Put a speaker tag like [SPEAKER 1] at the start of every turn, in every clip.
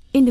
[SPEAKER 1] verscheen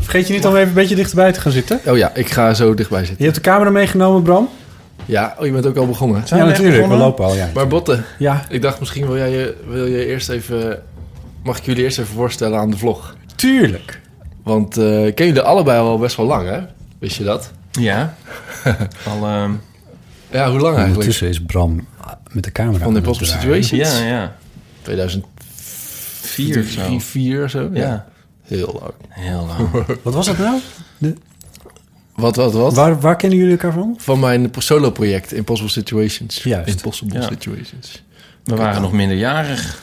[SPEAKER 2] Vergeet je niet om even een beetje dichterbij te gaan zitten.
[SPEAKER 3] Oh ja, ik ga zo dichtbij zitten.
[SPEAKER 2] Je hebt de camera meegenomen, Bram.
[SPEAKER 3] Ja, oh, je bent ook al begonnen.
[SPEAKER 2] Zijn we echt begonnen?
[SPEAKER 4] al, ja.
[SPEAKER 3] Maar Botte,
[SPEAKER 2] Ja,
[SPEAKER 3] ik dacht misschien wil, jij je, wil je eerst even... Mag ik jullie eerst even voorstellen aan de vlog?
[SPEAKER 2] tuurlijk.
[SPEAKER 3] Want eh ken jullie allebei al best wel lang, hè? Wist je dat?
[SPEAKER 5] Ja. Al, ehm,
[SPEAKER 3] Ja, hoe lang eigenlijk?
[SPEAKER 4] Ondertussen is Bram met de camera.
[SPEAKER 3] Van de
[SPEAKER 4] aan het
[SPEAKER 3] Hip-Hop
[SPEAKER 4] draaien.
[SPEAKER 3] Situations?
[SPEAKER 5] ja, ja.
[SPEAKER 3] 2004
[SPEAKER 5] Vier of zo.
[SPEAKER 3] of zo? Ja.
[SPEAKER 5] Ja.
[SPEAKER 3] Heel lang.
[SPEAKER 5] Heel lang.
[SPEAKER 2] Wat was dat nou?
[SPEAKER 3] Wat, wat, wat?
[SPEAKER 2] Waar, waar kennen jullie elkaar van?
[SPEAKER 3] Van mijn solo-project Impossible Situations.
[SPEAKER 2] Juist.
[SPEAKER 3] Impossible
[SPEAKER 5] Ja.
[SPEAKER 3] Situations.
[SPEAKER 5] We waren nog minderjarig.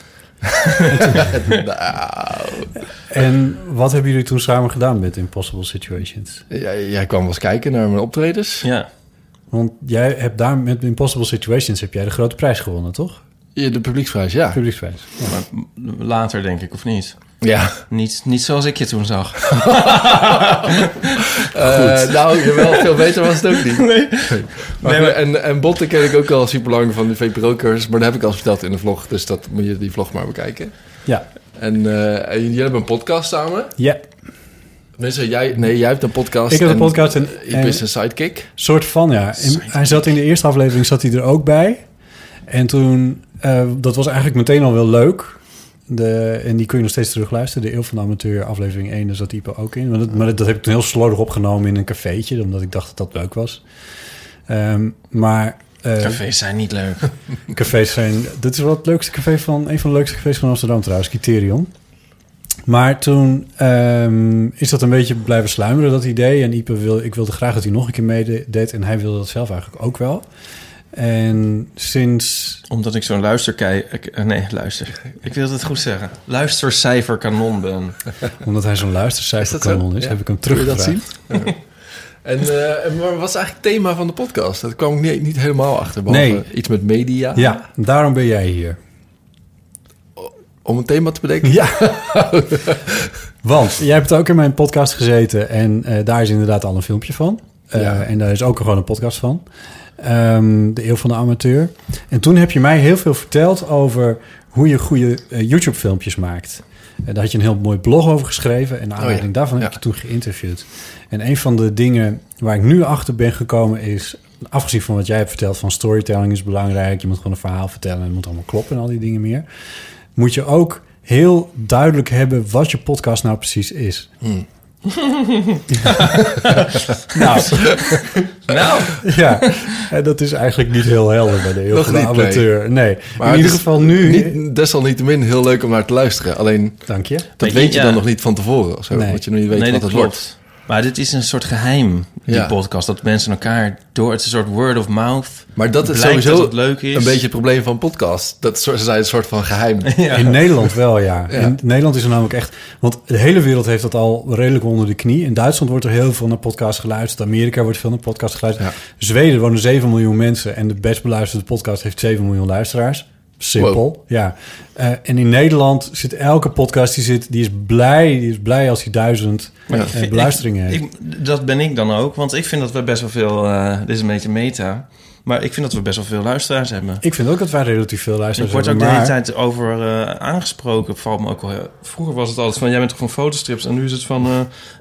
[SPEAKER 2] En wat hebben jullie toen samen gedaan met Impossible Situations?
[SPEAKER 3] Jij, jij kwam wel eens kijken naar mijn optredens.
[SPEAKER 5] Ja.
[SPEAKER 2] Want jij hebt daar met Impossible Situations heb jij de grote prijs gewonnen, toch?
[SPEAKER 3] Ja, de publieksprijs, ja.
[SPEAKER 2] Publieksprijs.
[SPEAKER 5] Maar later denk ik, of niet?
[SPEAKER 3] Ja.
[SPEAKER 5] Niet, niet zoals ik je toen zag.
[SPEAKER 3] Eh, nou, jawel, veel beter was het ook niet. Nee. Maar, goed, en, en Botten ken ik ook al super lang van de VPRO-cursus. Maar dat heb ik al verteld in de vlog. Dus dat moet je die vlog maar bekijken.
[SPEAKER 2] Ja.
[SPEAKER 3] En, eh, en jullie hebben een podcast samen.
[SPEAKER 2] Ja.
[SPEAKER 3] Mensen, jij, nee, jij hebt een podcast.
[SPEAKER 2] Ik heb een
[SPEAKER 3] en
[SPEAKER 2] podcast en-
[SPEAKER 3] Je bent een sidekick.
[SPEAKER 2] Soort van, ja. En hij zat in de eerste aflevering zat hij er ook bij. En toen, eh, dat was eigenlijk meteen al wel leuk. De, en die kun je nog steeds terugluisteren. De Eeuw van de Amateur, aflevering 1, daar zat Ipo ook in. Maar dat, maar dat, dat heb ik toen heel slordig opgenomen in een cafeetje, omdat ik dacht dat dat leuk was. Ehm, maar eh,
[SPEAKER 5] Cafés zijn niet leuk.
[SPEAKER 2] cafés zijn... Dit is wel het leukste café van... Een van de leukste cafés van Amsterdam trouwens, Criterion. Maar toen ehm, is dat een beetje blijven sluimeren, dat idee. En Ipe wil, ik wilde graag dat hij nog een keer meedeed. En hij wilde dat zelf eigenlijk ook wel. En sinds...
[SPEAKER 5] Omdat ik zo'n luisterkei... ik- eh, Nee, luister. Ik wil het goed zeggen. Luistercijferkanon ben.
[SPEAKER 2] Omdat hij zo'n luistercijferkanon is,
[SPEAKER 3] Ja.
[SPEAKER 2] heb ik hem
[SPEAKER 3] Kun je dat
[SPEAKER 2] teruggevraagd.
[SPEAKER 3] zien? En, eh, en maar wat is eigenlijk het thema van de podcast? Dat kwam ik niet, niet helemaal achter. Behalve
[SPEAKER 2] Nee.
[SPEAKER 3] iets met media.
[SPEAKER 2] Ja, daarom ben jij hier.
[SPEAKER 3] Om een thema te bedenken.
[SPEAKER 2] Ja. Want jij hebt ook in mijn podcast gezeten en eh, daar is inderdaad al een filmpje van. Eh,
[SPEAKER 3] Ja.
[SPEAKER 2] En daar is ook gewoon een podcast van. Ehm, de Eeuw van de Amateur. En toen heb je mij heel veel verteld over hoe je goede eh, YouTube-filmpjes maakt. En daar had je een heel mooi blog over geschreven. En naar aanleiding
[SPEAKER 3] Oh ja.
[SPEAKER 2] daarvan heb
[SPEAKER 3] Ja.
[SPEAKER 2] ik je toen geïnterviewd. En een van de dingen waar ik nu achter ben gekomen is... afgezien van wat jij hebt verteld van storytelling is belangrijk... je moet gewoon een verhaal vertellen en het moet allemaal kloppen en al die dingen meer... moet je ook heel duidelijk hebben wat je podcast nou precies is.
[SPEAKER 3] Hmm.
[SPEAKER 2] nou,
[SPEAKER 5] Nou,
[SPEAKER 2] ja, en dat is eigenlijk niet heel helder bij de heel
[SPEAKER 3] Nog
[SPEAKER 2] van de
[SPEAKER 3] niet, nee.
[SPEAKER 2] amateur. Nee,
[SPEAKER 3] Maar
[SPEAKER 2] in
[SPEAKER 3] het
[SPEAKER 2] ieder
[SPEAKER 3] is
[SPEAKER 2] geval nu...
[SPEAKER 3] Niet, desalniettemin heel leuk om naar te luisteren. Alleen
[SPEAKER 2] Dank je.
[SPEAKER 3] dat
[SPEAKER 5] Maar je-
[SPEAKER 3] weet je
[SPEAKER 5] ja.
[SPEAKER 3] dan nog niet van tevoren. Of zo,
[SPEAKER 2] Nee.
[SPEAKER 3] Want je nog niet weet
[SPEAKER 5] nee,
[SPEAKER 3] wat
[SPEAKER 5] dat
[SPEAKER 3] het
[SPEAKER 5] klopt.
[SPEAKER 3] wordt.
[SPEAKER 5] Maar dit is een soort geheim, die
[SPEAKER 3] Ja.
[SPEAKER 5] podcast. Dat mensen elkaar door... Het is een soort word of mouth.
[SPEAKER 3] Maar dat is
[SPEAKER 5] Blijkt
[SPEAKER 3] sowieso
[SPEAKER 5] dat het leuk is.
[SPEAKER 3] een beetje het probleem van podcasts. Dat zo- ze zijn een soort van geheim.
[SPEAKER 2] In Nederland wel, ja. In Nederland is er namelijk echt... Want de hele wereld heeft dat al redelijk onder de knie. In Duitsland wordt er heel veel naar podcasts geluisterd. Amerika wordt veel naar podcasts geluisterd.
[SPEAKER 3] Ja.
[SPEAKER 2] Zweden wonen 7 miljoen mensen... en de best beluisterde podcast heeft 7 miljoen luisteraars. Simpel, ja. Eh, en in Nederland zit elke podcast die zit, die is blij, die is blij als hij duizend
[SPEAKER 5] Maar ik
[SPEAKER 2] eh,
[SPEAKER 5] vind-
[SPEAKER 2] beluisteringen
[SPEAKER 5] ik-
[SPEAKER 2] heeft.
[SPEAKER 5] ik- dat ben ik dan ook, want ik vind dat we best wel veel... eh, dit is een beetje meta, maar ik vind dat we best wel veel luisteraars hebben.
[SPEAKER 2] Ik vind ook dat wij relatief veel
[SPEAKER 5] Ik
[SPEAKER 2] luisteraars
[SPEAKER 5] word ook
[SPEAKER 2] hebben,
[SPEAKER 5] de hele
[SPEAKER 2] maar-
[SPEAKER 5] tijd over eh, aangesproken. Valt me ook al. heel- Vroeger was het altijd van jij bent toch van fotostrips en nu is het van eh,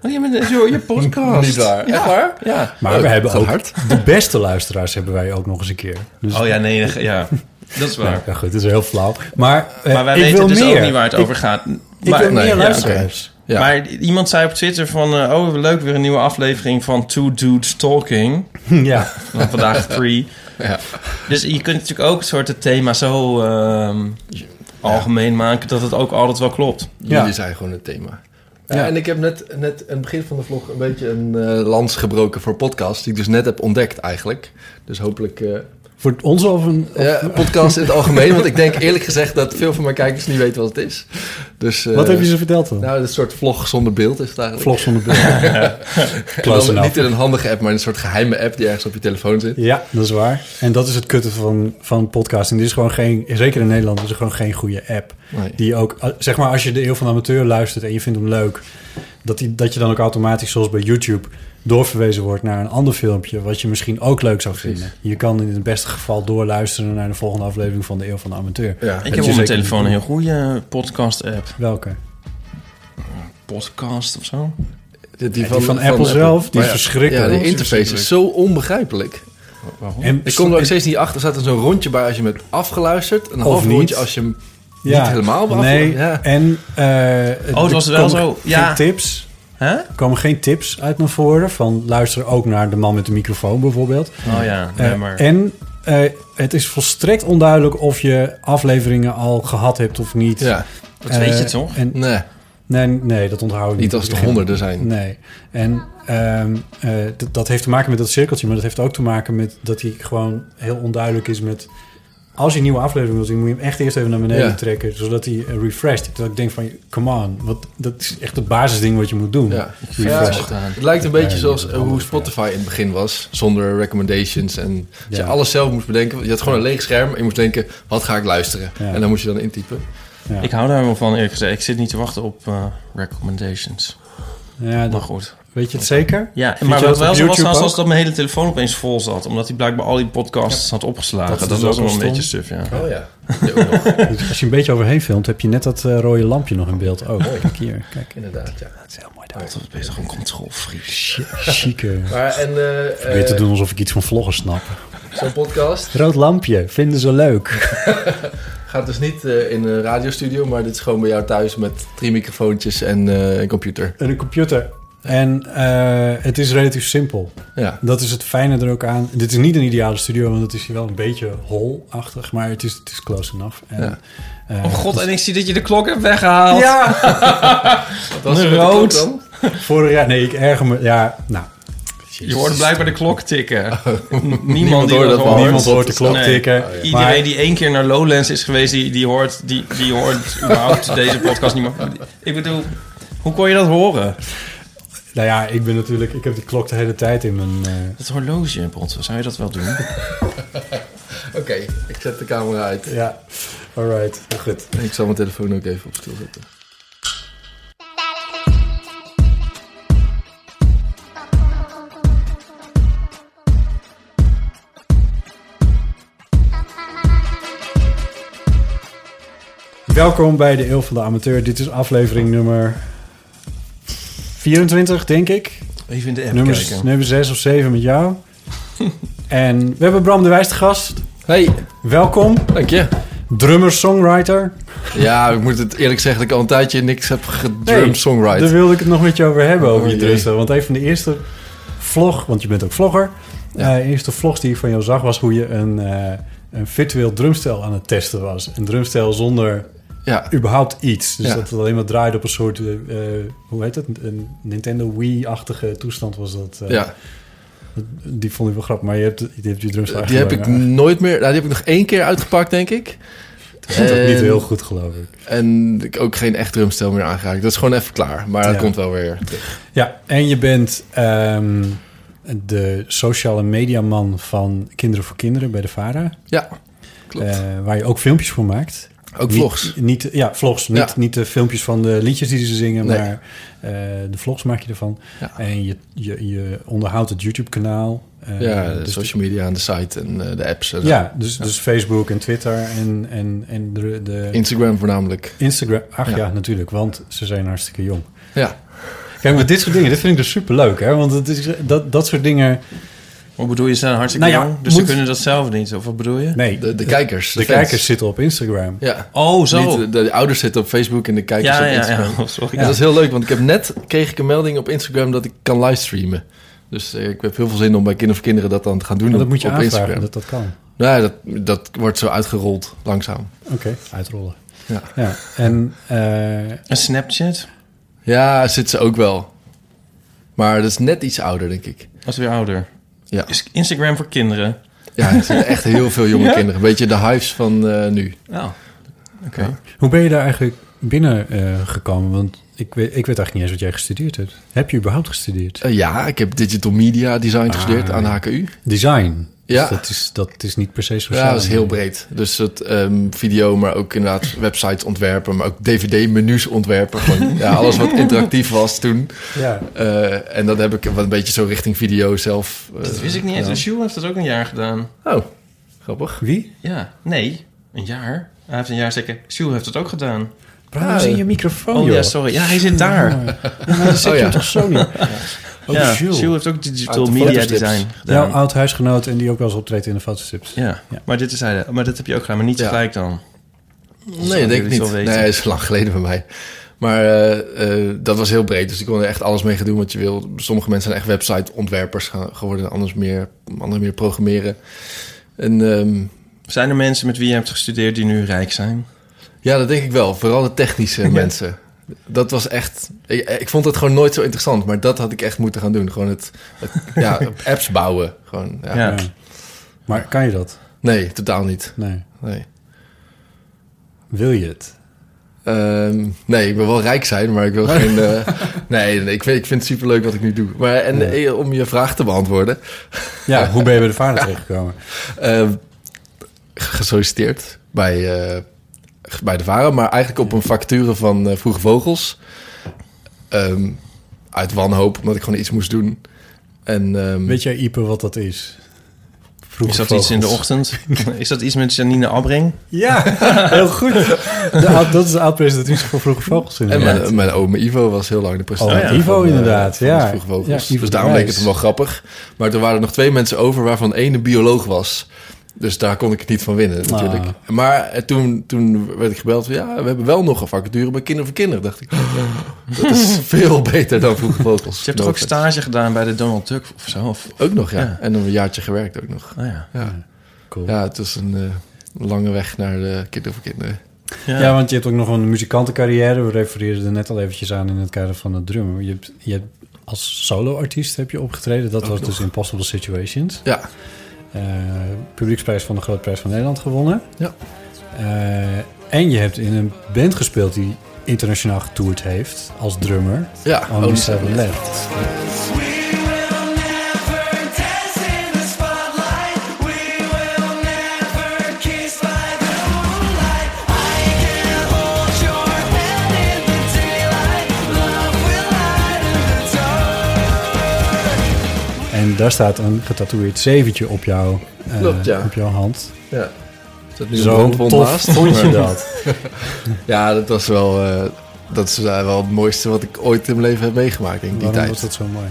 [SPEAKER 5] oh, jij bent je, je podcast.
[SPEAKER 3] Niet waar.
[SPEAKER 5] Ja.
[SPEAKER 3] Echt waar?
[SPEAKER 5] Ja.
[SPEAKER 2] Maar we hebben
[SPEAKER 3] gaat
[SPEAKER 2] ook
[SPEAKER 3] hard.
[SPEAKER 2] de beste luisteraars hebben wij ook nog eens een keer. Dus, nou,
[SPEAKER 5] Oh ja, nee, dat- ja. Dat is waar.
[SPEAKER 2] ja, goed, dat is heel flauw. Maar, eh,
[SPEAKER 5] Maar wij
[SPEAKER 2] ik
[SPEAKER 5] weten
[SPEAKER 2] wil
[SPEAKER 5] dus
[SPEAKER 2] meer.
[SPEAKER 5] ook niet waar het over gaat.
[SPEAKER 2] Ik,
[SPEAKER 5] maar,
[SPEAKER 2] wil
[SPEAKER 3] nee,
[SPEAKER 2] meer
[SPEAKER 3] ja,
[SPEAKER 2] luisteraars.
[SPEAKER 3] Ja.
[SPEAKER 5] maar iemand zei op Twitter van... eh, oh, leuk, weer een nieuwe aflevering van Two Dudes Talking.
[SPEAKER 2] Ja,
[SPEAKER 5] Van vandaag three.
[SPEAKER 3] Ja.
[SPEAKER 5] Dus je kunt natuurlijk ook soorten thema's zo ehm, algemeen maken... dat het ook altijd wel klopt.
[SPEAKER 2] Ja.
[SPEAKER 3] Jullie zijn gewoon het thema. Ja, En ik heb net, net aan het begin van de vlog een beetje een eh, lans gebroken voor podcast. Die ik dus net heb ontdekt eigenlijk. Dus hopelijk... eh,
[SPEAKER 2] voor ons of een... eh,
[SPEAKER 3] ja, podcast in het algemeen. Want ik denk eerlijk gezegd dat veel van mijn kijkers niet weten wat het is. Dus, eh,
[SPEAKER 2] Wat heb je ze verteld dan?
[SPEAKER 3] Nou, een soort vlog zonder beeld is het eigenlijk.
[SPEAKER 2] Vlog zonder beeld.
[SPEAKER 3] En dan
[SPEAKER 2] Close
[SPEAKER 3] Niet
[SPEAKER 2] enough.
[SPEAKER 3] in een handige app, maar in een soort geheime app die ergens op je telefoon zit.
[SPEAKER 2] Ja, dat is waar. En dat is het kutte van, van podcasting. Dit is gewoon geen, zeker in Nederland, is er gewoon geen goede app.
[SPEAKER 3] Nee.
[SPEAKER 2] Die ook, eh, zeg maar, als je de Eeuw van de Amateur luistert en je vindt hem leuk, dat, die, dat je dan ook automatisch, zoals bij YouTube, doorverwezen wordt naar een ander filmpje, wat je misschien ook leuk zou vinden. Je kan in het beste geval doorluisteren naar de volgende aflevering van de Eeuw van de Amateur.
[SPEAKER 3] Ja.
[SPEAKER 5] Ik
[SPEAKER 2] je
[SPEAKER 5] heb op mijn
[SPEAKER 2] zeker
[SPEAKER 5] telefoon een
[SPEAKER 2] niet
[SPEAKER 5] heel goede podcast-app.
[SPEAKER 2] Welke?
[SPEAKER 5] Podcast of zo?
[SPEAKER 2] Ja,
[SPEAKER 3] Die,
[SPEAKER 2] die van Apple zelf, die
[SPEAKER 3] Maar
[SPEAKER 2] is verschrikkelijk.
[SPEAKER 3] Oh Ja, die interface is zo onbegrijpelijk.
[SPEAKER 2] En
[SPEAKER 3] Ik kom er ook steeds niet achter. Er staat er zo'n rondje bij als je hem hebt afgeluisterd. Een half
[SPEAKER 2] niet.
[SPEAKER 3] rondje als je hem niet helemaal hebt
[SPEAKER 2] Nee,
[SPEAKER 3] afgeluisterd. Ja.
[SPEAKER 2] en... eh
[SPEAKER 5] Oh, het
[SPEAKER 2] er
[SPEAKER 5] was wel
[SPEAKER 2] komen
[SPEAKER 5] zo,
[SPEAKER 2] Geen
[SPEAKER 5] ja.
[SPEAKER 2] tips.
[SPEAKER 5] Hè?
[SPEAKER 2] Er komen geen tips uit naar voren. Van luister ook naar de man met de microfoon bijvoorbeeld.
[SPEAKER 5] Oh ja, nee,
[SPEAKER 2] Eh,
[SPEAKER 5] maar...
[SPEAKER 2] En eh, het is volstrekt onduidelijk of je afleveringen al gehad hebt of niet.
[SPEAKER 3] Ja.
[SPEAKER 5] Dat weet je
[SPEAKER 2] Eh,
[SPEAKER 5] toch?
[SPEAKER 2] En,
[SPEAKER 3] Nee,
[SPEAKER 2] nee, nee, dat onthoud ik niet.
[SPEAKER 3] niet als dus- er honderden zijn.
[SPEAKER 2] Nee. En ehm, eh, d- dat heeft te maken met dat cirkeltje, maar dat heeft ook te maken met dat hij gewoon heel onduidelijk is met. Als je een nieuwe aflevering wil zien, moet je hem echt eerst even naar beneden
[SPEAKER 3] Ja.
[SPEAKER 2] trekken, zodat hij eh, refreshed. Dat ik denk van, come on, wat, dat is echt het basisding wat je moet doen.
[SPEAKER 3] Ja. Ja,
[SPEAKER 2] Refresh.
[SPEAKER 3] het lijkt een beetje
[SPEAKER 2] Nee,
[SPEAKER 3] zoals
[SPEAKER 2] dat
[SPEAKER 3] eh,
[SPEAKER 2] is
[SPEAKER 3] hoe
[SPEAKER 2] handig,
[SPEAKER 3] Spotify in het begin was. Zonder recommendations. En dat je
[SPEAKER 2] Ja.
[SPEAKER 3] alles zelf moest bedenken. Je had gewoon een leeg scherm. En je moest denken, wat ga ik luisteren?
[SPEAKER 2] Ja.
[SPEAKER 3] En dan moest je dan intypen.
[SPEAKER 2] Ja.
[SPEAKER 5] Ik hou daar wel van, eerlijk gezegd. Ik zit niet te wachten op eh, recommendations.
[SPEAKER 2] Ja,
[SPEAKER 5] Maar
[SPEAKER 2] dat,
[SPEAKER 5] goed.
[SPEAKER 2] weet je het zeker?
[SPEAKER 5] Ja,
[SPEAKER 2] Vind
[SPEAKER 5] maar
[SPEAKER 2] je
[SPEAKER 5] wat
[SPEAKER 2] dat op
[SPEAKER 5] wel zo was,
[SPEAKER 2] YouTube
[SPEAKER 5] was,
[SPEAKER 2] ook?
[SPEAKER 5] was dat mijn hele telefoon opeens vol zat. Omdat hij blijkbaar al die podcasts had opgeslagen.
[SPEAKER 2] Dat
[SPEAKER 5] Dat,
[SPEAKER 2] is dus
[SPEAKER 5] was
[SPEAKER 2] ook
[SPEAKER 5] wel een
[SPEAKER 2] stom.
[SPEAKER 5] beetje suf, ja.
[SPEAKER 3] Oh ja. Ja, ook nog.
[SPEAKER 2] Dus als je een beetje overheen filmt, heb je net dat eh, rode lampje nog in beeld. Oh, kijk hier, kijk.
[SPEAKER 3] Inderdaad, ja.
[SPEAKER 2] Dat is heel mooi
[SPEAKER 5] Dat is bezig een controlfreak.
[SPEAKER 2] Chique.
[SPEAKER 3] Maar en eh, eh,
[SPEAKER 2] Probeer te doen alsof ik iets van vloggen snap.
[SPEAKER 3] zo'n podcast
[SPEAKER 2] Rood lampje, vinden ze leuk.
[SPEAKER 3] gaat dus niet eh, in een radiostudio, maar dit is gewoon bij jou thuis met drie microfoontjes en eh, een computer.
[SPEAKER 2] En een computer. En eh, het is relatief simpel.
[SPEAKER 3] Ja.
[SPEAKER 2] Dat is het fijne er ook aan. Dit is niet een ideale studio, want het is hier wel een beetje holachtig, maar het is, het is close enough. En,
[SPEAKER 3] Ja.
[SPEAKER 2] eh,
[SPEAKER 5] Oh god, en ik zie dat je de klok hebt weggehaald.
[SPEAKER 2] Ja!
[SPEAKER 3] Wat was
[SPEAKER 5] Een
[SPEAKER 3] er met de klok
[SPEAKER 5] rood.
[SPEAKER 3] dan?
[SPEAKER 2] Vorig jaar, nee, ik erger me. Ja, nou,
[SPEAKER 5] Je hoorde blijkbaar de klok tikken. Niemand,
[SPEAKER 3] Niemand
[SPEAKER 5] die
[SPEAKER 3] hoorde
[SPEAKER 5] dat
[SPEAKER 3] dat
[SPEAKER 5] hoort.
[SPEAKER 3] wel.
[SPEAKER 2] niemand hoort de klok
[SPEAKER 5] Nee.
[SPEAKER 2] tikken.
[SPEAKER 5] Iedereen
[SPEAKER 2] Maar
[SPEAKER 5] die één keer naar Lowlands is geweest, die, die hoort, die, die hoort überhaupt deze podcast niet meer. Ik bedoel, hoe kon je dat horen?
[SPEAKER 2] nou ja, ik ben natuurlijk, ik heb die klok de hele tijd in mijn. eh,
[SPEAKER 5] Het horloge, Bot, zou je dat wel doen?
[SPEAKER 3] Oké, ik zet de camera uit.
[SPEAKER 2] ja, alright, goed.
[SPEAKER 3] Ik zal mijn telefoon ook even op stil zetten.
[SPEAKER 2] Welkom bij de Eeuw van de Amateur. Dit is aflevering nummer 24, denk ik.
[SPEAKER 5] Even in de app
[SPEAKER 2] Nummer,
[SPEAKER 5] kijken.
[SPEAKER 2] nummer 6 of 7 met jou. en we hebben Bram de Wijs te gast.
[SPEAKER 3] Hey,
[SPEAKER 2] Welkom,
[SPEAKER 3] dank je.
[SPEAKER 2] drummer-songwriter.
[SPEAKER 3] Ja, ik moet het eerlijk zeggen dat ik al een tijdje niks heb gedrum
[SPEAKER 2] Daar
[SPEAKER 3] songwriter.
[SPEAKER 2] wilde ik het nog met je over hebben, over
[SPEAKER 3] Oh,
[SPEAKER 2] je
[SPEAKER 3] jee.
[SPEAKER 2] drusten. Want een van de eerste vlog, want je bent ook vlogger.
[SPEAKER 3] Ja.
[SPEAKER 2] eh, eerste vlogs die ik van jou zag was hoe je een, eh, een virtueel drumstel aan het testen was. Een drumstel zonder
[SPEAKER 3] Ja,
[SPEAKER 2] überhaupt iets. Dus
[SPEAKER 3] Ja.
[SPEAKER 2] dat het alleen maar draaide op een soort, eh, eh, hoe heet het? Een Nintendo Wii-achtige toestand was dat. eh.
[SPEAKER 3] ja.
[SPEAKER 2] Die vond ik wel grappig, maar je hebt, je, hebt je drumstel
[SPEAKER 3] Eh, die heb ik
[SPEAKER 2] eigenlijk nooit-
[SPEAKER 3] nooit meer. Nou, die heb ik nog één keer uitgepakt, denk ik.
[SPEAKER 2] Ik vond het niet
[SPEAKER 3] En-
[SPEAKER 2] heel goed, geloof ik.
[SPEAKER 3] En ik ook geen echt drumstel meer aangeraakt. Dat is gewoon even klaar. Maar dat
[SPEAKER 2] Ja.
[SPEAKER 3] komt wel weer terug.
[SPEAKER 2] Ja, en je bent ehm, de sociale mediaman van Kinderen voor Kinderen bij de VARA.
[SPEAKER 3] Ja, Klopt.
[SPEAKER 2] eh, waar je ook filmpjes voor maakt.
[SPEAKER 3] Ook
[SPEAKER 2] Niet-
[SPEAKER 3] vlogs.
[SPEAKER 2] Niet, ja, vlogs.
[SPEAKER 3] Ja.
[SPEAKER 2] Niet, niet de filmpjes van de liedjes die ze zingen,
[SPEAKER 3] Nee.
[SPEAKER 2] maar eh, de vlogs maak je ervan.
[SPEAKER 3] Ja.
[SPEAKER 2] En je, je, je onderhoudt het YouTube-kanaal. eh,
[SPEAKER 3] Ja, de
[SPEAKER 2] dus
[SPEAKER 3] social media en de site en eh, de apps. En zo.
[SPEAKER 2] ja, dus, dus Facebook en Twitter en, en, en de, de
[SPEAKER 3] eh, Instagram voornamelijk.
[SPEAKER 2] Instagram. Ach ja.
[SPEAKER 3] Ja.
[SPEAKER 2] natuurlijk, want ze zijn hartstikke jong.
[SPEAKER 3] Ja.
[SPEAKER 2] Kijk, maar dit soort dingen, dit vind ik dus superleuk, hè? Want het is, dat, dat soort dingen...
[SPEAKER 5] Wat bedoel je, ze zijn hartstikke
[SPEAKER 2] Nou ja,
[SPEAKER 5] jong, dus
[SPEAKER 2] moet-
[SPEAKER 5] ze kunnen dat zelf niet. Of wat bedoel je?
[SPEAKER 2] Nee,
[SPEAKER 3] De, de kijkers.
[SPEAKER 2] de
[SPEAKER 3] fans.
[SPEAKER 2] kijkers zitten op Instagram.
[SPEAKER 3] Ja.
[SPEAKER 5] Oh, zo.
[SPEAKER 3] Niet, eh, de, de ouders zitten op Facebook en de kijkers
[SPEAKER 5] ja,
[SPEAKER 3] op
[SPEAKER 5] ja,
[SPEAKER 3] Instagram.
[SPEAKER 5] ja. Oh, Sorry.
[SPEAKER 3] Ja. Dat is heel leuk, want ik heb net kreeg ik een melding op Instagram dat ik kan livestreamen. Dus eh, ik heb heel veel zin om bij Kind of Kinderen dat dan te gaan doen
[SPEAKER 2] Maar dat
[SPEAKER 3] op-
[SPEAKER 2] moet je
[SPEAKER 3] op
[SPEAKER 2] aanvragen
[SPEAKER 3] Instagram.
[SPEAKER 2] dat dat kan.
[SPEAKER 3] Nou, ja, dat, dat wordt zo uitgerold langzaam.
[SPEAKER 2] Oké, uitrollen.
[SPEAKER 3] Ja.
[SPEAKER 2] ja. En eh,
[SPEAKER 5] Een Snapchat?
[SPEAKER 3] Ja, zit ze ook wel. Maar dat is net iets ouder, denk ik.
[SPEAKER 5] Dat is weer ouder.
[SPEAKER 3] Ja,
[SPEAKER 5] Is Instagram voor kinderen.
[SPEAKER 3] ja er zitten echt heel veel jonge kinderen. Een beetje de hives van eh, nu.
[SPEAKER 5] Oh, oké.
[SPEAKER 2] hoe ben je daar eigenlijk binnen eh, gekomen? Want ik weet, ik weet eigenlijk niet eens wat jij gestudeerd hebt. Heb je überhaupt gestudeerd?
[SPEAKER 3] Eh, ja, ik heb digital media design
[SPEAKER 2] Ah,
[SPEAKER 3] gestudeerd aan de HKU.
[SPEAKER 2] Design. Dus
[SPEAKER 3] Ja.
[SPEAKER 2] dat, is, dat is niet per se sociaal.
[SPEAKER 3] Ja, dat is heel breed. Dus het ehm, video, maar ook inderdaad websites ontwerpen, maar ook dvd-menus ontwerpen. Gewoon, ja, alles wat interactief was toen.
[SPEAKER 2] Ja.
[SPEAKER 3] Eh, en dat heb ik wat een beetje zo richting video zelf. eh,
[SPEAKER 5] Dat wist ik niet eens. dus- En Sjoel heeft dat ook een jaar gedaan.
[SPEAKER 3] Oh, grappig.
[SPEAKER 2] Wie?
[SPEAKER 5] Ja, nee, een jaar. Hij heeft een jaar zeker. Sjoel heeft het ook gedaan.
[SPEAKER 3] Oh,
[SPEAKER 2] Praat eens in je microfoon,
[SPEAKER 5] Oh
[SPEAKER 2] joh.
[SPEAKER 5] ja, sorry. Ja, hij zit daar.
[SPEAKER 2] Dat zit
[SPEAKER 3] Oh,
[SPEAKER 2] je
[SPEAKER 3] ja.
[SPEAKER 2] toch zo niet? Oh,
[SPEAKER 5] Ja,
[SPEAKER 2] Jules.
[SPEAKER 5] Sjoel heeft ook digital
[SPEAKER 3] Uit de
[SPEAKER 5] media
[SPEAKER 3] fotostrips. oh.
[SPEAKER 5] design
[SPEAKER 2] Jouw
[SPEAKER 5] gedaan.
[SPEAKER 2] oud huisgenoot en die ook wel eens optreedt in de fotostrips.
[SPEAKER 5] Ja, maar dit is hij. Maar dat heb je ook gedaan, maar niet
[SPEAKER 3] Ja.
[SPEAKER 5] gelijk dan.
[SPEAKER 3] Nee, ik denk ik
[SPEAKER 5] jullie het
[SPEAKER 3] niet.
[SPEAKER 5] wel
[SPEAKER 3] Nee,
[SPEAKER 5] weten.
[SPEAKER 3] dat is lang geleden bij mij. Maar eh, eh, dat was heel breed, dus ik kon er echt alles mee gaan doen wat je wil. Sommige mensen zijn echt website-ontwerpers ge- geworden, anders meer, anderen meer programmeren. En ehm,
[SPEAKER 5] Zijn er mensen met wie je hebt gestudeerd die nu rijk zijn?
[SPEAKER 3] Ja, dat denk ik wel. Vooral de technische mensen. Dat was echt... Ik, ik vond het gewoon nooit zo interessant. Maar dat had ik echt moeten gaan doen. Gewoon het... het- ja, apps bouwen. Gewoon, ja.
[SPEAKER 5] Ja.
[SPEAKER 2] Ja. Maar kan je dat?
[SPEAKER 3] Nee, totaal niet.
[SPEAKER 2] Nee.
[SPEAKER 3] Nee.
[SPEAKER 2] Wil je het?
[SPEAKER 3] Ehm, nee, ik wil wel rijk zijn, maar ik wil geen... eh, nee, nee, ik, vind- ik vind het superleuk wat ik nu doe. Maar en, eh, om je vraag te beantwoorden.
[SPEAKER 2] Ja, hoe ben je bij de vader terechtgekomen?
[SPEAKER 3] ehm, gesolliciteerd bij, eh, bij de Varen, maar eigenlijk op een facture van eh, Vroege Vogels. Ehm, uit wanhoop, omdat ik gewoon iets moest doen. En, ehm,
[SPEAKER 2] Weet jij, Ipe, wat dat is? Vroeg
[SPEAKER 5] Is dat iets in de ochtend? Is dat iets met Janine Abreng?
[SPEAKER 2] Ja, heel goed. De oud- dat is de oud-presentatrice van Vroege Vogels.
[SPEAKER 3] en
[SPEAKER 2] inderdaad.
[SPEAKER 3] mijn, mijn oom Ivo was heel lang de
[SPEAKER 2] Oh,
[SPEAKER 3] presentator.
[SPEAKER 2] ja. Ivo
[SPEAKER 3] eh,
[SPEAKER 2] inderdaad,
[SPEAKER 3] van
[SPEAKER 2] ja.
[SPEAKER 3] de Vroege Vogels.
[SPEAKER 2] Ja, Ivo
[SPEAKER 3] dus
[SPEAKER 2] de
[SPEAKER 3] daarom leek het
[SPEAKER 2] Wijs.
[SPEAKER 3] wel grappig. Maar er waren nog twee mensen over, waarvan één een bioloog was. Dus daar kon ik het niet van
[SPEAKER 2] Ah.
[SPEAKER 3] winnen, natuurlijk. Maar eh, toen, toen werd ik gebeld van... ja, we hebben wel nog een vacature bij Kinderen voor Kinderen. dacht ik, dat is veel beter dan Vroege Vogels.
[SPEAKER 5] Je hebt toch ook stage gedaan bij de Donald Duck of zo? Of,
[SPEAKER 3] Ook nog, ja.
[SPEAKER 5] Ja.
[SPEAKER 3] En dan een jaartje gewerkt ook nog.
[SPEAKER 5] oh ja.
[SPEAKER 3] Ja,
[SPEAKER 2] Cool.
[SPEAKER 3] ja het was een eh, lange weg naar de Kinderen voor Kinderen.
[SPEAKER 5] Ja.
[SPEAKER 2] Ja, want je hebt ook nog een muzikantencarrière. We refereerden er net al eventjes aan in het kader van het drummen. Je hebt, je hebt, als solo-artiest heb je opgetreden. Dat was dus Impossible Situations.
[SPEAKER 3] Ja,
[SPEAKER 2] Eh, publieksprijs van de Grote Prijs van Nederland gewonnen.
[SPEAKER 3] Ja.
[SPEAKER 2] Eh, en je hebt in een band gespeeld die internationaal getoerd heeft als drummer.
[SPEAKER 3] ja.
[SPEAKER 2] Only
[SPEAKER 3] Oh,
[SPEAKER 2] Seven Left. En daar staat een getatoeëerd zeventje op, jou, eh,
[SPEAKER 3] Klopt, ja.
[SPEAKER 2] op jouw hand.
[SPEAKER 3] ja. Is dat nu een
[SPEAKER 2] Zo
[SPEAKER 3] brandwond
[SPEAKER 2] tof
[SPEAKER 3] naast?
[SPEAKER 2] vond je
[SPEAKER 3] Maar-
[SPEAKER 2] dat.
[SPEAKER 3] Ja, dat was wel, eh, dat is eh, wel het mooiste wat ik ooit in mijn leven heb meegemaakt, denk ik, die
[SPEAKER 2] Waarom
[SPEAKER 3] tijd.
[SPEAKER 2] was dat zo mooi?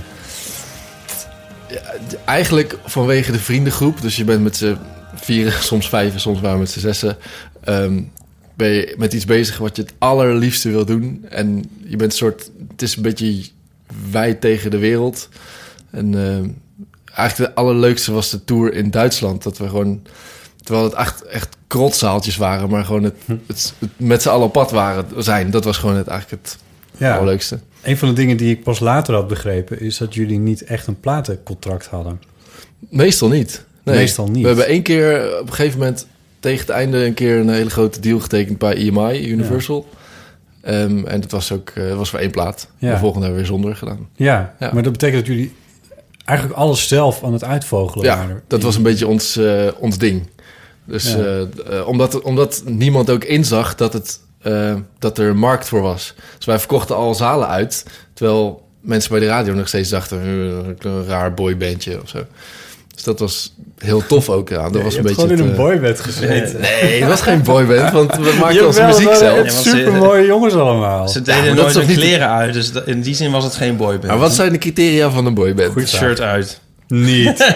[SPEAKER 3] Eigenlijk vanwege de vriendengroep, dus je bent met z'n vieren, soms vijven, soms waren we met z'n zessen, ehm, ben je met iets bezig wat je het allerliefste wil doen. En je bent een soort, het is een beetje wij tegen de wereld. En ehm, eigenlijk de allerleukste was de tour in Duitsland, dat we gewoon... Terwijl het echt, echt krotzaaltjes waren, maar gewoon het, het, het met z'n allen op pad waren, zijn. Dat was gewoon het, eigenlijk het
[SPEAKER 2] Ja,
[SPEAKER 3] allerleukste.
[SPEAKER 2] een van de dingen die ik pas later had begrepen... is dat jullie niet echt een platencontract hadden.
[SPEAKER 3] Meestal niet.
[SPEAKER 2] Meestal niet.
[SPEAKER 3] We hebben één keer eh, op een gegeven moment tegen het einde een keer een hele grote deal getekend bij EMI, Universal. Ehm, en dat was ook eh, dat was voor één plaat.
[SPEAKER 2] Ja.
[SPEAKER 3] De volgende hebben we weer zonder gedaan.
[SPEAKER 2] Ja,
[SPEAKER 3] Ja.
[SPEAKER 2] maar dat betekent dat jullie eigenlijk alles zelf aan het uitvogelen
[SPEAKER 3] Ja,
[SPEAKER 2] waren.
[SPEAKER 3] dat was een beetje ons, eh, ons ding. Dus
[SPEAKER 2] Ja.
[SPEAKER 3] eh, eh, omdat, omdat niemand ook inzag dat, het, eh, dat er een markt voor was. Dus wij verkochten al zalen uit. Terwijl mensen bij de radio nog steeds dachten... "Eh, een raar boybandje of zo. Dus dat was heel tof ook. Ja. Dat was een beetje
[SPEAKER 2] gewoon in een
[SPEAKER 3] het, eh,
[SPEAKER 2] boybed gezeten.
[SPEAKER 3] Nee, het was geen boyband, want we maakten
[SPEAKER 2] Jawel,
[SPEAKER 3] onze muziek
[SPEAKER 2] wel,
[SPEAKER 3] zelf.
[SPEAKER 5] Ja, want ze-
[SPEAKER 2] Supermooie jongens allemaal.
[SPEAKER 5] Ze
[SPEAKER 3] Ja,
[SPEAKER 5] deden
[SPEAKER 3] maar dat
[SPEAKER 5] nooit
[SPEAKER 3] is toch
[SPEAKER 5] hun
[SPEAKER 3] niet-
[SPEAKER 5] kleren uit, dus da- in die zin was het geen boyband.
[SPEAKER 3] Maar wat zijn de criteria van een boyband?
[SPEAKER 5] Goed shirt uit.
[SPEAKER 3] Niet.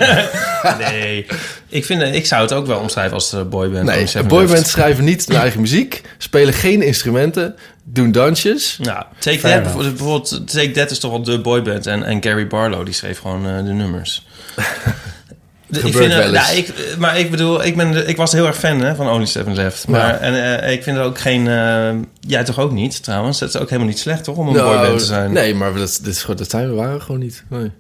[SPEAKER 5] Nee. ik, vind, eh, ik zou het ook wel omschrijven als eh, boyband.
[SPEAKER 3] Nee,
[SPEAKER 5] Gewoon Seven
[SPEAKER 3] boybands
[SPEAKER 5] Dust.
[SPEAKER 3] schrijven niet hun eigen muziek, spelen geen instrumenten, doen dansjes.
[SPEAKER 5] Nou,
[SPEAKER 2] Fair
[SPEAKER 5] Take That,
[SPEAKER 2] enough.
[SPEAKER 5] bijvoorbeeld- bijvoorbeeld, Take That is toch wel de boyband. En, en Gary Barlow, die schreef gewoon eh, de nummers. De- ik
[SPEAKER 3] Gebeurt
[SPEAKER 5] vind, eh,
[SPEAKER 3] wel eens.
[SPEAKER 5] nou, ik, eh, maar ik bedoel, ik, ben, de- ik was heel erg fan hè, van Only Seven Left. Maar
[SPEAKER 3] Ja.
[SPEAKER 5] en, eh, ik vind er ook geen... eh, jij toch ook niet, trouwens? Dat is ook helemaal niet slecht, toch? Om een
[SPEAKER 3] Nou,
[SPEAKER 5] boyband te zijn.
[SPEAKER 3] Nee, maar dat, dit is, gewoon- dat zijn we waren we gewoon niet. Nee.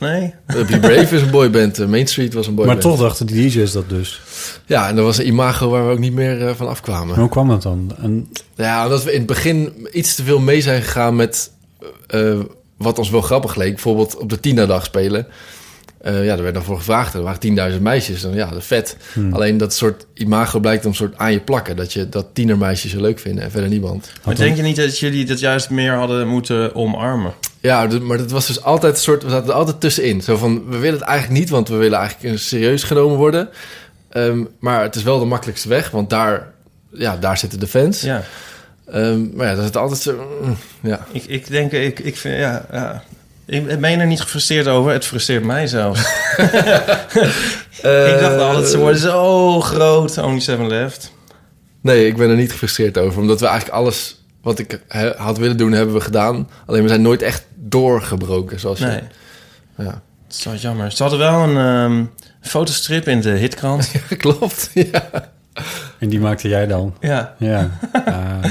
[SPEAKER 5] Nee?
[SPEAKER 3] Eh, Be Brave is een boyband, eh, Main Street was een boyband.
[SPEAKER 2] Maar toch dachten die DJ's dat dus.
[SPEAKER 3] Ja, en dat was een imago waar we ook niet meer eh, van afkwamen.
[SPEAKER 2] Maar hoe kwam dat dan? En,
[SPEAKER 3] Ja, omdat we in het begin iets te veel mee zijn gegaan met eh, wat ons wel grappig leek. Bijvoorbeeld op de Tina-dag spelen. Eh, ja, daar werd dan voor gevraagd. Er waren 10.000 meisjes. Dan, ja, dat is vet. Alleen dat soort imago blijkt dan soort aan je plakken. Dat, je, dat tienermeisjes je leuk vinden en verder niemand.
[SPEAKER 5] Maar denk je niet dat jullie dat juist meer hadden moeten omarmen?
[SPEAKER 3] Ja, d- maar dat was dus altijd een soort... We zaten er altijd tussenin. Zo van, we willen het eigenlijk niet, want we willen eigenlijk eh, serieus genomen worden. Ehm, maar het is wel de makkelijkste weg, want daar, ja, daar zitten de fans.
[SPEAKER 5] Ja.
[SPEAKER 3] Ehm, maar ja, dat is het altijd zo... mm, ja.
[SPEAKER 5] Ik, ik denk, ik, ik vind, ja, ja. Ik ben er niet gefrustreerd over. Het frustreert mij zelfs.
[SPEAKER 3] Eh,
[SPEAKER 5] ik dacht altijd, ze worden zo groot. Only Seven Left.
[SPEAKER 3] Nee, ik ben er niet gefrustreerd over. Omdat we eigenlijk alles wat ik he- had willen doen, hebben we gedaan. Alleen we zijn nooit echt doorgebroken. Zoals
[SPEAKER 5] Nee,
[SPEAKER 3] je, ja.
[SPEAKER 5] dat is wel jammer. Ze hadden wel een ehm, fotostrip in de hitkrant.
[SPEAKER 3] Klopt, ja.
[SPEAKER 2] en die maakte jij dan?
[SPEAKER 5] ja.
[SPEAKER 2] Ja. Ah, zo komt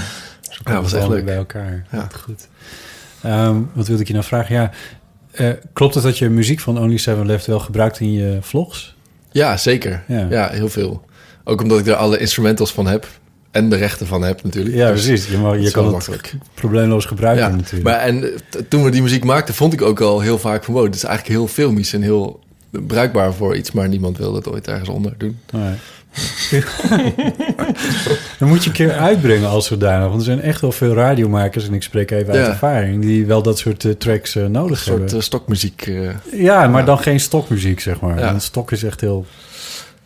[SPEAKER 3] Ja,
[SPEAKER 2] het
[SPEAKER 3] was echt
[SPEAKER 2] allemaal
[SPEAKER 3] leuk.
[SPEAKER 2] bij elkaar.
[SPEAKER 3] Ja.
[SPEAKER 2] Goed. Ehm, wat wilde ik je nou vragen? Ja, eh, klopt het dat je muziek van Only Seven Left wel gebruikt in je vlogs?
[SPEAKER 3] Ja, zeker.
[SPEAKER 2] Ja.
[SPEAKER 3] Ja. heel veel. Ook omdat ik er alle instrumentals van heb. En de rechten van heb natuurlijk.
[SPEAKER 2] Ja,
[SPEAKER 3] Dus
[SPEAKER 2] precies. Je, mag,
[SPEAKER 3] dat
[SPEAKER 2] je
[SPEAKER 3] is
[SPEAKER 2] kan
[SPEAKER 3] wel
[SPEAKER 2] het probleemloos gebruiken
[SPEAKER 3] Ja,
[SPEAKER 2] natuurlijk.
[SPEAKER 3] maar en t- toen we die muziek maakten, vond ik ook al heel vaak van... wow, dit is eigenlijk heel filmisch en heel bruikbaar voor iets... maar niemand wil dat ooit ergens onder doen.
[SPEAKER 2] Nee. Dan moet je een keer uitbrengen als zodanig. Want er zijn echt wel veel radiomakers, en ik spreek even uit
[SPEAKER 3] Ja.
[SPEAKER 2] ervaring, die wel dat soort eh, tracks eh,
[SPEAKER 3] Een
[SPEAKER 2] nodig
[SPEAKER 3] soort
[SPEAKER 2] hebben.
[SPEAKER 3] eh, stokmuziek. eh.
[SPEAKER 2] ja, maar
[SPEAKER 3] ja.
[SPEAKER 2] dan geen stokmuziek, zeg maar.
[SPEAKER 3] Ja.
[SPEAKER 2] Want stok is echt heel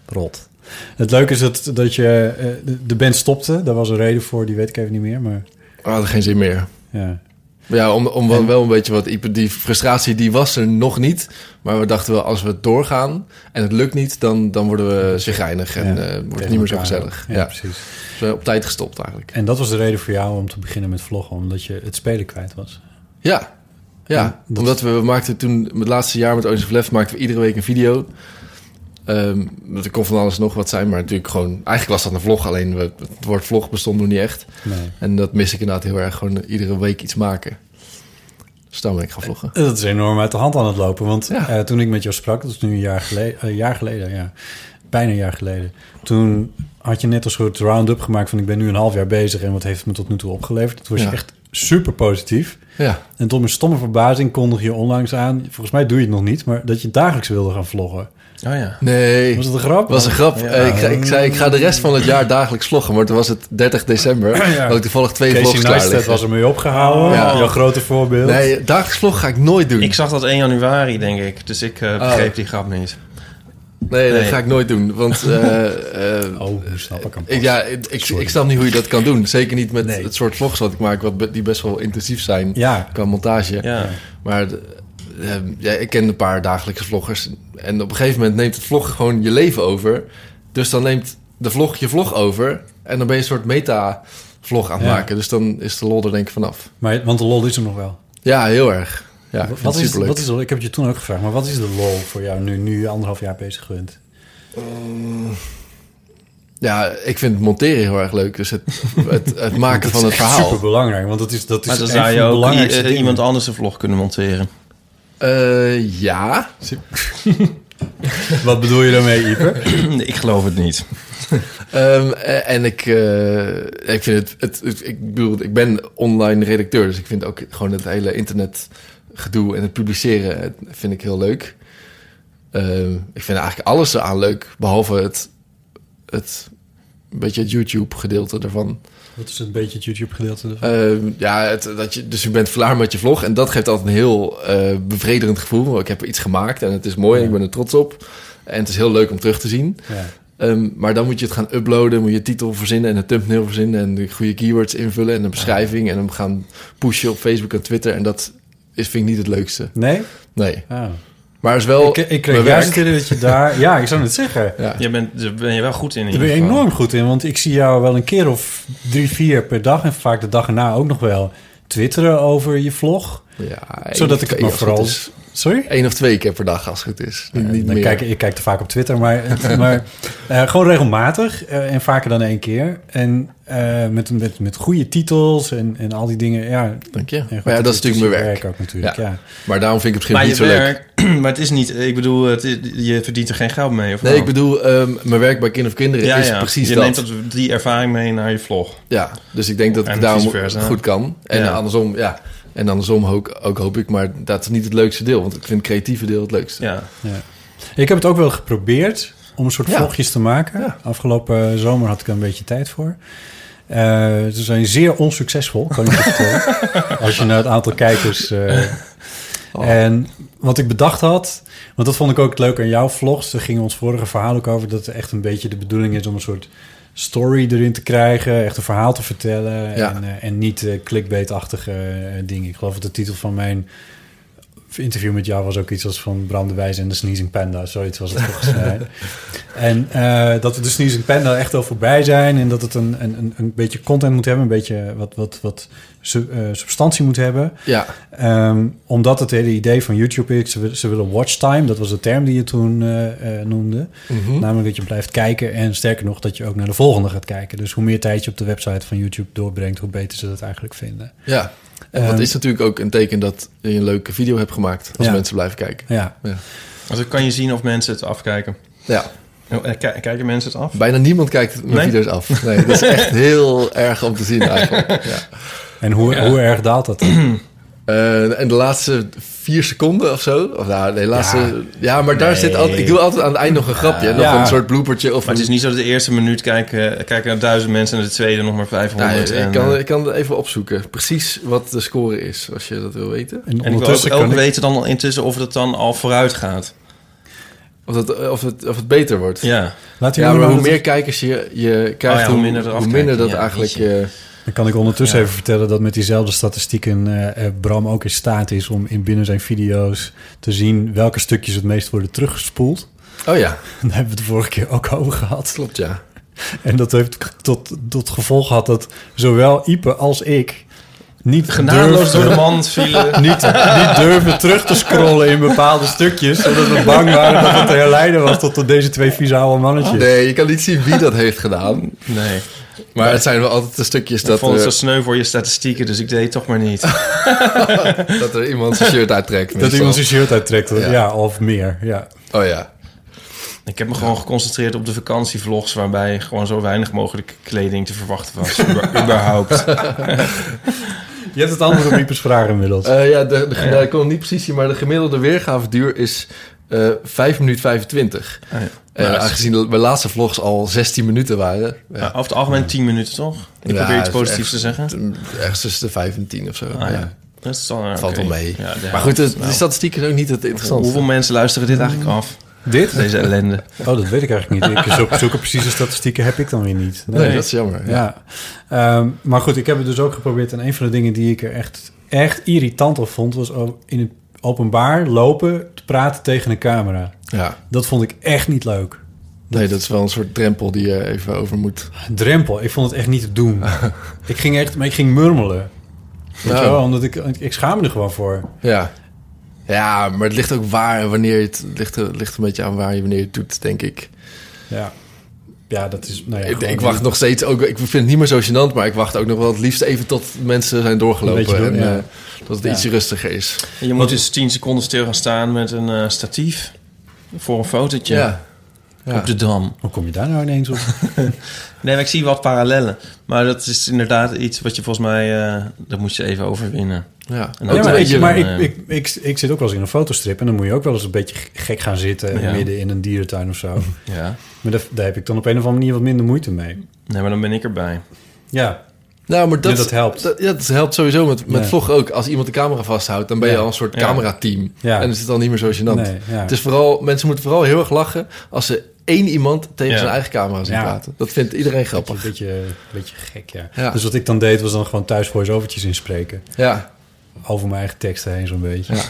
[SPEAKER 2] rot. Het leuke is dat, dat je eh, de- de band stopte. Daar was een reden voor, die weet ik even niet meer. Maar
[SPEAKER 3] we hadden geen zin meer.
[SPEAKER 2] ja,
[SPEAKER 3] Ja, om, om wel, wel een beetje wat... Ipe- Die frustratie die was er nog niet. Maar we dachten wel, als we doorgaan en het lukt niet... dan, dan worden we zigeinig en
[SPEAKER 2] Ja,
[SPEAKER 3] eh, wordt het
[SPEAKER 2] tegen
[SPEAKER 3] niet meer zo
[SPEAKER 2] elkaar.
[SPEAKER 3] gezellig. Ja,
[SPEAKER 2] Ja, precies.
[SPEAKER 3] Dus we zijn op tijd gestopt eigenlijk.
[SPEAKER 2] En dat was de reden voor jou om te beginnen met vloggen, omdat je het spelen kwijt was.
[SPEAKER 3] Ja, ja.
[SPEAKER 2] dat-
[SPEAKER 3] omdat we, we maakten toen... Het laatste jaar met Ocean Left maakten we iedere week een video... Ehm dat er kon van alles nog wat zijn, maar natuurlijk gewoon... Eigenlijk was dat een vlog, alleen we, het woord vlog bestond nog niet echt.
[SPEAKER 2] Nee.
[SPEAKER 3] En dat mis ik inderdaad heel erg. Gewoon iedere week iets maken. Dus dan ben ik gaan vloggen.
[SPEAKER 2] Dat is enorm uit de hand aan het lopen. Want
[SPEAKER 3] Ja.
[SPEAKER 2] eh, toen ik met jou sprak, dat is nu een jaar geleden, een jaar geleden ja, bijna een jaar geleden. Toen had je net een soort round-up gemaakt van ik ben nu een half jaar bezig en wat heeft het me tot nu toe opgeleverd. Toen was
[SPEAKER 3] Ja.
[SPEAKER 2] je echt super positief.
[SPEAKER 3] Ja.
[SPEAKER 2] En tot mijn stomme verbazing kondig je onlangs aan, volgens mij doe je het nog niet, maar dat je dagelijks wilde gaan vloggen.
[SPEAKER 5] Oh ja.
[SPEAKER 3] Nee.
[SPEAKER 2] Was het een grap?
[SPEAKER 3] was een grap.
[SPEAKER 2] Ja.
[SPEAKER 3] Eh, ik, zei- ik zei, ik ga de rest van het jaar dagelijks vloggen. Maar toen was het 30 december.
[SPEAKER 2] Ja.
[SPEAKER 3] Had ik toevallig twee vlogs
[SPEAKER 2] Casey
[SPEAKER 3] klaar
[SPEAKER 2] Neistat
[SPEAKER 3] liggen.
[SPEAKER 2] was ermee opgehouden.
[SPEAKER 3] Ja.
[SPEAKER 2] Jouw grote voorbeeld.
[SPEAKER 3] Nee, dagelijks vlog ga ik nooit doen.
[SPEAKER 5] Ik zag dat 1 januari, denk ik. Dus ik eh, begreep die grap niet.
[SPEAKER 3] nee, dat
[SPEAKER 5] Nee.
[SPEAKER 3] ga ik nooit doen. Want eh, eh,
[SPEAKER 2] Oh, nu snap ik hem pas.
[SPEAKER 3] ik, ja, ik, ik, ik snap niet hoe je dat kan doen. Zeker niet met
[SPEAKER 2] Nee.
[SPEAKER 3] het soort vlogs wat ik maak, wat be- die best wel intensief zijn
[SPEAKER 2] Ja.
[SPEAKER 3] qua montage.
[SPEAKER 5] Ja.
[SPEAKER 3] Maar de- ehm, ja, ik ken een paar dagelijkse vloggers. En op een gegeven moment neemt het vlog gewoon je leven over. Dus dan neemt de vlog je vlog over. En dan ben je een soort meta-vlog aan het
[SPEAKER 2] Ja.
[SPEAKER 3] maken. Dus dan is de lol er denk ik vanaf.
[SPEAKER 2] Maar, want de lol is er nog wel.
[SPEAKER 3] Ja, heel erg. Ja, ik vind
[SPEAKER 2] Wat
[SPEAKER 3] het
[SPEAKER 2] is,
[SPEAKER 3] superleuk.
[SPEAKER 2] wat is de lol? Ik heb het je toen ook gevraagd, maar wat is de lol voor jou nu, nu je anderhalf jaar bezig bent?
[SPEAKER 3] Ja, ik vind het monteren heel erg leuk. Dus het, het, het maken van het
[SPEAKER 2] Super
[SPEAKER 3] verhaal.
[SPEAKER 2] belangrijk, want dat is dat is
[SPEAKER 5] Maar dan
[SPEAKER 2] een
[SPEAKER 5] zou
[SPEAKER 2] van
[SPEAKER 5] je
[SPEAKER 2] de
[SPEAKER 5] ook i-
[SPEAKER 2] belangrijkste
[SPEAKER 5] eh,
[SPEAKER 2] dingen.
[SPEAKER 5] iemand anders een vlog kunnen monteren.
[SPEAKER 3] Eh, ja.
[SPEAKER 2] Wat bedoel je daarmee, Ieper?
[SPEAKER 5] ik geloof het niet.
[SPEAKER 3] Ehm, eh, en ik, eh, ik vind het, het, het- ik bedoel, ik ben online redacteur, dus ik vind ook gewoon het hele internetgedoe en het publiceren eh, vind ik heel leuk. Ehm, ik vind eigenlijk alles eraan leuk, behalve het het, een beetje het YouTube-gedeelte daarvan.
[SPEAKER 2] Wat is een beetje het YouTube-gedeelte ervan?
[SPEAKER 3] Ehm, ja, het, dat je, dus je bent klaar met je vlog. En dat geeft altijd een heel eh, bevredigend gevoel. Ik heb iets gemaakt en het is mooi en ik ben er trots op. En het is heel leuk om terug te zien.
[SPEAKER 2] ja.
[SPEAKER 3] Ehm, maar dan moet je het gaan uploaden, moet je titel verzinnen en een thumbnail verzinnen en de goede keywords invullen en een beschrijving en hem gaan pushen op Facebook en Twitter. En dat is, vind ik niet het leukste.
[SPEAKER 2] Nee?
[SPEAKER 3] Nee.
[SPEAKER 2] Ah.
[SPEAKER 3] Maar het is
[SPEAKER 2] ik,
[SPEAKER 3] wel.
[SPEAKER 2] ik kreeg
[SPEAKER 3] Oh, mijn
[SPEAKER 2] juist
[SPEAKER 3] werk.
[SPEAKER 2] het idee dat je daar... Ja, ik zou het zeggen.
[SPEAKER 3] Ja.
[SPEAKER 5] Je bent, daar ben je wel goed in. in
[SPEAKER 2] Daar ben je
[SPEAKER 5] ieder geval.
[SPEAKER 2] enorm goed in, want ik zie jou wel een keer of drie, vier per dag... en vaak de dag erna ook nog wel twitteren over je vlog.
[SPEAKER 3] Ja,
[SPEAKER 2] zodat ik het
[SPEAKER 3] één of
[SPEAKER 2] maar
[SPEAKER 3] twee als
[SPEAKER 2] vooral...
[SPEAKER 3] het is.
[SPEAKER 2] Sorry?
[SPEAKER 3] Eén of twee keer per dag als het goed is. Niet- niet
[SPEAKER 2] dan
[SPEAKER 3] meer.
[SPEAKER 2] Kijk, ik kijk er vaak op Twitter, maar, maar eh, gewoon regelmatig eh, en vaker dan één keer. En eh, met, met, met goede titels en, en al die dingen. Ja, en
[SPEAKER 3] Dank je.
[SPEAKER 2] goed, dus
[SPEAKER 3] Maar ja, dat is natuurlijk mijn
[SPEAKER 2] je
[SPEAKER 3] werk.
[SPEAKER 2] ook natuurlijk, ja.
[SPEAKER 3] Ja. Maar daarom vind ik het
[SPEAKER 5] Maar
[SPEAKER 3] misschien
[SPEAKER 5] je
[SPEAKER 3] niet zo leuk.
[SPEAKER 5] werk, maar het is niet, ik bedoel, het is- je verdient er geen geld mee. Of
[SPEAKER 3] Nee,
[SPEAKER 5] wel?
[SPEAKER 3] ik bedoel, ehm, mijn werk bij Kind of Kinderen
[SPEAKER 5] ja,
[SPEAKER 3] is
[SPEAKER 5] ja.
[SPEAKER 3] precies
[SPEAKER 5] je
[SPEAKER 3] dat.
[SPEAKER 5] neemt dat die ervaring mee naar je vlog.
[SPEAKER 3] Ja, dus ik denk dat
[SPEAKER 5] En
[SPEAKER 3] ik daarom
[SPEAKER 5] vice versa.
[SPEAKER 3] goed kan. En
[SPEAKER 5] Ja.
[SPEAKER 3] andersom, ja. En andersom ook, ook hoop ik, maar dat is niet het leukste deel. Want ik vind het creatieve deel het leukste.
[SPEAKER 5] Ja.
[SPEAKER 2] Ik heb het ook wel geprobeerd om een soort
[SPEAKER 3] Ja.
[SPEAKER 2] vlogjes te maken. Afgelopen zomer had ik er een beetje tijd voor. Eh, ze zijn zeer onsuccesvol, kan ik je vertellen. Als je naar het aantal kijkers... eh, En wat ik bedacht had, want dat vond ik ook leuk aan jouw vlogs. Daar ging ons vorige verhaal ook over dat het echt een beetje de bedoeling is om een soort story erin te krijgen. Echt een verhaal te vertellen.
[SPEAKER 3] Ja.
[SPEAKER 2] En, eh, en niet eh, clickbait-achtige eh, dingen. Ik geloof dat de titel van mijn interview met jou was ook iets als van Bram de Wijs en de Sneezing Panda. Zoiets was het volgens mij. En eh, dat we de Sneezing Panda echt al voorbij zijn. En dat het een, een, een- een beetje content moet hebben. Een beetje wat, wat, wat su- eh, substantie moet hebben.
[SPEAKER 3] Ja,
[SPEAKER 2] Ehm, omdat het hele idee van YouTube is, ze, wil- ze willen watchtime. Dat was de term die je toen eh, eh, noemde.
[SPEAKER 3] Mhm.
[SPEAKER 2] Namelijk dat je blijft kijken en sterker nog dat je ook naar de volgende gaat kijken. Dus hoe meer tijd je op de website van YouTube doorbrengt, hoe beter ze dat eigenlijk vinden.
[SPEAKER 3] ja. En dat
[SPEAKER 2] Ehm.
[SPEAKER 3] is natuurlijk ook een teken dat je een leuke video hebt gemaakt. Als
[SPEAKER 2] Ja.
[SPEAKER 3] mensen blijven kijken.
[SPEAKER 2] Ja,
[SPEAKER 5] Want dan kan je zien of mensen het afkijken.
[SPEAKER 3] Ja,
[SPEAKER 5] Oh, eh, ki- Kijken mensen het af?
[SPEAKER 3] bijna niemand kijkt mijn
[SPEAKER 5] Nee?
[SPEAKER 3] video's af. Nee, dat is echt heel erg om te zien eigenlijk. Ja.
[SPEAKER 2] en hoe, hoe erg daalt dat? dan?
[SPEAKER 3] Eh, en de laatste vier seconden of zo. Of nou, nee, de laatste. Ja, maar daar zit altijd. Ik doe altijd aan het eind nog een grapje. en
[SPEAKER 2] Ja.
[SPEAKER 3] Nog een soort bloopertje. Of
[SPEAKER 5] Maar het is
[SPEAKER 3] een-
[SPEAKER 5] niet zo dat de eerste minuut kijken, eh, kijken er duizend mensen en de tweede nog maar 500.
[SPEAKER 3] Nou, ik,
[SPEAKER 5] en,
[SPEAKER 3] kan,
[SPEAKER 5] eh,
[SPEAKER 3] ik kan het even opzoeken. Precies wat de score is, als je dat wil weten.
[SPEAKER 2] En
[SPEAKER 5] en ik wil ook,
[SPEAKER 2] ondertussen
[SPEAKER 5] ook
[SPEAKER 2] kan ik-
[SPEAKER 5] weten dan al intussen of het dan al vooruit gaat.
[SPEAKER 3] Of, dat, eh, of, het, of het beter wordt.
[SPEAKER 5] Ja.
[SPEAKER 2] Laten we
[SPEAKER 3] Ja,
[SPEAKER 2] nu
[SPEAKER 3] maar
[SPEAKER 2] maar
[SPEAKER 3] hoe
[SPEAKER 2] dat-
[SPEAKER 3] meer kijkers je, je krijgt,
[SPEAKER 5] Oh ja,
[SPEAKER 3] hoe, minder, hoe
[SPEAKER 5] afkijken.
[SPEAKER 3] minder dat
[SPEAKER 5] Ja,
[SPEAKER 3] eigenlijk...
[SPEAKER 5] jeetje.
[SPEAKER 3] eh,
[SPEAKER 2] Dan kan ik ondertussen even vertellen dat met diezelfde statistieken eh, eh, Bram ook in staat is om in binnen zijn video's te zien welke stukjes het meest worden teruggespoeld.
[SPEAKER 3] oh ja,
[SPEAKER 2] Daar hebben we het de vorige keer ook over gehad.
[SPEAKER 3] klopt ja.
[SPEAKER 2] En dat heeft tot, tot gevolg gehad dat zowel Ipe als ik niet
[SPEAKER 5] Genadeloos door
[SPEAKER 2] durfden,
[SPEAKER 5] de mand vielen.
[SPEAKER 2] niet, niet durfden terug te scrollen in bepaalde stukjes. Zodat we bang waren dat het te herleiden was tot, tot deze twee vieze oude mannetjes.
[SPEAKER 5] Dus-
[SPEAKER 3] Nee, je kan niet zien wie dat heeft gedaan.
[SPEAKER 5] Nee.
[SPEAKER 3] Maar het zijn wel altijd de stukjes
[SPEAKER 5] Ik
[SPEAKER 3] dat, eh,
[SPEAKER 5] vond het zo
[SPEAKER 3] er,
[SPEAKER 5] sneu voor je statistieken, dus ik deed het toch maar niet.
[SPEAKER 3] dat er iemand zijn shirt uittrekt.
[SPEAKER 2] Dat
[SPEAKER 3] meestal.
[SPEAKER 2] iemand zijn shirt uittrekt. Ja.
[SPEAKER 3] Ja.
[SPEAKER 2] of meer. Ja.
[SPEAKER 3] Oh ja.
[SPEAKER 5] Ik heb me gewoon geconcentreerd op de vakantievlogs... waarbij gewoon zo weinig mogelijk kleding te verwachten was. Uber- überhaupt.
[SPEAKER 2] Je hebt het antwoord op Iepe's vraag inmiddels.
[SPEAKER 3] Eh, ja, de, de, nou, ik kon het niet precies zien, maar de gemiddelde weergaveduur is eh 5 minuten 25.
[SPEAKER 5] Ah, ja.
[SPEAKER 3] Eh,
[SPEAKER 5] Nou, dat is-
[SPEAKER 3] aangezien de- mijn laatste vlogs al 16 minuten waren.
[SPEAKER 5] Ja,
[SPEAKER 3] Ja.
[SPEAKER 5] over het algemeen 10 minuten, toch? Ik
[SPEAKER 3] Ja,
[SPEAKER 5] probeer iets
[SPEAKER 3] dat is
[SPEAKER 5] positiefs
[SPEAKER 3] echt-
[SPEAKER 5] te zeggen.
[SPEAKER 3] Ergens tussen de 5 en 10 of zo.
[SPEAKER 5] Ah,
[SPEAKER 3] ja.
[SPEAKER 5] ja. Dat is dan,
[SPEAKER 3] Valt
[SPEAKER 5] oké.
[SPEAKER 3] wel mee.
[SPEAKER 5] Ja, ja.
[SPEAKER 3] maar goed, de, de
[SPEAKER 5] Nou,
[SPEAKER 3] statistiek is ook niet het interessantste.
[SPEAKER 5] hoeveel mensen luisteren dit eigenlijk af?
[SPEAKER 2] Dit?
[SPEAKER 5] Deze ellende.
[SPEAKER 2] Oh, dat weet ik eigenlijk niet. Ik zoek, zulke precieze statistieken heb ik dan weer niet.
[SPEAKER 3] Nee, dat is jammer. Ja.
[SPEAKER 2] Ja, Ehm, maar goed, ik heb het dus ook geprobeerd. En een van de dingen die ik er echt, echt irritant op vond, was o- in het openbaar lopen, te praten tegen een camera.
[SPEAKER 3] Ja.
[SPEAKER 2] Dat vond ik echt niet leuk.
[SPEAKER 3] Nee, dat is wel een soort drempel die je even over moet.
[SPEAKER 2] Drempel, ik vond het echt niet te doen. ik ging echt, maar ik ging murmelen. Weet je
[SPEAKER 3] Nou.
[SPEAKER 2] wel, omdat ik, ik schaam me er gewoon voor.
[SPEAKER 3] Ja. Ja, maar het ligt ook waar en wanneer je het, het ligt, het ligt een beetje aan waar je wanneer je het doet, denk ik.
[SPEAKER 2] Ja, ja dat is. Nou ja,
[SPEAKER 3] ik,
[SPEAKER 2] gewoon
[SPEAKER 3] ik wacht nog steeds ook. Ik vind het niet meer zo gênant, maar ik wacht ook nog wel het liefst even tot mensen zijn doorgelopen.
[SPEAKER 2] Een beetje door,
[SPEAKER 3] en
[SPEAKER 2] ja.
[SPEAKER 3] eh, dat het
[SPEAKER 2] Ja.
[SPEAKER 3] iets rustiger is.
[SPEAKER 5] En Je moet dus 10 seconden stil gaan staan met een eh, statief voor een fotootje.
[SPEAKER 3] Ja. Ja.
[SPEAKER 5] op de Dam.
[SPEAKER 2] Hoe kom je daar nou ineens op?
[SPEAKER 5] Nee, maar ik zie wat parallellen. Maar dat is inderdaad iets wat je volgens mij... eh, dat moet je even overwinnen.
[SPEAKER 3] Ja.
[SPEAKER 5] En
[SPEAKER 3] Ook
[SPEAKER 2] Ja,
[SPEAKER 3] een
[SPEAKER 5] dat
[SPEAKER 2] maar ik,
[SPEAKER 5] weet
[SPEAKER 3] beetje- eh,
[SPEAKER 2] maar
[SPEAKER 5] dan,
[SPEAKER 2] ik, ik, ik, ik zit ook wel eens in een fotostrip... en dan moet je ook wel eens een beetje gek gaan zitten...
[SPEAKER 5] Ja.
[SPEAKER 2] midden in een dierentuin of zo.
[SPEAKER 5] Ja.
[SPEAKER 2] Maar daar, daar heb ik dan op een of andere manier wat minder moeite mee.
[SPEAKER 5] Nee, maar dan ben ik erbij.
[SPEAKER 2] Ja,
[SPEAKER 3] Nou, maar dat,
[SPEAKER 2] Ja, dat helpt.
[SPEAKER 3] Dat, ja, dat helpt sowieso met, met
[SPEAKER 2] Ja.
[SPEAKER 3] vloggen ook. Als iemand de camera vasthoudt, dan ben je
[SPEAKER 2] Ja.
[SPEAKER 3] al een soort
[SPEAKER 5] Ja.
[SPEAKER 3] camerateam.
[SPEAKER 2] Ja.
[SPEAKER 3] En is het dan niet meer zo gênant.
[SPEAKER 2] Nee, ja.
[SPEAKER 3] Het is vooral, mensen moeten vooral heel erg lachen als ze één iemand tegen
[SPEAKER 5] Ja.
[SPEAKER 3] zijn eigen camera zien
[SPEAKER 2] Ja.
[SPEAKER 3] praten. Dat vindt iedereen
[SPEAKER 2] een
[SPEAKER 3] grappig.
[SPEAKER 2] beetje, een beetje gek, ja.
[SPEAKER 3] Ja.
[SPEAKER 2] Dus wat ik dan deed, was dan gewoon thuis voice-overtjes inspreken.
[SPEAKER 3] Ja,
[SPEAKER 2] Over mijn eigen teksten heen zo'n beetje.
[SPEAKER 3] Ja.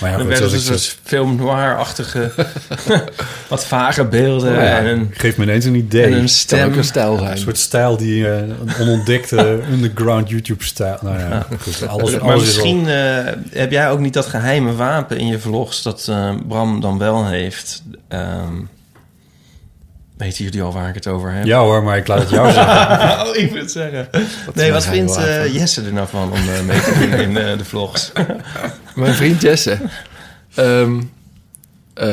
[SPEAKER 2] Maar ja, goed,
[SPEAKER 5] dan werd het
[SPEAKER 2] zoals ik
[SPEAKER 5] dus
[SPEAKER 2] zeg,
[SPEAKER 5] een soort film noir-achtige... wat vage beelden
[SPEAKER 3] Oh ja.
[SPEAKER 5] eh, en, een,
[SPEAKER 2] geef me ineens een idee.
[SPEAKER 5] en
[SPEAKER 3] het
[SPEAKER 5] een
[SPEAKER 3] kan
[SPEAKER 5] stem.
[SPEAKER 3] ook een stijl zijn.
[SPEAKER 2] Een soort stijl die eh, een onontdekte underground YouTube-stijl. Nou ja, goed, alles, alles is
[SPEAKER 5] maar
[SPEAKER 2] al...
[SPEAKER 5] misschien eh, heb jij ook niet dat geheime wapen in je vlogs dat eh, Bram dan wel heeft. Ehm, weten jullie al waar ik het over heb?
[SPEAKER 2] Ja hoor, maar ik laat het jou zeggen.
[SPEAKER 5] Oh, ik wil het zeggen. nee, wat
[SPEAKER 3] geheime
[SPEAKER 5] vindt eh,
[SPEAKER 3] wapen?
[SPEAKER 5] Jesse er nou van om eh, mee te doen in eh, de vlogs?
[SPEAKER 3] Mijn vriend Jesse. Ehm, eh,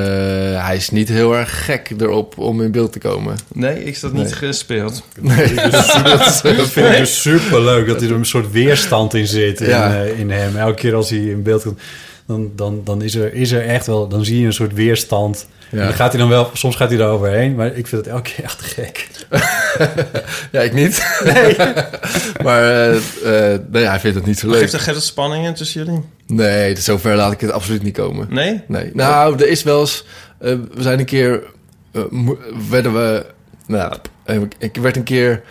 [SPEAKER 3] hij is niet heel erg gek erop om in beeld te komen.
[SPEAKER 5] Nee, ik zat niet gespeeld.
[SPEAKER 3] Nee, dus dat is, eh,
[SPEAKER 2] Dat vind ik dus superleuk, dat er een soort weerstand in zit in,
[SPEAKER 3] Ja.
[SPEAKER 2] eh, in hem. Elke keer als hij in beeld komt, dan, dan, dan is, er, is er echt wel... Dan zie je een soort weerstand.
[SPEAKER 3] Ja.
[SPEAKER 2] En dan gaat hij dan wel, soms gaat hij er overheen, maar ik vind het elke keer echt gek.
[SPEAKER 3] ja, ik niet. maar eh, eh, nee, hij vindt het niet zo
[SPEAKER 5] Geeft er
[SPEAKER 3] leuk.
[SPEAKER 5] geen spanningen tussen jullie?
[SPEAKER 3] Nee, zover laat ik het absoluut niet komen.
[SPEAKER 5] Nee?
[SPEAKER 3] Nee. Nou, er is wel eens. eh, we zijn een keer. eh, mo- werden we. Nou, eh, ik werd een keer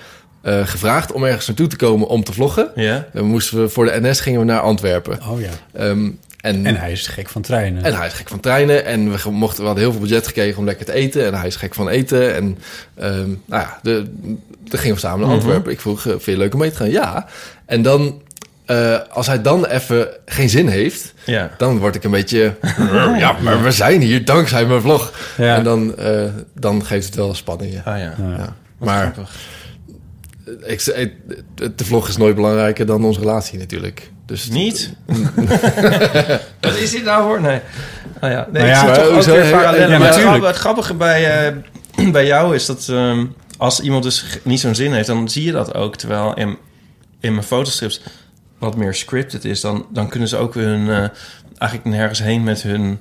[SPEAKER 3] eh, gevraagd om ergens naartoe te komen om te vloggen.
[SPEAKER 5] Ja?
[SPEAKER 3] Dan moesten we voor de NS gingen we naar Antwerpen.
[SPEAKER 2] Oh ja.
[SPEAKER 3] Ehm, en,
[SPEAKER 2] En hij is gek van treinen.
[SPEAKER 3] en hij is gek van treinen. En we, ge- mochten, we hadden heel veel budget gekregen om lekker te eten. En hij is gek van eten. En ehm, nou ja, de, de gingen we samen naar Antwerpen. Ik vroeg, eh, vind je het leuk om mee te gaan? Ja. En dan, eh, als hij dan even geen zin heeft...
[SPEAKER 5] Ja.
[SPEAKER 3] Dan word ik een beetje. Ja, maar we zijn hier dankzij mijn vlog.
[SPEAKER 2] Ja.
[SPEAKER 3] En dan, eh, dan geeft het wel spanning. Ja.
[SPEAKER 5] Ah ja.
[SPEAKER 3] Ja. Maar ik, ze- eh, de vlog is nooit belangrijker dan onze relatie natuurlijk. Dus
[SPEAKER 5] Niet? Wat is dit nou voor? Nee. Nou ja, nee,
[SPEAKER 2] Nou ja,
[SPEAKER 5] ik zie toch ook
[SPEAKER 3] hoezo?
[SPEAKER 5] weer
[SPEAKER 3] Ja,
[SPEAKER 5] parallellen. maar
[SPEAKER 2] natuurlijk.
[SPEAKER 5] het, grappige, het grappige bij, eh, bij jou is dat ehm, als iemand dus g- niet zo'n zin heeft, dan zie je dat ook. Terwijl in, in mijn fotostrips wat meer scripted is, dan, dan kunnen ze ook hun eh, eigenlijk nergens heen met hun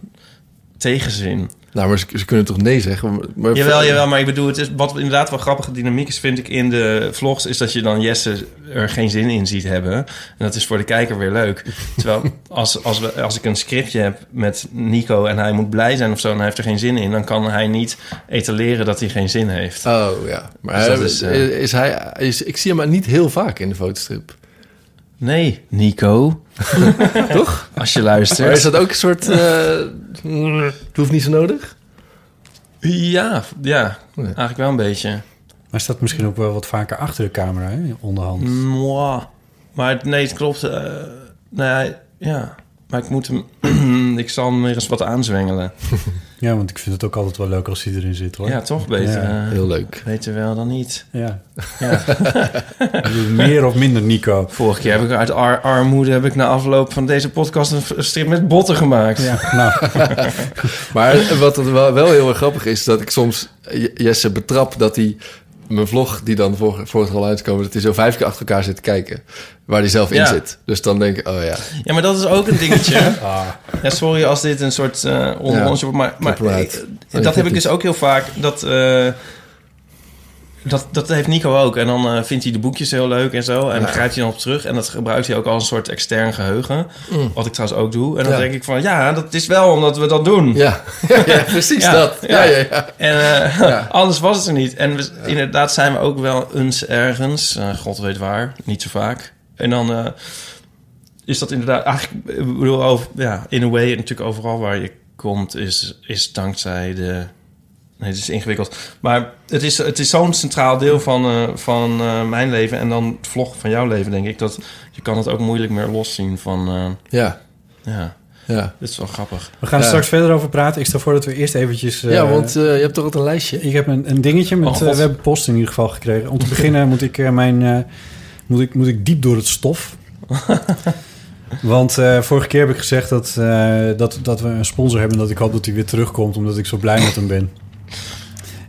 [SPEAKER 5] tegenzin.
[SPEAKER 3] Nou, maar ze, ze kunnen toch nee zeggen? Maar- Maar,
[SPEAKER 5] Jawel, jawel, maar ik bedoel, het is, wat inderdaad wel grappige dynamiek is, vind ik in de vlogs, is dat je dan Jesse er geen zin in ziet hebben. En dat is voor de kijker weer leuk. Terwijl als, als, we, als ik een scriptje heb met Nico en hij moet blij zijn of zo en hij heeft er geen zin in, dan kan hij niet etaleren dat hij geen zin heeft.
[SPEAKER 3] Oh ja. Maar
[SPEAKER 5] Dus dat
[SPEAKER 3] hij-
[SPEAKER 5] is,
[SPEAKER 3] is,
[SPEAKER 5] eh,
[SPEAKER 3] hij, is, ik zie hem maar niet heel vaak in de fotostrip.
[SPEAKER 5] Nee, Nico. Toch? Als je
[SPEAKER 3] Maar is
[SPEAKER 5] luistert.
[SPEAKER 3] dat ook een soort. eh, mm, het hoeft niet zo nodig?
[SPEAKER 5] Ja, ja,
[SPEAKER 3] Nee.
[SPEAKER 5] eigenlijk wel een beetje.
[SPEAKER 2] Maar staat misschien ook wel wat vaker achter de camera, hè, onderhand.
[SPEAKER 3] Mm.
[SPEAKER 5] Mwah. Maar het- nee, het klopt. eh nou ja, ja. Maar ik moet hem... ik zal hem weer eens wat aanzwengelen.
[SPEAKER 2] Ja, want ik vind het ook altijd wel leuk als hij erin zit, hoor.
[SPEAKER 5] Ja, toch? Beter,
[SPEAKER 2] Ja,
[SPEAKER 5] eh,
[SPEAKER 3] Heel leuk.
[SPEAKER 5] beter wel dan niet.
[SPEAKER 2] Ja.
[SPEAKER 5] Ja.
[SPEAKER 2] Meer of minder Nico.
[SPEAKER 5] Vorige keer heb ik uit ar- armoede... heb ik na afloop van deze podcast... een v- een strip met botten gemaakt.
[SPEAKER 2] Ja, nou,
[SPEAKER 3] Maar wat het wel, wel heel erg grappig is, dat ik soms J- Jesse betrap dat hij mijn vlog, die dan voor, voor het al uitkomen, dat hij zo vijf keer achter elkaar zit te kijken. Waar hij zelf
[SPEAKER 5] Ja.
[SPEAKER 3] in zit. Dus dan denk ik, oh ja.
[SPEAKER 5] Ja, maar dat is ook een dingetje.
[SPEAKER 3] Ah.
[SPEAKER 5] Ja, sorry als dit een soort eh onrondje wordt, maar, maar
[SPEAKER 3] copyright.
[SPEAKER 5] eh,
[SPEAKER 3] Nee,
[SPEAKER 5] dat heb ik
[SPEAKER 3] goed.
[SPEAKER 5] dus ook heel vaak. Dat, eh, dat, dat heeft Nico ook. En dan eh, vindt hij de boekjes heel leuk en zo. En dan grijpt hij dan op terug. En dat gebruikt hij ook als een soort extern geheugen. Wat ik trouwens ook doe. En dan
[SPEAKER 3] Mm. Ja.
[SPEAKER 5] denk ik van, ja, dat is wel omdat we dat doen.
[SPEAKER 3] Ja, ja, ja, precies
[SPEAKER 5] Ja,
[SPEAKER 3] dat. Ja, ja, ja.
[SPEAKER 5] En eh, anders was het er niet. En we, inderdaad zijn we ook wel eens ergens, eh, god weet waar, niet zo vaak. En dan eh, is dat inderdaad, eigenlijk, ik bedoel, over, ja, in a way, natuurlijk overal waar je komt, is, is dankzij de. Nee, het is ingewikkeld. Maar het is, het is zo'n centraal deel van, eh, van eh, mijn leven en dan het vlog van jouw leven, denk ik. Dat je kan het ook moeilijk meer loszien van. eh,
[SPEAKER 3] ja,
[SPEAKER 5] ja,
[SPEAKER 3] ja.
[SPEAKER 5] dit is wel grappig.
[SPEAKER 2] we gaan er
[SPEAKER 3] Ja.
[SPEAKER 2] straks verder over praten. Ik stel voor dat we eerst eventjes... eh,
[SPEAKER 3] ja want eh, je hebt toch altijd een lijstje?
[SPEAKER 2] Ik heb een, een dingetje met...
[SPEAKER 5] Oh,
[SPEAKER 2] eh,
[SPEAKER 5] God.
[SPEAKER 2] we hebben post in ieder geval gekregen. Om te beginnen moet ik, eh, mijn, eh, moet ik, moet ik diep door het stof. Want eh, vorige keer heb ik gezegd dat, eh, dat, dat we een sponsor hebben... dat ik hoop dat hij weer terugkomt... omdat ik zo blij met hem ben.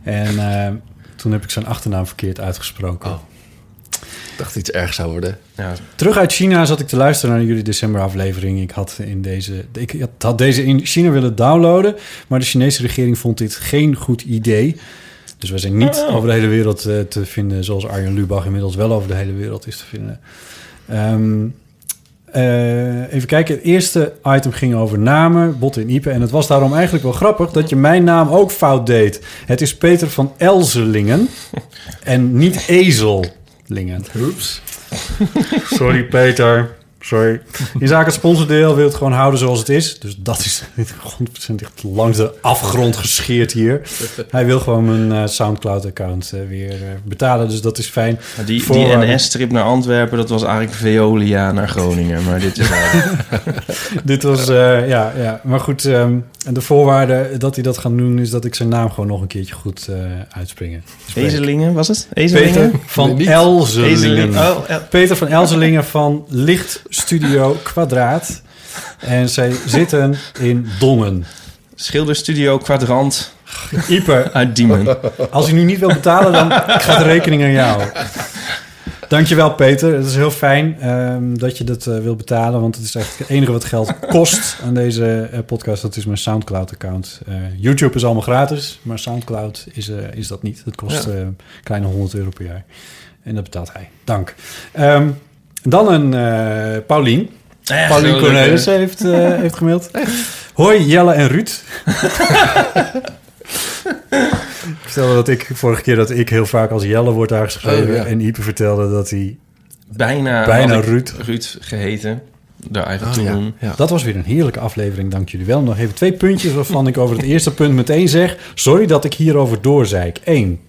[SPEAKER 2] En eh, toen heb ik zijn achternaam verkeerd uitgesproken.
[SPEAKER 3] Oh. Ik dacht iets erg zou worden.
[SPEAKER 5] Ja,
[SPEAKER 2] Terug uit China zat ik te luisteren naar jullie decemberaflevering. Ik had, in deze, ik had deze in China willen downloaden, maar de Chinese regering vond dit geen goed idee. Dus we zijn niet over de hele wereld eh, te vinden, zoals Arjen Lubach inmiddels wel over de hele wereld is te vinden. Ehm, eh, even kijken, het eerste item ging over namen, botten en iepen. En het was daarom eigenlijk wel grappig dat je mijn naam ook fout deed. Het is Peter van Elzelingen en niet Ezellingen.
[SPEAKER 3] Oeps.
[SPEAKER 2] Sorry, Peter. Sorry. In zaken het sponsordeel wil het gewoon houden zoals het is. Dus dat is 100% echt langs de afgrond gescheerd hier. Hij wil gewoon mijn eh, Soundcloud-account eh, weer eh, betalen. Dus dat is fijn.
[SPEAKER 5] Maar Die,
[SPEAKER 2] Voor-
[SPEAKER 5] die NS-trip naar Antwerpen, dat was eigenlijk Veolia naar Groningen. Maar dit is eigenlijk...
[SPEAKER 2] Dit was, eh, ja, ja. Maar goed, ehm, en de voorwaarde dat hij dat gaat doen... is dat ik zijn naam gewoon nog een keertje goed eh uitspringen.
[SPEAKER 5] Ezelingen, was het?
[SPEAKER 2] Peter
[SPEAKER 5] Ezelingen?
[SPEAKER 2] van
[SPEAKER 3] Niet.
[SPEAKER 2] Elzelingen.
[SPEAKER 5] Ezelingen. Oh, El-
[SPEAKER 2] Peter van Elzelingen van Licht Studio Kwadraat. En zij zitten in Dongen.
[SPEAKER 5] Schilderstudio Kwadrant
[SPEAKER 2] Ieper,
[SPEAKER 5] uit Diemen.
[SPEAKER 2] Als je nu niet wil betalen, dan gaat de rekening aan jou. Dankjewel, Peter. Het is heel fijn ehm, dat je dat eh, wilt betalen. Want het is echt het enige wat geld kost aan deze eh, podcast. Dat is mijn Soundcloud-account. Eh, YouTube is allemaal gratis, maar Soundcloud is, eh, is dat niet. Dat kost eh, een kleine 100 euro per jaar. En dat betaalt hij. Dank. Ehm, dan een eh Paulien.
[SPEAKER 5] Echt
[SPEAKER 2] Paulien
[SPEAKER 5] heel leuk,
[SPEAKER 2] Cornelis
[SPEAKER 5] hè?
[SPEAKER 2] heeft, eh, heeft gemaild. Hoi Jelle en Ruud. ik vertelde dat ik vorige keer dat ik heel vaak als Jelle wordt aangeschreven.
[SPEAKER 3] Oh, ja.
[SPEAKER 2] En Ipe vertelde dat hij...
[SPEAKER 5] Bijna,
[SPEAKER 2] Bijna
[SPEAKER 5] had ik
[SPEAKER 2] Ruud.
[SPEAKER 5] Ruud geheten. Daar eigenlijk
[SPEAKER 3] Oh, ja.
[SPEAKER 5] toen.
[SPEAKER 3] ja.
[SPEAKER 2] Dat was weer een heerlijke aflevering, dank jullie wel. Nog even twee puntjes waarvan ik over het eerste punt meteen zeg... Sorry dat ik hierover doorzeik. Eén.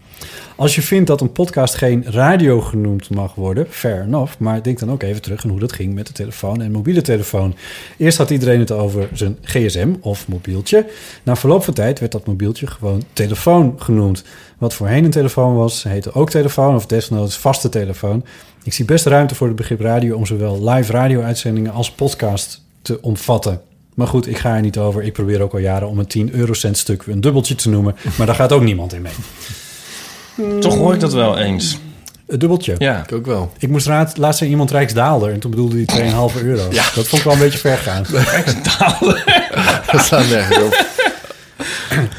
[SPEAKER 2] Als je vindt dat een podcast geen radio genoemd mag worden, fair enough. Maar denk dan ook even terug aan hoe dat ging met de telefoon en mobiele telefoon. Eerst had iedereen het over zijn gsm of mobieltje. Na verloop van tijd werd dat mobieltje gewoon telefoon genoemd. Wat voorheen een telefoon was, heette ook telefoon of desnoods vaste telefoon. Ik zie best ruimte voor het begrip radio om zowel live radio-uitzendingen als podcast te omvatten. Maar goed, ik ga er niet over. Ik probeer ook al jaren om een 10 eurocent stuk een dubbeltje te noemen. Maar daar gaat ook niemand in mee.
[SPEAKER 5] Toch hoor ik dat wel eens.
[SPEAKER 2] Het dubbeltje.
[SPEAKER 5] Ja.
[SPEAKER 3] Ik ook wel.
[SPEAKER 2] Ik moest raad, laatst zei iemand Rijksdaalder en toen bedoelde hij 2,5 euro. Dat vond ik wel een beetje ver gaan.
[SPEAKER 3] Dat staat nergens op.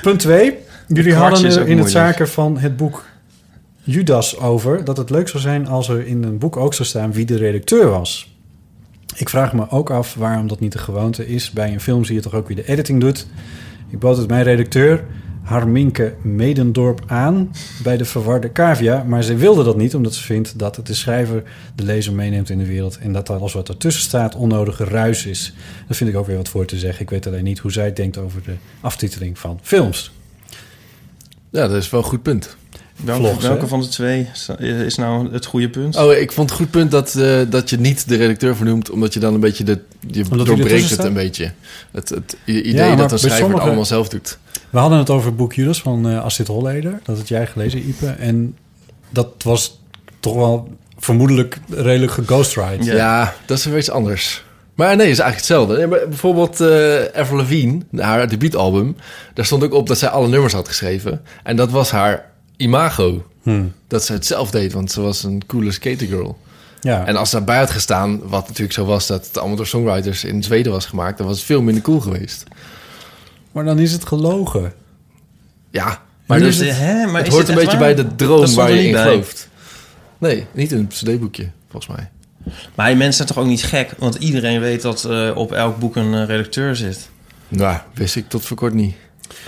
[SPEAKER 2] Punt 2. Jullie
[SPEAKER 5] kwartje
[SPEAKER 2] hadden
[SPEAKER 5] is
[SPEAKER 2] er
[SPEAKER 5] ook
[SPEAKER 2] in het
[SPEAKER 5] moeilijk.
[SPEAKER 2] zaken van het boek Judas over dat het leuk zou zijn als er in een boek ook zou staan wie de redacteur was. Ik vraag me ook af waarom dat niet de gewoonte is. Bij een film zie je toch ook wie de editing doet. Ik bood het mijn redacteur Harminke Medendorp aan bij de verwarde cavia. Maar zij wilde dat niet omdat ze vindt dat de schrijver de lezer meeneemt in de wereld. En dat alles wat ertussen staat onnodig ruis is. Daar vind ik ook weer wat voor te zeggen. Ik weet alleen niet hoe zij denkt over de aftiteling van films.
[SPEAKER 3] Ja, dat is wel een goed punt.
[SPEAKER 5] Welke,
[SPEAKER 2] Vlogs,
[SPEAKER 5] welke
[SPEAKER 2] hè?
[SPEAKER 5] van de twee is nou het goede punt?
[SPEAKER 3] Oh, ik vond het goed punt dat, eh, dat je niet de redacteur vernoemt, omdat je dan een beetje de. Je
[SPEAKER 2] hij
[SPEAKER 3] doorbreekt
[SPEAKER 2] ertussen
[SPEAKER 3] het
[SPEAKER 2] staat?
[SPEAKER 3] een beetje. Het, het i- idee
[SPEAKER 2] maar bij
[SPEAKER 3] dat een schrijver het
[SPEAKER 2] sommige-
[SPEAKER 3] allemaal zelf doet.
[SPEAKER 2] We hadden het over het boek Judas van eh Astrid Holleder. Dat had jij gelezen, Ipe. En dat was toch wel vermoedelijk redelijk geghostwrite.
[SPEAKER 3] Ja. dat is weer iets anders. Maar nee, het is eigenlijk hetzelfde. Nee, maar bijvoorbeeld eh Avril Lavigne, haar debuutalbum, daar stond ook op dat zij alle nummers had geschreven. En dat was haar imago.
[SPEAKER 2] Hm.
[SPEAKER 3] Dat ze het zelf deed, want ze was een coole skatergirl.
[SPEAKER 2] Ja.
[SPEAKER 3] En als ze daarbij had gestaan, wat natuurlijk zo was dat het allemaal door songwriters in Zweden was gemaakt, dan was het veel minder cool geweest.
[SPEAKER 2] Maar dan is het gelogen.
[SPEAKER 3] Ja,
[SPEAKER 5] maar
[SPEAKER 3] maar
[SPEAKER 5] dus,
[SPEAKER 3] dus,
[SPEAKER 5] hè, maar
[SPEAKER 3] het
[SPEAKER 5] is
[SPEAKER 3] hoort een
[SPEAKER 5] echt
[SPEAKER 3] beetje bij
[SPEAKER 5] waar?
[SPEAKER 3] de
[SPEAKER 5] Dat
[SPEAKER 3] droom
[SPEAKER 5] stond
[SPEAKER 3] waar
[SPEAKER 5] er
[SPEAKER 3] je
[SPEAKER 5] niet
[SPEAKER 3] in
[SPEAKER 5] bij.
[SPEAKER 3] gelooft. Nee, niet in een cd-boekje, volgens mij.
[SPEAKER 5] Maar die mensen zijn toch ook niet gek? Want iedereen weet dat eh, op elk boek een eh, redacteur zit.
[SPEAKER 3] Nou, wist ik tot voor kort niet.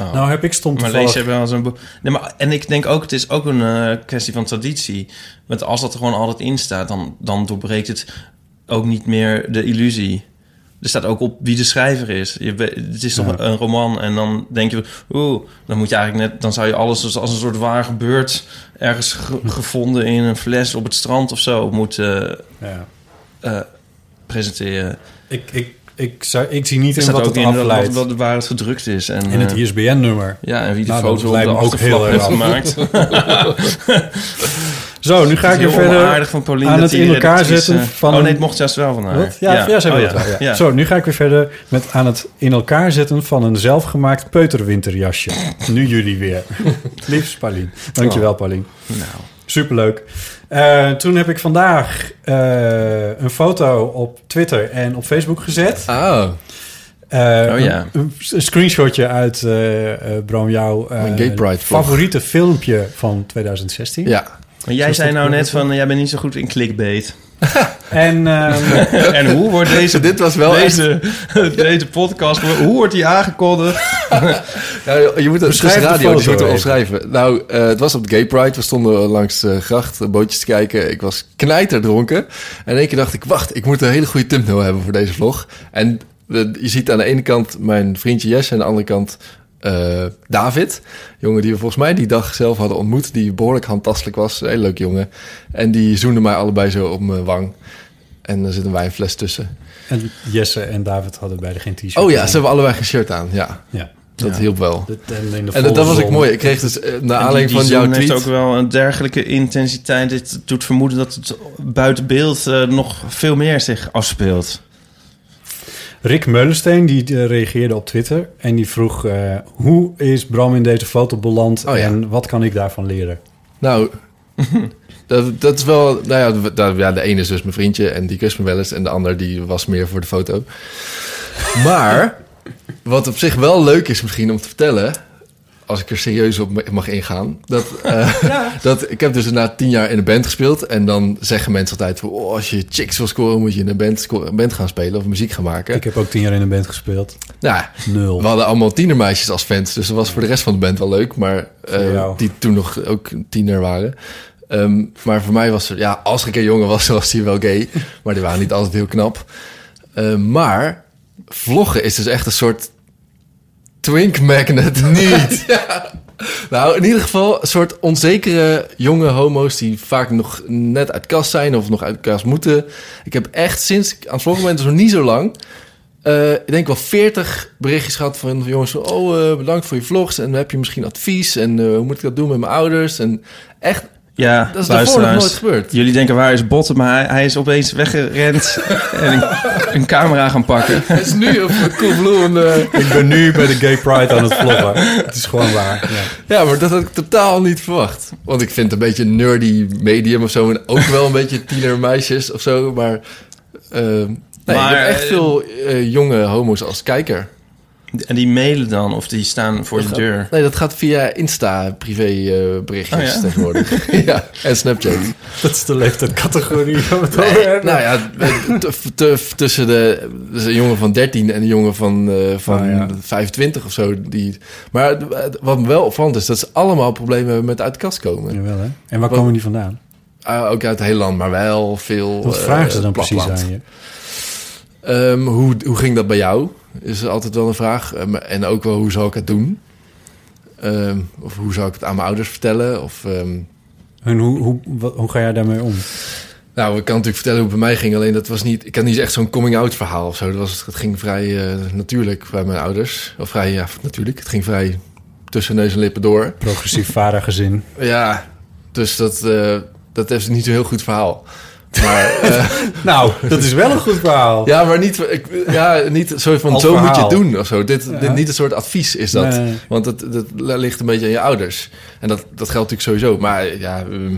[SPEAKER 5] Oh.
[SPEAKER 2] Nou heb ik stond
[SPEAKER 5] Maar
[SPEAKER 2] toevallig-
[SPEAKER 5] lees je wel zo'n boek. Nee, maar, en ik denk ook, het is ook een eh, kwestie van traditie. Want als dat er gewoon altijd in staat, dan, dan doorbreekt het ook niet meer de illusie. Er staat ook op wie de schrijver is. Je, weet- het is toch
[SPEAKER 2] Ja.
[SPEAKER 5] een roman en dan denk je, oeh, dan moet je eigenlijk net, dan zou je alles als, als een soort waar gebeurd ergens ge-
[SPEAKER 2] Hm.
[SPEAKER 5] gevonden in een fles op het strand of zo moeten
[SPEAKER 2] Ja.
[SPEAKER 5] eh, presenteren.
[SPEAKER 2] Ik, ik, ik, zou, ik zie niet
[SPEAKER 5] Er
[SPEAKER 2] in
[SPEAKER 5] staat
[SPEAKER 2] wat
[SPEAKER 5] ook
[SPEAKER 2] het
[SPEAKER 5] in wat,
[SPEAKER 2] afleidt.
[SPEAKER 5] wat, waar het gedrukt is. En,
[SPEAKER 2] in het
[SPEAKER 5] eh,
[SPEAKER 2] ISBN-nummer.
[SPEAKER 5] ja, en wie de
[SPEAKER 2] Nou, dat
[SPEAKER 5] foto op
[SPEAKER 2] lijkt
[SPEAKER 5] de
[SPEAKER 2] me ook heel
[SPEAKER 5] achterflap heeft
[SPEAKER 2] erg af.
[SPEAKER 5] gemaakt.
[SPEAKER 2] Zo, nu ga ik
[SPEAKER 5] heel
[SPEAKER 2] je verder
[SPEAKER 5] onaardig van Pauline
[SPEAKER 2] aan
[SPEAKER 5] dat
[SPEAKER 2] het
[SPEAKER 5] die
[SPEAKER 2] in elkaar
[SPEAKER 5] redactrice-
[SPEAKER 2] zetten van...
[SPEAKER 5] Oh nee,
[SPEAKER 2] een-
[SPEAKER 5] het mocht juist wel van haar.
[SPEAKER 2] Wat? Ja, ja. zij
[SPEAKER 5] Oh,
[SPEAKER 2] wil het wel, ja.
[SPEAKER 5] Ja.
[SPEAKER 2] Zo, nu ga ik weer verder met aan het in elkaar zetten van een zelfgemaakt peuterwinterjasje. nu jullie weer. Liefst Paulien. Dankjewel, Paulien.
[SPEAKER 5] Nou.
[SPEAKER 2] Superleuk. Eh, toen heb ik vandaag eh, een foto op Twitter en op Facebook gezet.
[SPEAKER 3] Oh,
[SPEAKER 2] Eh,
[SPEAKER 5] Oh, ja.
[SPEAKER 2] een, een screenshotje uit, eh eh Bram, jouw eh,
[SPEAKER 3] Mijn Gay Pride vlog.
[SPEAKER 2] favoriete filmpje van 2016.
[SPEAKER 3] ja.
[SPEAKER 5] Maar jij zei nou net van, jij bent niet zo goed in clickbait.
[SPEAKER 2] En ehm,
[SPEAKER 5] en hoe wordt deze...
[SPEAKER 3] Dit was wel
[SPEAKER 5] deze, deze podcast, hoe wordt die aangekondigd?
[SPEAKER 3] Ja, je moet het is
[SPEAKER 2] Beschrijf de
[SPEAKER 3] radio, dus je moet
[SPEAKER 2] foto even.
[SPEAKER 3] het omschrijven. Nou, eh, het was op de Gay Pride. We stonden langs de gracht eh, bootjes te kijken. Ik was knijterdronken. En in één keer dacht ik, wacht, ik moet een hele goede thumbnail hebben voor deze vlog. En de- je ziet aan de ene kant mijn vriendje Jesse... en aan de andere kant eh, David. Jongen die we volgens mij die dag zelf hadden ontmoet... die behoorlijk handtastelijk was. Een hele leuk jongen. En die zoenden mij allebei zo op mijn wang. En er zit een wijnfles tussen.
[SPEAKER 2] En Jesse en David hadden beide geen t-shirt.
[SPEAKER 3] Oh ja,
[SPEAKER 2] aan.
[SPEAKER 3] ze hebben allebei geen shirt aan. Ja,
[SPEAKER 2] ja.
[SPEAKER 3] dat
[SPEAKER 2] Ja.
[SPEAKER 3] hielp wel.
[SPEAKER 2] Dat- En, in de
[SPEAKER 3] En
[SPEAKER 2] volle
[SPEAKER 3] dat, dat was
[SPEAKER 2] zon.
[SPEAKER 3] ik mooi. Ik kreeg dus eh, naar
[SPEAKER 5] En
[SPEAKER 3] aanleiding van jouw
[SPEAKER 5] zoen heeft
[SPEAKER 3] tweet...
[SPEAKER 5] ook wel een dergelijke intensiteit. Dit doet vermoeden dat het buiten beeld eh, nog veel meer zich afspeelt.
[SPEAKER 2] Rick Meulensteen die eh, reageerde op Twitter en die vroeg... eh, hoe is Bram in deze foto beland
[SPEAKER 3] Oh ja.
[SPEAKER 2] en wat kan ik daarvan leren?
[SPEAKER 3] Nou, dat, dat is wel... Nou ja, we- daar- ja, de ene is dus mijn vriendje en die kust me wel eens. En de ander die was meer voor de foto. Maar wat op zich wel leuk is misschien om te vertellen... Als ik er serieus op ma- mag ingaan. Dat, eh, dat, ik heb dus na tien jaar in een band gespeeld. En dan zeggen mensen altijd... van, Oh, als je chicks wil scoren, moet je in een band, sco- band gaan spelen... of muziek gaan maken.
[SPEAKER 2] Ik heb ook tien jaar in een band gespeeld.
[SPEAKER 3] Nou,
[SPEAKER 2] Nul.
[SPEAKER 3] we hadden allemaal tienermeisjes als fans, dus dat was voor de rest van de band wel leuk. Maar eh,
[SPEAKER 2] jou.
[SPEAKER 3] die toen nog ook tiener waren. Ehm, maar voor mij was er, ja, als ik een jongen was, was die wel gay. Maar die waren niet altijd heel knap. Eh, maar vloggen is dus echt een soort twink magnet. Niet. ja. Nou, in ieder geval een soort onzekere jonge homo's die vaak nog net uit kast zijn of nog uit kast moeten. Ik heb echt sinds ik aan het vloggen ben, dus nog niet zo lang, eh, ik denk wel 40 berichtjes gehad van jongens van, oh eh, bedankt voor je vlogs en heb je misschien advies en eh, hoe moet ik dat doen met mijn ouders en echt.
[SPEAKER 5] Ja,
[SPEAKER 3] Dat is daarvoor nog
[SPEAKER 5] luisteraars.
[SPEAKER 3] nooit gebeurd.
[SPEAKER 5] Jullie denken, waar is Botten? Maar hij, hij is opeens weggerend en een, een camera gaan pakken.
[SPEAKER 3] Het is nu op Coolblue een eh,
[SPEAKER 2] Ik ben nu bij de Gay Pride aan het vloggen. het is gewoon waar. Ja.
[SPEAKER 3] Ja, maar dat had ik totaal niet verwacht. Want ik vind het een beetje een nerdy medium of zo. En ook wel een beetje tienermeisjes of zo. Maar, ehm, nee,
[SPEAKER 5] Maar,
[SPEAKER 3] ik heb echt
[SPEAKER 5] eh,
[SPEAKER 3] veel eh, jonge homo's als kijker.
[SPEAKER 5] En die mailen dan, of die staan voor de deur.
[SPEAKER 3] Nee, dat gaat via Insta privé eh, berichtjes
[SPEAKER 5] Oh ja?
[SPEAKER 3] tegenwoordig. ja, en Snapchat.
[SPEAKER 2] Dat is de leeftijdcategorie waar we het
[SPEAKER 3] Nee,
[SPEAKER 2] over hebben.
[SPEAKER 3] nou ja, t- t- tussen de dus een jongen van 13 en een jongen van, eh, van
[SPEAKER 2] Ah, ja.
[SPEAKER 3] 25 of zo. Die, maar het- het- wat me wel opvalt is dat ze allemaal problemen hebben met uit de kast komen.
[SPEAKER 2] Jawel, hè? En waar
[SPEAKER 3] Wat-
[SPEAKER 2] komen die vandaan?
[SPEAKER 3] Ah, ook uit het hele land, maar wel veel.
[SPEAKER 2] Wat
[SPEAKER 3] eh,
[SPEAKER 2] vragen ze dan precies
[SPEAKER 3] platteland.
[SPEAKER 2] aan je?
[SPEAKER 3] Ehm, hoe, hoe ging dat bij jou? Is altijd wel een vraag. Ehm, en ook wel hoe zou ik het doen? Ehm, of hoe zou ik het aan mijn ouders vertellen? Of, ehm,
[SPEAKER 2] En hoe, hoe, wat- hoe ga jij daarmee om?
[SPEAKER 3] nou, ik kan natuurlijk vertellen hoe het bij mij ging. Alleen dat was niet. Ik had niet echt zo'n coming-out verhaal of zo. Dat, was, dat ging vrij eh, natuurlijk bij mijn ouders. Of vrij, ja, natuurlijk. Het ging vrij tussen neus en lippen door.
[SPEAKER 2] Progressief vadergezin.
[SPEAKER 3] Ja, dus dat, eh, dat is niet zo'n heel goed verhaal. Maar. eh,
[SPEAKER 2] Nou, dat is wel een goed verhaal.
[SPEAKER 3] Ja, maar niet, ik, ja, niet zo van
[SPEAKER 2] Als
[SPEAKER 3] zo moet je
[SPEAKER 2] verhaal.
[SPEAKER 3] het doen of zo. Dit,
[SPEAKER 2] Ja.
[SPEAKER 3] dit niet een soort advies is dat.
[SPEAKER 2] Nee.
[SPEAKER 3] Want dat, dat ligt een beetje aan je ouders. En dat, dat geldt natuurlijk sowieso. Maar ja, ehm,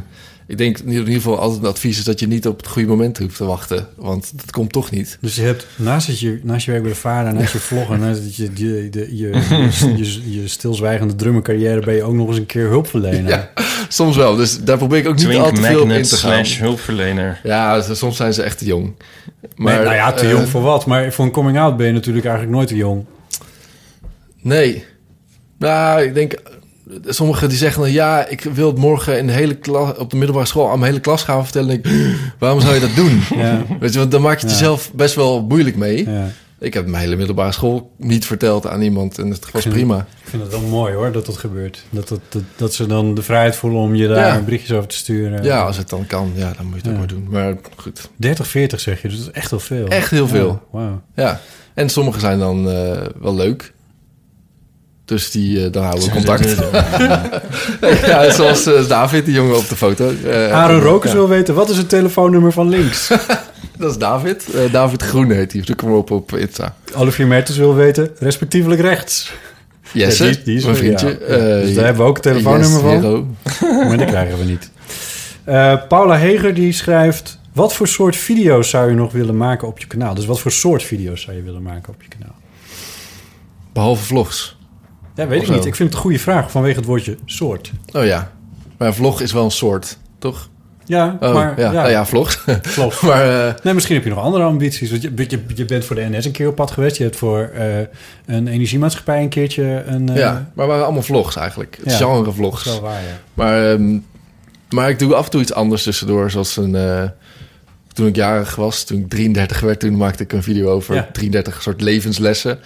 [SPEAKER 3] ik denk in ieder geval altijd een advies is dat je niet op het goede moment hoeft te wachten. Want dat komt toch niet.
[SPEAKER 2] Dus je hebt naast, dat je, naast je werk bij de vader, naast je vloggen, naast dat je, je, de- je, je, je, je stilzwijgende drummercarrière ben je ook nog eens een keer hulpverlener.
[SPEAKER 3] Ja, soms wel. Dus daar probeer ik ook niet al
[SPEAKER 5] Twink
[SPEAKER 3] te veel op in
[SPEAKER 5] magnet
[SPEAKER 3] te gaan.
[SPEAKER 5] slash hulpverlener.
[SPEAKER 3] Ja, ze- soms zijn ze echt te jong. Maar,
[SPEAKER 2] Maar, nou ja, te
[SPEAKER 3] eh,
[SPEAKER 2] jong voor wat. Maar voor een coming-out ben je natuurlijk eigenlijk nooit te jong.
[SPEAKER 3] Nee. Nou, ik denk... Sommigen die zeggen dan... Ja, ik wil het morgen in de hele klas, op de middelbare school... aan mijn hele klas gaan vertellen. En ik, waarom zou je dat doen?
[SPEAKER 2] Ja.
[SPEAKER 3] Weet je, want dan maak je het
[SPEAKER 2] Ja.
[SPEAKER 3] jezelf best wel moeilijk mee.
[SPEAKER 2] Ja.
[SPEAKER 3] Ik heb mijn hele middelbare school niet verteld aan iemand. En het was
[SPEAKER 2] vind-
[SPEAKER 3] prima.
[SPEAKER 2] Ik vind het wel mooi hoor, dat dat gebeurt. Dat, dat, dat, dat ze dan de vrijheid voelen om je daar
[SPEAKER 3] Ja.
[SPEAKER 2] berichtjes over te sturen.
[SPEAKER 3] Ja, als het dan kan. Ja, dan moet je het
[SPEAKER 2] Ja.
[SPEAKER 3] ook maar doen. Maar goed.
[SPEAKER 2] 30, 40 zeg je, dus dat is echt heel veel.
[SPEAKER 3] Echt heel veel.
[SPEAKER 2] Ja, wauw.
[SPEAKER 3] Ja. En sommige zijn dan eh, wel leuk. Dus die, eh, dan houden we contact. ja, zoals eh, David, die jongen op de foto. Eh,
[SPEAKER 2] Aaron Rokers
[SPEAKER 3] ja.
[SPEAKER 2] wil weten, wat is het telefoonnummer van links?
[SPEAKER 3] Dat is David. Eh, David Groen heet hij. Zoek hem op op Insta.
[SPEAKER 2] Olivier Mertens wil weten, respectievelijk rechts.
[SPEAKER 3] Jesse,
[SPEAKER 2] Ja, die- die is
[SPEAKER 3] mijn
[SPEAKER 2] er,
[SPEAKER 3] vriendje.
[SPEAKER 2] ja. Dus
[SPEAKER 3] Eh,
[SPEAKER 2] daar hebben we ook een telefoonnummer van.
[SPEAKER 3] Yes, Hero.
[SPEAKER 2] Maar die krijgen we niet. Eh, Paula Heger die schrijft... Wat voor soort video's zou je nog willen maken op je kanaal? Dus wat voor soort video's zou je willen maken op je kanaal?
[SPEAKER 3] Behalve vlogs.
[SPEAKER 2] Ja, weet
[SPEAKER 3] Of
[SPEAKER 2] ik
[SPEAKER 3] zo.
[SPEAKER 2] niet. Ik vind het een goede vraag vanwege het woordje soort.
[SPEAKER 3] Oh ja. Maar een vlog is wel een soort, toch?
[SPEAKER 2] Ja,
[SPEAKER 3] Oh,
[SPEAKER 2] maar...
[SPEAKER 3] ja. Nou ja, vlogs.
[SPEAKER 2] Vlog.
[SPEAKER 3] maar eh,
[SPEAKER 2] Nee, misschien heb je nog andere ambities. Want je, je, je bent voor de NS een keer op pad geweest. Je hebt voor eh, een energiemaatschappij een keertje een... eh,
[SPEAKER 3] ja, maar we waren allemaal vlogs eigenlijk. Het
[SPEAKER 2] Ja.
[SPEAKER 3] genre
[SPEAKER 2] dat
[SPEAKER 3] vlogs.
[SPEAKER 2] is wel waar, ja.
[SPEAKER 3] Maar, ehm, maar ik doe af en toe iets anders tussendoor. Zoals een, eh, toen ik jarig was, toen ik 33 werd, toen maakte ik een video over
[SPEAKER 2] Ja.
[SPEAKER 3] 33 soort levenslessen.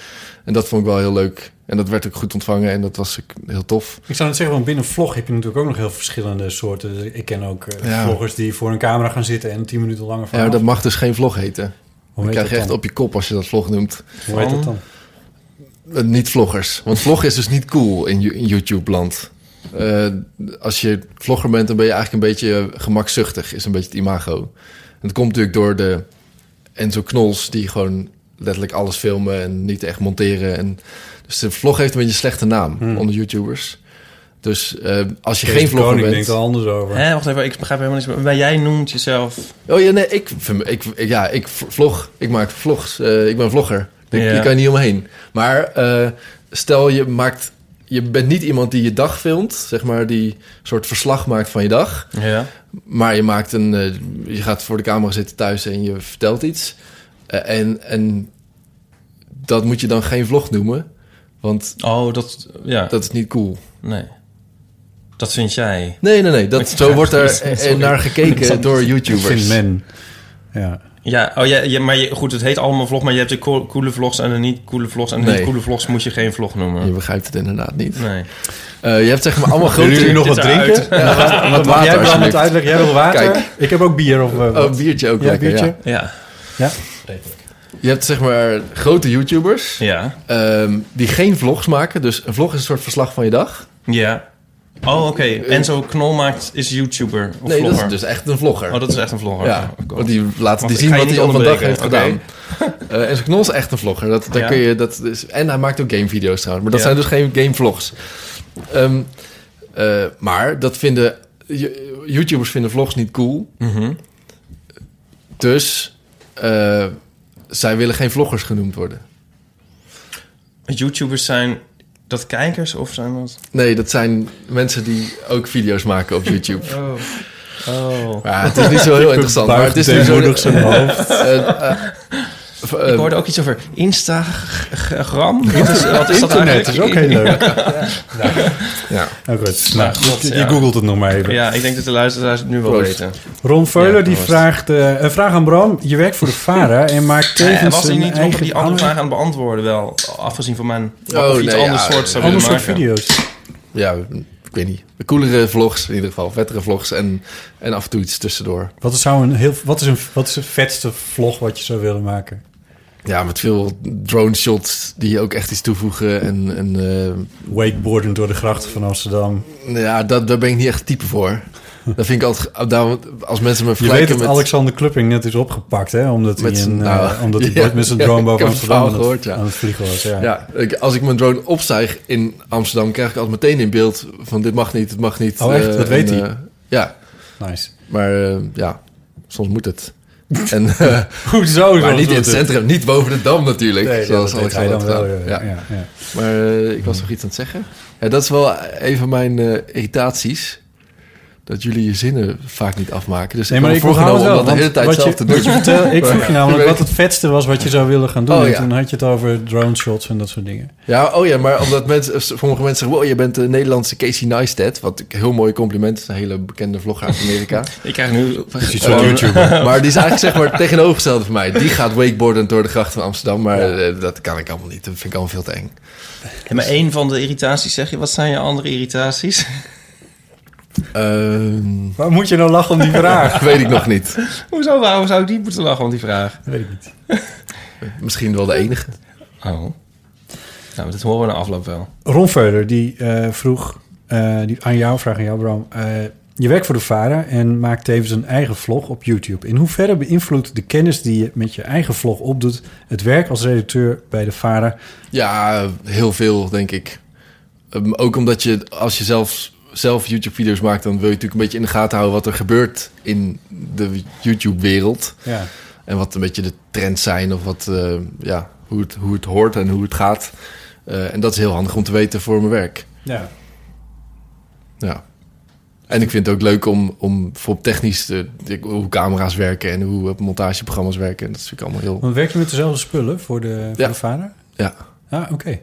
[SPEAKER 3] En dat vond ik wel heel leuk. En dat werd ook goed ontvangen en dat was ook heel tof.
[SPEAKER 2] Ik zou het zeggen, want binnen vlog heb je natuurlijk ook nog heel verschillende soorten. Dus ik ken ook eh,
[SPEAKER 3] Ja.
[SPEAKER 2] vloggers die voor een camera gaan zitten en tien minuten langer
[SPEAKER 3] Ja, maar
[SPEAKER 2] verhaal.
[SPEAKER 3] dat mag dus geen vlog heten.
[SPEAKER 2] Hoe
[SPEAKER 3] Dan
[SPEAKER 2] heet
[SPEAKER 3] krijg je
[SPEAKER 2] dat
[SPEAKER 3] echt
[SPEAKER 2] dan?
[SPEAKER 3] op je kop als je dat vlog noemt.
[SPEAKER 2] Hoe heet dat dan?
[SPEAKER 3] Eh, niet vloggers. Want vlog is dus niet cool in, Yo- in YouTube-land. Eh, als je vlogger bent, dan ben je eigenlijk een beetje eh, gemakzuchtig. Is een beetje het imago. En dat komt natuurlijk door de Enzo Knols... die gewoon letterlijk alles filmen en niet echt monteren. En, dus de vlog heeft een beetje een slechte naam onder YouTubers. Dus eh, als je
[SPEAKER 2] Hmm. Kees
[SPEAKER 3] geen
[SPEAKER 2] de
[SPEAKER 3] vlogger
[SPEAKER 2] Koning
[SPEAKER 3] bent...
[SPEAKER 2] denkt er anders over.
[SPEAKER 5] Hé, wacht even, ik begrijp helemaal niks. Maar jij noemt jezelf...
[SPEAKER 3] Oh ja, nee, ik, ik, ik- ja, ik vlog. Ik maak vlogs. Eh, ik ben vlogger. Ik,
[SPEAKER 5] Ja.
[SPEAKER 3] Je kan er niet omheen. Maar eh, stel je maakt... Je bent niet iemand die je dag filmt, zeg maar, die een soort verslag maakt van je dag.
[SPEAKER 5] Ja.
[SPEAKER 3] Maar je maakt een... eh, je gaat voor de camera zitten thuis en je vertelt iets. Eh, en, en dat moet je dan geen vlog noemen, want
[SPEAKER 5] Oh, dat... Ja,
[SPEAKER 3] dat is niet cool.
[SPEAKER 5] nee. Dat vind jij.
[SPEAKER 3] Nee, nee, nee. Dat, zo wordt er eh,
[SPEAKER 5] Sorry.
[SPEAKER 3] naar gekeken door YouTubers.
[SPEAKER 2] Vind men. Ja.
[SPEAKER 5] Ja, oh, ja, ja maar je, goed, het heet allemaal vlog, maar je hebt de co- coole vlogs en de niet coole vlogs. En de
[SPEAKER 3] Nee.
[SPEAKER 5] niet coole vlogs moet je geen vlog noemen.
[SPEAKER 3] Je begrijpt het inderdaad niet.
[SPEAKER 5] Nee.
[SPEAKER 3] Eh, je hebt zeg maar allemaal grote...
[SPEAKER 5] wat drinken?
[SPEAKER 3] wat water
[SPEAKER 2] jij wil aan het
[SPEAKER 3] alsjeblieft.
[SPEAKER 2] uitleggen, jij wil water.
[SPEAKER 3] Kijk.
[SPEAKER 2] Ik heb ook bier of eh, wat.
[SPEAKER 3] Oh, biertje ook
[SPEAKER 2] Ja,
[SPEAKER 3] lekker,
[SPEAKER 2] biertje.
[SPEAKER 3] ja.
[SPEAKER 5] Ja.
[SPEAKER 2] Ja?
[SPEAKER 3] Je hebt zeg maar grote YouTubers
[SPEAKER 5] Ja.
[SPEAKER 3] ehm, die geen vlogs maken. Dus een vlog is een soort verslag van je dag.
[SPEAKER 5] Ja. Oh, oké. Enzo Knol maakt, is YouTuber of
[SPEAKER 3] Eh, Nee, dat
[SPEAKER 5] vlogger.
[SPEAKER 3] is dus echt een vlogger.
[SPEAKER 5] Oh, dat is echt een vlogger.
[SPEAKER 3] ja,
[SPEAKER 5] Oh, cool.
[SPEAKER 3] want die laten die
[SPEAKER 5] Wacht,
[SPEAKER 3] zien
[SPEAKER 5] ik ga
[SPEAKER 3] wat
[SPEAKER 5] je
[SPEAKER 3] hij
[SPEAKER 5] niet
[SPEAKER 3] op een dag heeft
[SPEAKER 5] onderbreken.
[SPEAKER 3] gedaan.
[SPEAKER 5] Oké.
[SPEAKER 3] Eh en zijn knol is echt een vlogger. Dat, daar
[SPEAKER 5] Ja.
[SPEAKER 3] kun je, dat is, en hij maakt ook gamevideo's trouwens. Maar dat
[SPEAKER 5] Ja.
[SPEAKER 3] zijn dus geen gamevlogs. Ehm eh, maar dat vinden... Ju- YouTubers vinden vlogs niet cool.
[SPEAKER 5] Mhm.
[SPEAKER 3] Dus eh, zij willen geen vloggers genoemd worden.
[SPEAKER 5] YouTubers zijn dat kijkers of zijn dat...
[SPEAKER 3] Nee, dat zijn mensen die ook video's maken op YouTube.
[SPEAKER 5] Oh. Oh.
[SPEAKER 3] Ja, het is niet zo heel interessant. Maar het is nu zo...
[SPEAKER 2] deemoedig zijn hoofd.
[SPEAKER 3] eh, eh, v- eh,
[SPEAKER 5] Ik
[SPEAKER 2] Ehm,
[SPEAKER 5] hoorde ook iets over Instagram. Wat is, wat is dat
[SPEAKER 2] Internet
[SPEAKER 5] eigenlijk?
[SPEAKER 2] is ook heel leuk. Ja.
[SPEAKER 3] Ja.
[SPEAKER 2] Nou, goed. Nou,
[SPEAKER 5] klopt,
[SPEAKER 2] je, je
[SPEAKER 5] ja.
[SPEAKER 2] googelt het nog maar even.
[SPEAKER 5] Ja, ik denk dat de luisteraars het nu wel
[SPEAKER 3] Proost.
[SPEAKER 5] weten.
[SPEAKER 2] Ron Veulen
[SPEAKER 5] Ja,
[SPEAKER 2] die
[SPEAKER 5] proost.
[SPEAKER 2] vraagt... eh, een vraag aan Bram. Je werkt voor de VARA en maakt
[SPEAKER 5] Ja,
[SPEAKER 2] tevens
[SPEAKER 5] en was hij
[SPEAKER 2] een
[SPEAKER 5] niet nog
[SPEAKER 2] eigen
[SPEAKER 5] die andere
[SPEAKER 2] ander-
[SPEAKER 5] vraag aan het beantwoorden wel? Afgezien van mijn...
[SPEAKER 3] Oh,
[SPEAKER 5] of iets
[SPEAKER 3] nee,
[SPEAKER 5] anders
[SPEAKER 3] ja,
[SPEAKER 5] soort zou
[SPEAKER 2] ander
[SPEAKER 5] willen
[SPEAKER 2] soort
[SPEAKER 5] maken.
[SPEAKER 2] video's.
[SPEAKER 3] ja, ik weet niet. Coolere vlogs in ieder geval. Vettere vlogs en, en af en toe iets tussendoor.
[SPEAKER 2] Wat is, zou een heel, wat, is een, wat is het vetste vlog wat je zou willen maken?
[SPEAKER 3] Ja, met veel drone shots die ook echt iets toevoegen. En, en eh,
[SPEAKER 2] Wakeboarden door de grachten van Amsterdam.
[SPEAKER 3] ja, dat, daar ben ik niet echt type voor. Dat vind ik altijd... daar- als mensen me
[SPEAKER 2] Je weet
[SPEAKER 3] vergelijken
[SPEAKER 2] dat
[SPEAKER 3] met...
[SPEAKER 2] Alexander Klupping net is opgepakt, hè? Omdat hij,
[SPEAKER 3] Met
[SPEAKER 2] een,
[SPEAKER 3] zijn-
[SPEAKER 2] eh,
[SPEAKER 3] nou,
[SPEAKER 2] omdat hij
[SPEAKER 3] ja,
[SPEAKER 2] ooit met zijn
[SPEAKER 3] ja,
[SPEAKER 2] drone
[SPEAKER 3] ik
[SPEAKER 2] boven
[SPEAKER 3] heb het
[SPEAKER 2] Amsterdam
[SPEAKER 3] verhaal
[SPEAKER 2] aan het,
[SPEAKER 3] gehoord, ja.
[SPEAKER 2] aan het vliegen was. Ja.
[SPEAKER 3] Ja, ik- als ik mijn drone opstijg in Amsterdam, krijg ik altijd meteen in beeld van dit mag niet, het mag niet.
[SPEAKER 2] Oh, echt?
[SPEAKER 3] eh,
[SPEAKER 2] Dat weet
[SPEAKER 3] en,
[SPEAKER 2] hij?
[SPEAKER 3] eh, ja,
[SPEAKER 2] Nice.
[SPEAKER 3] maar eh, ja, soms moet het. En, eh,
[SPEAKER 2] Hoezo?
[SPEAKER 3] maar niet in het dus. centrum, niet boven de dam natuurlijk.
[SPEAKER 2] Nee,
[SPEAKER 3] zoals
[SPEAKER 2] dat weet hij
[SPEAKER 3] Alexander
[SPEAKER 2] dan wel.
[SPEAKER 3] had
[SPEAKER 2] Ja,
[SPEAKER 3] gedaan.
[SPEAKER 2] ja.
[SPEAKER 3] Ja.
[SPEAKER 2] Ja,
[SPEAKER 3] Maar eh, ik was nog iets aan het zeggen. Ja, dat is wel een van mijn eh, irritaties. Dat jullie je zinnen vaak niet afmaken. Dus
[SPEAKER 2] Nee,
[SPEAKER 3] ik
[SPEAKER 2] maar
[SPEAKER 3] had
[SPEAKER 2] ik
[SPEAKER 3] me voorgenomen
[SPEAKER 2] onthoud het wel,
[SPEAKER 3] om dat de
[SPEAKER 2] want
[SPEAKER 3] hele tijd
[SPEAKER 2] wat
[SPEAKER 3] zelf
[SPEAKER 2] je-
[SPEAKER 3] te doen.
[SPEAKER 2] wat je vertel- ik vroeg je namelijk
[SPEAKER 3] Ik
[SPEAKER 2] wat
[SPEAKER 3] weet-
[SPEAKER 2] het vetste was wat je zou willen gaan doen.
[SPEAKER 3] Oh,
[SPEAKER 2] en
[SPEAKER 3] ja.
[SPEAKER 2] toen had je het over drone shots en dat soort dingen.
[SPEAKER 3] Ja, oh ja, maar omdat mensen, sommige mensen zeggen... wow, je bent de Nederlandse Casey Neistat. Wat een heel mooi compliment is. Een hele bekende vlogger uit Amerika.
[SPEAKER 5] Ik krijg nu... Oh,
[SPEAKER 2] Iets van YouTuber.
[SPEAKER 3] maar die is eigenlijk zeg maar het tegenovergestelde van mij. Die gaat wakeboarden door de gracht van Amsterdam. Maar eh, dat kan ik allemaal niet. Dat vind ik allemaal veel te eng.
[SPEAKER 5] Ja, maar één van de irritaties zeg je. Wat zijn je andere irritaties?
[SPEAKER 3] Ehm,
[SPEAKER 2] Waar moet je nou lachen om die vraag?
[SPEAKER 3] weet ik nog niet.
[SPEAKER 5] Hoezo, waarom zou ik die moeten lachen om die vraag?
[SPEAKER 2] Weet ik niet.
[SPEAKER 3] Misschien wel de enige.
[SPEAKER 5] Oh. Nou, dit horen we na afloop wel.
[SPEAKER 2] Ron Veuler, die eh, vroeg eh, die, aan jou, vraag aan jou Bram. Eh, je werkt voor de VARA en maakt tevens een eigen vlog op YouTube. In hoeverre beïnvloedt de kennis die je met je eigen vlog opdoet... het werk als redacteur bij de VARA?
[SPEAKER 3] Ja, heel veel, denk ik. Ehm, ook omdat je, als je zelf, zelf YouTube-video's maakt... dan wil je natuurlijk een beetje in de gaten houden... wat er gebeurt in de YouTube-wereld.
[SPEAKER 2] Ja.
[SPEAKER 3] En wat een beetje de trends zijn of wat, eh, ja, hoe, het, hoe het hoort en hoe het gaat. Eh, en dat is heel handig om te weten voor mijn werk.
[SPEAKER 2] ja.
[SPEAKER 3] Ja. En ik vind het ook leuk om, om voor technisch te, hoe camera's werken en hoe eh, montageprogramma's werken. En dat is natuurlijk allemaal heel.
[SPEAKER 2] Want werk je met dezelfde spullen voor de, voor
[SPEAKER 3] Ja.
[SPEAKER 2] de VARA?
[SPEAKER 3] Ja.
[SPEAKER 2] Ah, oké.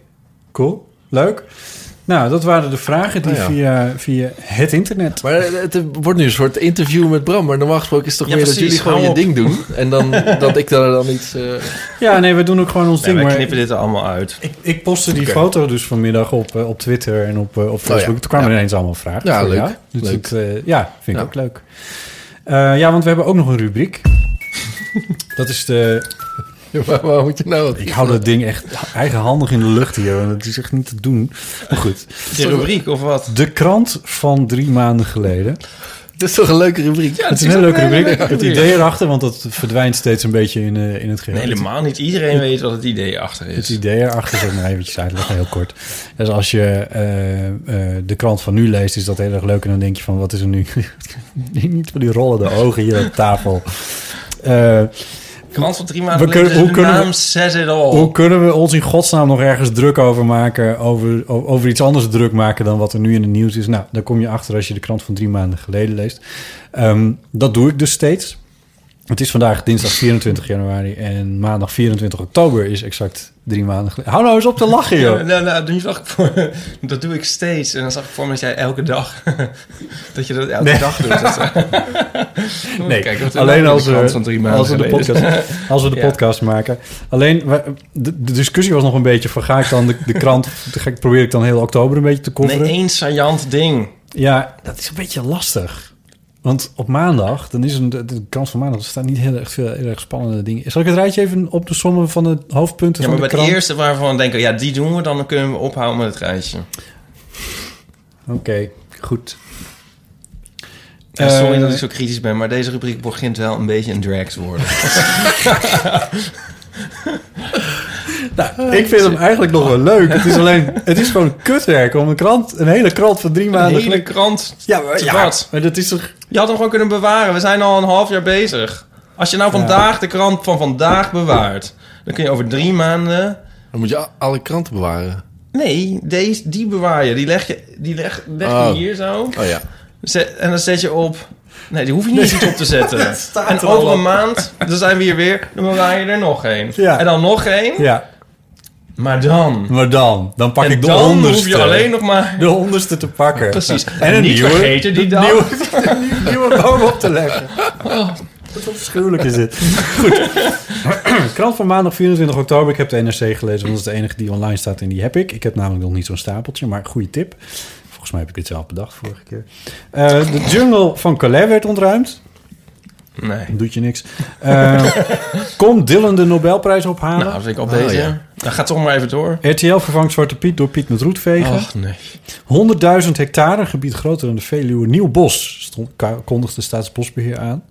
[SPEAKER 2] Cool. Leuk. Nou, dat waren de vragen die
[SPEAKER 3] Nou ja.
[SPEAKER 2] via, via het internet...
[SPEAKER 3] Maar het eh, wordt nu een soort interview met Bram. Maar normaal gesproken is het toch
[SPEAKER 5] Ja,
[SPEAKER 3] meer dat
[SPEAKER 5] precies.
[SPEAKER 3] jullie gewoon
[SPEAKER 5] Hou
[SPEAKER 3] je
[SPEAKER 5] op.
[SPEAKER 3] ding doen. En dan dat ik daar dan iets. eh,
[SPEAKER 2] Ja, nee, we doen ook gewoon ons
[SPEAKER 5] Nee,
[SPEAKER 2] ding.
[SPEAKER 5] wij
[SPEAKER 2] maar-
[SPEAKER 5] knippen dit er allemaal uit.
[SPEAKER 2] Ik, ik postte die
[SPEAKER 3] Oké. Oh
[SPEAKER 2] foto dus vanmiddag op, eh, op Twitter en op, eh, op Facebook.
[SPEAKER 3] ja.
[SPEAKER 2] Toen kwamen
[SPEAKER 3] Ja.
[SPEAKER 2] er ineens allemaal vragen.
[SPEAKER 3] Ja,
[SPEAKER 2] voor
[SPEAKER 3] leuk.
[SPEAKER 2] jou. Dus
[SPEAKER 3] Leuk.
[SPEAKER 2] dat, eh, ja, vind ik
[SPEAKER 3] Ja.
[SPEAKER 2] ook leuk. Eh, ja, want we hebben ook nog een rubriek. Dat is de...
[SPEAKER 3] waar, waar moet je nou?
[SPEAKER 2] Ik hou dat ding echt eigenhandig in de lucht hier. Want het is echt niet te doen. Maar goed.
[SPEAKER 5] De rubriek of wat?
[SPEAKER 2] De krant van drie maanden geleden.
[SPEAKER 3] Het is toch een leuke rubriek? Ja,
[SPEAKER 2] Het is een hele leuke rubriek. Het idee erachter, want dat verdwijnt steeds een beetje in, eh, in het geheel.
[SPEAKER 5] Nee, helemaal niet. Iedereen weet wat het idee achter
[SPEAKER 2] Het
[SPEAKER 5] is.
[SPEAKER 2] idee erachter zal ik nog eventjes uitleggen, heel kort. Dus als je eh, eh, de krant van nu leest, is dat heel erg leuk. En dan denk je van, wat is er nu? Niet van die rollende ogen hier op tafel. Eh,
[SPEAKER 5] Krant van drie
[SPEAKER 2] We
[SPEAKER 5] maanden
[SPEAKER 2] kunnen-
[SPEAKER 5] geleden.
[SPEAKER 2] hoe
[SPEAKER 5] Hoe
[SPEAKER 2] kunnen we-
[SPEAKER 5] naam says it all.
[SPEAKER 2] hoe kunnen we ons in godsnaam nog ergens druk over maken... Over, o- over iets anders druk maken dan wat er nu in het nieuws is? Nou, daar kom je achter als je de krant van drie maanden geleden leest. Ehm, dat doe ik dus steeds. Het is vandaag dinsdag 24 januari en maandag 24 oktober is exact drie maanden geleden. Hou nou eens op te lachen, joh.
[SPEAKER 5] Ja, nou, nou, toen zag ik voor, dat doe ik steeds. En dan zag ik voor me dat jij elke dag... dat je dat elke
[SPEAKER 2] Nee.
[SPEAKER 5] dag doet. Dat,
[SPEAKER 2] Nee,
[SPEAKER 5] Kijk, wat
[SPEAKER 2] alleen als
[SPEAKER 5] de
[SPEAKER 2] we,
[SPEAKER 5] krant van drie maanden
[SPEAKER 2] als we de
[SPEAKER 5] geleden.
[SPEAKER 2] podcast, als we de
[SPEAKER 5] Ja.
[SPEAKER 2] podcast maken. Alleen, we- de, de discussie was nog een beetje van... ga ik dan de, de krant... Ga ik, probeer ik dan heel oktober een beetje te
[SPEAKER 5] Nee,
[SPEAKER 2] coveren?
[SPEAKER 5] één saillant ding.
[SPEAKER 2] Ja, dat is een beetje lastig. Want op maandag, dan is een, de, de krant van maandag... er staan niet heel erg veel heel erg spannende dingen. Zal ik het rijtje even op de sommen van de hoofdpunten
[SPEAKER 5] Ja,
[SPEAKER 2] van
[SPEAKER 5] maar
[SPEAKER 2] de
[SPEAKER 5] bij
[SPEAKER 2] krant?
[SPEAKER 5] het eerste waarvan we denken... ja, die doen we, dan kunnen we ophouden met het rijtje.
[SPEAKER 2] Oké, goed.
[SPEAKER 5] Ja, sorry
[SPEAKER 2] Eh,
[SPEAKER 5] dat ik zo kritisch ben, maar deze rubriek begint wel een beetje een drag te worden.
[SPEAKER 2] Nou, ik vind hem eigenlijk nog wel leuk. Het is alleen, het is gewoon kutwerk om een krant, een hele krant van drie
[SPEAKER 5] Een
[SPEAKER 2] maanden.
[SPEAKER 5] hele krant.
[SPEAKER 2] Ja, maar,
[SPEAKER 5] te
[SPEAKER 2] ja,
[SPEAKER 5] wat?
[SPEAKER 2] maar dat is toch
[SPEAKER 5] Je had hem gewoon kunnen bewaren. We zijn al een half jaar bezig. Als je nou vandaag de krant van vandaag bewaart, dan kun je over drie maanden.
[SPEAKER 3] Dan moet je a- alle kranten bewaren.
[SPEAKER 5] Nee, deze, die bewaar je. Die leg je, die leg, leg je
[SPEAKER 3] Oh.
[SPEAKER 5] hier zo.
[SPEAKER 3] Oh ja.
[SPEAKER 5] Zet- en dan zet je op. Nee, die hoef je niet iets op te zetten.
[SPEAKER 2] staat
[SPEAKER 5] En
[SPEAKER 2] er al
[SPEAKER 5] over
[SPEAKER 2] op.
[SPEAKER 5] een maand, dan zijn we hier weer. Dan bewaar je er nog één.
[SPEAKER 2] Ja.
[SPEAKER 5] En dan nog één.
[SPEAKER 2] Ja,
[SPEAKER 5] Maar dan.
[SPEAKER 2] maar dan. Dan pak
[SPEAKER 5] en
[SPEAKER 2] ik de
[SPEAKER 5] dan
[SPEAKER 2] onderste.
[SPEAKER 5] hoef je alleen nog maar.
[SPEAKER 2] De onderste te pakken.
[SPEAKER 5] Precies.
[SPEAKER 2] En een
[SPEAKER 5] Niet
[SPEAKER 2] nieuwe,
[SPEAKER 5] vergeten die
[SPEAKER 2] een
[SPEAKER 5] dan. Oh.
[SPEAKER 2] Nieuwe, een nieuwe boom op te leggen. Wat afschuwelijk is dit. Goed. Krant van maandag 24 oktober. Ik heb de NRC gelezen, want dat is de enige die online staat en die heb ik. Ik heb namelijk nog niet zo'n stapeltje, maar goede tip. Volgens mij heb ik dit zelf bedacht vorige keer. Eh, de jungle van Calais werd ontruimd.
[SPEAKER 5] Nee.
[SPEAKER 2] Doet je niks. Eh komt Dylan de Nobelprijs ophalen?
[SPEAKER 5] Nou, dat vind ik al bezig.
[SPEAKER 3] ja.
[SPEAKER 5] Dan gaat toch maar even door.
[SPEAKER 2] RTL vervangt Zwarte Piet door Piet met roetvegen.
[SPEAKER 5] Ach nee.
[SPEAKER 2] 100.000 hectare, een gebied groter dan de Veluwe, nieuw bos, stond, ka- kondigde Staatsbosbeheer aan.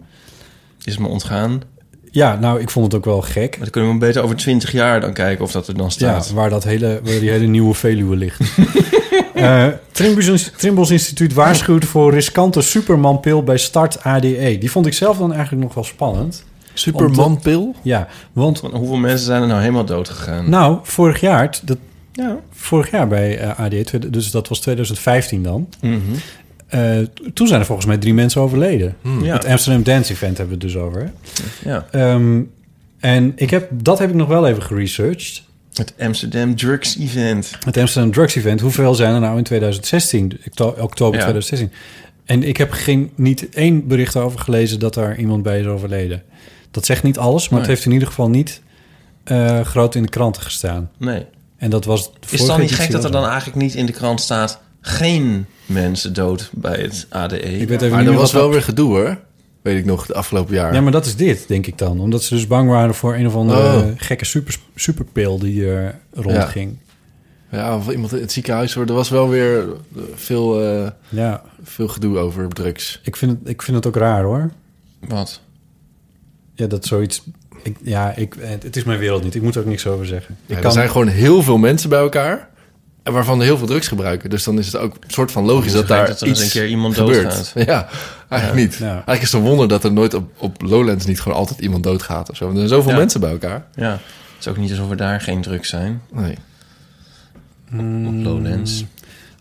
[SPEAKER 5] Is me ontgaan. Maar
[SPEAKER 2] Ja, nou, ik vond het ook wel gek.
[SPEAKER 5] dan kunnen we beter over 20 jaar dan kijken of dat er dan
[SPEAKER 2] Ja,
[SPEAKER 5] staat.
[SPEAKER 2] waar, dat hele, waar die hele nieuwe Veluwe ligt. Eh Trimbos, Trimbos Instituut waarschuwt voor riskante Superman-pil bij start ADE. Die vond ik zelf dan eigenlijk nog wel spannend.
[SPEAKER 3] Supermanpil?
[SPEAKER 2] Ja, want
[SPEAKER 5] Want hoeveel mensen zijn er nou helemaal dood gegaan?
[SPEAKER 2] nou, vorig jaar, t- dat,
[SPEAKER 5] ja.
[SPEAKER 2] vorig jaar bij eh, ADE, tweede- dus dat was 2015 dan.
[SPEAKER 5] Mhm.
[SPEAKER 2] eh, t- toen zijn er volgens mij drie mensen overleden.
[SPEAKER 5] Ja.
[SPEAKER 2] Het Amsterdam Dance Event hebben we het dus over. hè?
[SPEAKER 5] ja.
[SPEAKER 2] Ehm, en ik heb, dat heb ik nog wel even geresearched.
[SPEAKER 5] Het Amsterdam Drugs Event.
[SPEAKER 2] Het Amsterdam Drugs Event. Hoeveel zijn er nou in 2016? Okto- Oktober
[SPEAKER 5] Ja.
[SPEAKER 2] 2016. En ik heb geen, niet één bericht over gelezen dat daar iemand bij is overleden. Dat zegt niet alles, maar het
[SPEAKER 5] Nee.
[SPEAKER 2] heeft in ieder geval niet eh, groot in de kranten gestaan.
[SPEAKER 5] Nee.
[SPEAKER 2] En dat was.
[SPEAKER 5] Is het dan niet gek dat er dan eigenlijk niet in de krant staat... geen mensen dood bij het E? ADE?
[SPEAKER 2] Ik weet even
[SPEAKER 3] Maar
[SPEAKER 2] niet
[SPEAKER 3] dat
[SPEAKER 2] meer
[SPEAKER 3] was
[SPEAKER 2] wat-
[SPEAKER 3] wel weer gedoe hoor. Weet ik nog, de afgelopen jaar.
[SPEAKER 2] Ja, maar dat is dit, denk ik dan. Omdat ze dus bang waren voor een of andere
[SPEAKER 3] Oh.
[SPEAKER 2] gekke super, superpil die er eh, rondging.
[SPEAKER 3] Ja, of iemand in het ziekenhuis. hoor. Er was wel weer eh, veel, eh,
[SPEAKER 2] Ja,
[SPEAKER 3] veel gedoe over drugs.
[SPEAKER 2] ik vind, het, ik vind het ook raar hoor.
[SPEAKER 5] Wat?
[SPEAKER 2] Ja, dat zoiets... Ik, ja, ik, het, het is mijn wereld niet. Ik moet er ook niks over zeggen. Ik
[SPEAKER 3] Ja,
[SPEAKER 2] kan-
[SPEAKER 3] Er zijn gewoon heel veel mensen bij elkaar... en waarvan er heel veel drugs gebruiken. Dus dan is het ook een soort van logisch
[SPEAKER 5] Hoe
[SPEAKER 3] dat daar
[SPEAKER 5] vergeet dat er
[SPEAKER 3] iets
[SPEAKER 5] eens een keer iemand
[SPEAKER 3] gebeurt.
[SPEAKER 5] doodgaat?
[SPEAKER 3] Ja, eigenlijk niet.
[SPEAKER 2] ja.
[SPEAKER 3] Eigenlijk is het een wonder dat er nooit op, op Lowlands... niet gewoon altijd iemand doodgaat of zo. Want er zijn zoveel
[SPEAKER 5] Ja.
[SPEAKER 3] mensen bij elkaar.
[SPEAKER 5] Ja. Het is ook niet alsof er daar geen drugs zijn.
[SPEAKER 3] Nee.
[SPEAKER 2] Mm.
[SPEAKER 3] Mm.
[SPEAKER 5] Op Lowlands.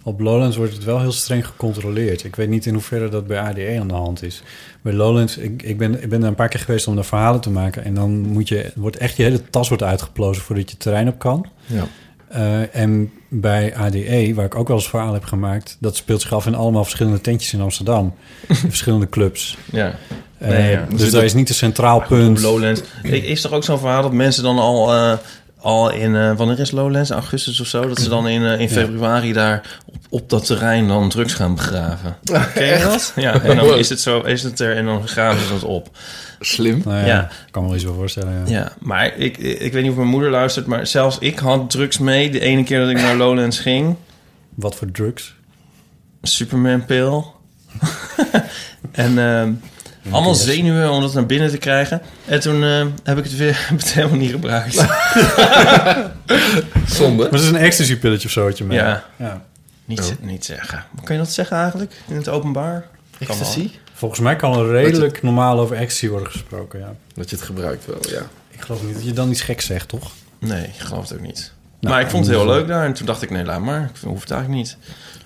[SPEAKER 2] Op Lowlands wordt het wel heel streng gecontroleerd. Ik weet niet in hoeverre dat bij ADE aan de hand is. Bij Lowlands, ik, ik, ben, ik ben daar een paar keer geweest om daar verhalen te maken. En dan moet je, wordt echt je hele tas wordt uitgeplozen voordat je het terrein op kan.
[SPEAKER 3] Ja.
[SPEAKER 2] Eh, en bij ADE, waar ik ook wel eens verhaal heb gemaakt... dat speelt zich af in allemaal verschillende tentjes in Amsterdam. In verschillende clubs.
[SPEAKER 5] Ja.
[SPEAKER 2] Eh,
[SPEAKER 5] Nee, ja.
[SPEAKER 2] Dus daar is niet een centraal punt.
[SPEAKER 5] Lowlands. Ik, is er ook zo'n verhaal dat mensen dan al, eh, al in... eh, wanneer is Lowlands? Augustus of zo? Dat ze dan in, eh, in februari daar op, op dat terrein dan drugs gaan begraven. Ken je dat? Ja, en dan is het, zo, is het er en dan graven ze dat op.
[SPEAKER 3] Slim.
[SPEAKER 2] Nou ja,
[SPEAKER 5] Ja.
[SPEAKER 2] ik kan me wel eens wel voorstellen. Ja.
[SPEAKER 5] Ja, maar ik, ik weet niet of mijn moeder luistert... maar zelfs ik had drugs mee de ene keer dat ik naar Lowlands ging.
[SPEAKER 2] Wat voor drugs?
[SPEAKER 5] Superman-pil. en ehm, allemaal zenuwen om dat naar binnen te krijgen. En toen ehm, heb ik het weer heb het helemaal niet gebruikt.
[SPEAKER 3] Zonde.
[SPEAKER 2] Maar het is een ecstasy-pilletje of zo wat je mee.
[SPEAKER 5] Ja.
[SPEAKER 2] ja. Oh.
[SPEAKER 5] Niet, ze- niet zeggen. Maar Kan je dat zeggen eigenlijk? In het openbaar? Kan wel.
[SPEAKER 3] Ecstasy?
[SPEAKER 2] Volgens mij kan er redelijk normaal over ecstasy worden gesproken, ja.
[SPEAKER 3] Dat je het gebruikt wel, ja.
[SPEAKER 2] Ik geloof niet dat je dan iets geks zegt, toch?
[SPEAKER 5] Nee, ik geloof het ook niet.
[SPEAKER 2] Nou,
[SPEAKER 5] maar ik vond het heel leuk daar. En toen dacht ik, nee, laat maar. Ik hoef het eigenlijk niet.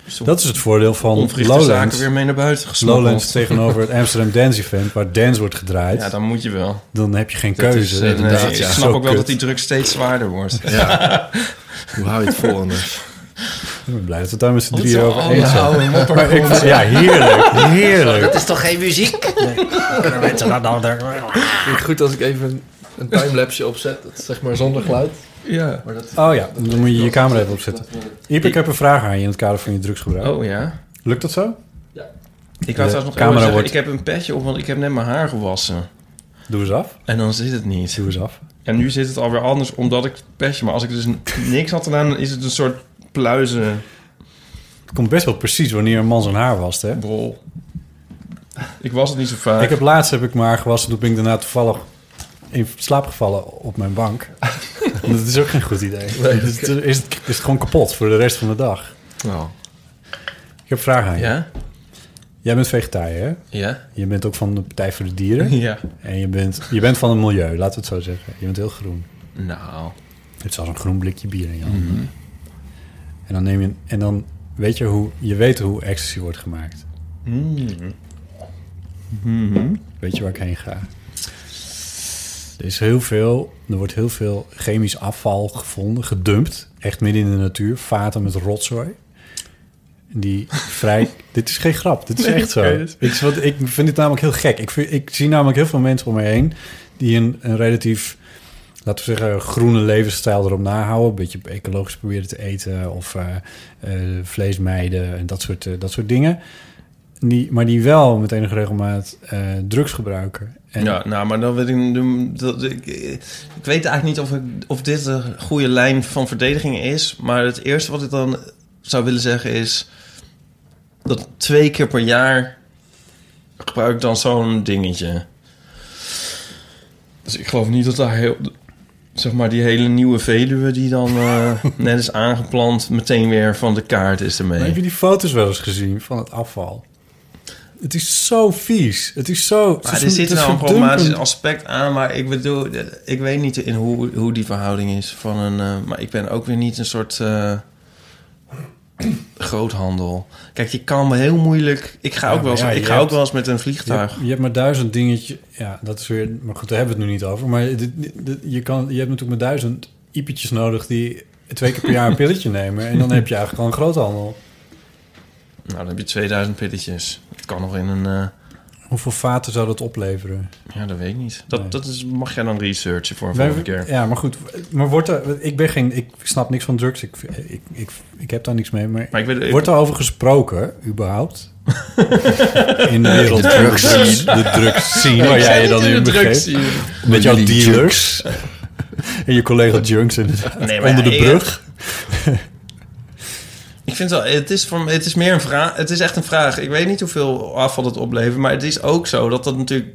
[SPEAKER 5] Dus toen
[SPEAKER 2] Dat is het voordeel van
[SPEAKER 5] onverrichte zaken
[SPEAKER 2] Lowlands.
[SPEAKER 5] weer mee naar buiten gesloten.
[SPEAKER 2] Lowlands tegenover het Amsterdam Dance Event, waar dance wordt gedraaid.
[SPEAKER 5] Ja,
[SPEAKER 2] dan...
[SPEAKER 5] dan moet je wel.
[SPEAKER 2] heb je geen
[SPEAKER 3] Dat is,
[SPEAKER 2] keuze.
[SPEAKER 3] eh,
[SPEAKER 2] Dat
[SPEAKER 5] Nee,
[SPEAKER 3] inderdaad,
[SPEAKER 2] is
[SPEAKER 5] ik
[SPEAKER 3] ja.
[SPEAKER 5] snap
[SPEAKER 2] zo
[SPEAKER 5] ook wel
[SPEAKER 2] kut.
[SPEAKER 5] dat die druk steeds zwaarder wordt.
[SPEAKER 3] ja. Hoe hou je het vol anders?
[SPEAKER 2] Ik ben blij dat we het daar met z'n drieën
[SPEAKER 5] zo
[SPEAKER 2] over eens zijn.
[SPEAKER 3] Oude mopper.
[SPEAKER 2] Maar ik, ja, heerlijk. Heerlijk.
[SPEAKER 6] is toch geen muziek?
[SPEAKER 3] Vind het goed als ik even een, een timelapse opzet? Dat is zeg maar zonder geluid.
[SPEAKER 5] Ja.
[SPEAKER 3] Maar dat,
[SPEAKER 2] Oh ja, dan moet je je camera even opzetten. Iep, ik heb een vraag aan je in het kader van je drugsgebruik.
[SPEAKER 5] Oh ja.
[SPEAKER 2] Lukt dat zo?
[SPEAKER 5] Ik had
[SPEAKER 2] De
[SPEAKER 5] trouwens
[SPEAKER 2] camera
[SPEAKER 5] nog camera zeggen,
[SPEAKER 2] wordt-
[SPEAKER 5] ik heb een petje op, want ik heb net mijn haar gewassen.
[SPEAKER 2] Doe eens af.
[SPEAKER 5] En dan zit het niet.
[SPEAKER 2] Doe eens af.
[SPEAKER 5] En nu zit het alweer anders, omdat ik het petje... Maar als ik dus n- niks had gedaan, dan is het een soort pluizenbol.
[SPEAKER 2] Het komt best wel precies wanneer een man zijn haar wast, hè?
[SPEAKER 5] Ik was het niet zo vaak.
[SPEAKER 2] Ik heb laatst heb ik maar gewassen. Toen ben ik daarna toevallig in slaap gevallen op mijn bank. dat is ook geen goed idee. Dus het is, het, is het gewoon kapot voor de rest van de dag.
[SPEAKER 3] nou,
[SPEAKER 2] Ik heb een vraag aan je.
[SPEAKER 5] Ja?
[SPEAKER 2] Jij bent vegetariër, hè?
[SPEAKER 5] Ja?
[SPEAKER 2] Je bent ook van de Partij voor de Dieren.
[SPEAKER 5] Ja.
[SPEAKER 2] en je bent, je bent van het milieu, laten we het zo zeggen. Je bent heel groen.
[SPEAKER 5] Nou.
[SPEAKER 2] Je hebt zelfs een groen blikje bier in je hand. En dan neem je... een- En dan weet je hoe... Je weet hoe ecstasy wordt gemaakt. Weet je waar ik heen ga? Er is heel veel, er wordt heel veel chemisch afval gevonden, gedumpt, echt midden in de natuur, vaten met rotzooi. Die vrij. dit is geen grap, dit is echt zo. ik, wat, ik vind dit namelijk heel gek. Ik, vind- ik zie namelijk heel veel mensen om me heen die een, een relatief, laten we zeggen, groene levensstijl erop nahouden. Een beetje ecologisch proberen te eten of eh eh, vlees mijden en dat soort, eh, dat soort dingen. Die, maar die wel met enige regelmaat eh, drugs gebruiken. En
[SPEAKER 5] ja, nou, maar dan weet ik... dan- Dat, ik, ik weet eigenlijk niet of, ik, of dit een goede lijn van verdediging is. Maar het eerste wat ik dan zou willen zeggen is... Dat twee keer per jaar gebruik ik dan zo'n dingetje. Dus ik geloof niet dat daar heel... Zeg maar die hele nieuwe Veluwe die dan eh, net is aangeplant... meteen weer van de kaart is
[SPEAKER 2] Maar
[SPEAKER 5] ermee.
[SPEAKER 2] heb je die foto's wel eens gezien van het afval? Het is zo vies. Het is zo. het
[SPEAKER 5] Maar
[SPEAKER 2] is
[SPEAKER 5] er
[SPEAKER 2] een-
[SPEAKER 5] zit
[SPEAKER 2] het is
[SPEAKER 5] nou een
[SPEAKER 2] verdumpend.
[SPEAKER 5] problematisch aspect aan, maar ik bedoel, eh, ik weet niet in hoe, hoe die verhouding is van een. eh, maar ik ben ook weer niet een soort eh, groothandel. Kijk, je kan heel moeilijk. Ik ga,
[SPEAKER 2] Ja,
[SPEAKER 5] ook, wel eens,
[SPEAKER 2] maar ja,
[SPEAKER 5] ik
[SPEAKER 2] je
[SPEAKER 5] ga ook
[SPEAKER 2] hebt-
[SPEAKER 5] wel eens met een
[SPEAKER 2] Je hebt,
[SPEAKER 5] vliegtuig.
[SPEAKER 2] je hebt maar duizend dingetjes. Ja, dat is weer. Maar goed, daar hebben we het nu niet over. Maar dit- dit- dit- je, kan, je hebt natuurlijk maar duizend iepetjes nodig die twee keer per jaar een pilletje nemen. En dan heb je eigenlijk al een groothandel.
[SPEAKER 5] Nou, dan heb je 2000 pilletjes. Het kan nog in een. eh,
[SPEAKER 2] Hoeveel vaten zou dat opleveren?
[SPEAKER 5] ja, dat weet ik niet. Dat,
[SPEAKER 2] Nee.
[SPEAKER 5] dat is, mag jij dan researchen voor een
[SPEAKER 2] Wij-
[SPEAKER 5] volgende keer.
[SPEAKER 2] Ja, maar goed. Maar wordt er. Ik ben geen. Ik snap niks van drugs. Ik, ik, ik, ik heb daar niks mee. Maar,
[SPEAKER 5] Maar ik weet, ik-
[SPEAKER 2] Wordt er over gesproken, überhaupt? in de wereld van de drugs, de drugs scene waar jij je dan in begeeft. Met jouw
[SPEAKER 3] Jullie
[SPEAKER 2] dealers. en je collega Junks in-
[SPEAKER 5] Nee, maar
[SPEAKER 2] onder de
[SPEAKER 5] ja,
[SPEAKER 2] brug.
[SPEAKER 5] Ik vind wel, het is, voor, me- het is meer een vraag. Het is echt een vraag. Ik weet niet hoeveel afval het oplevert, maar het is ook zo dat dat natuurlijk.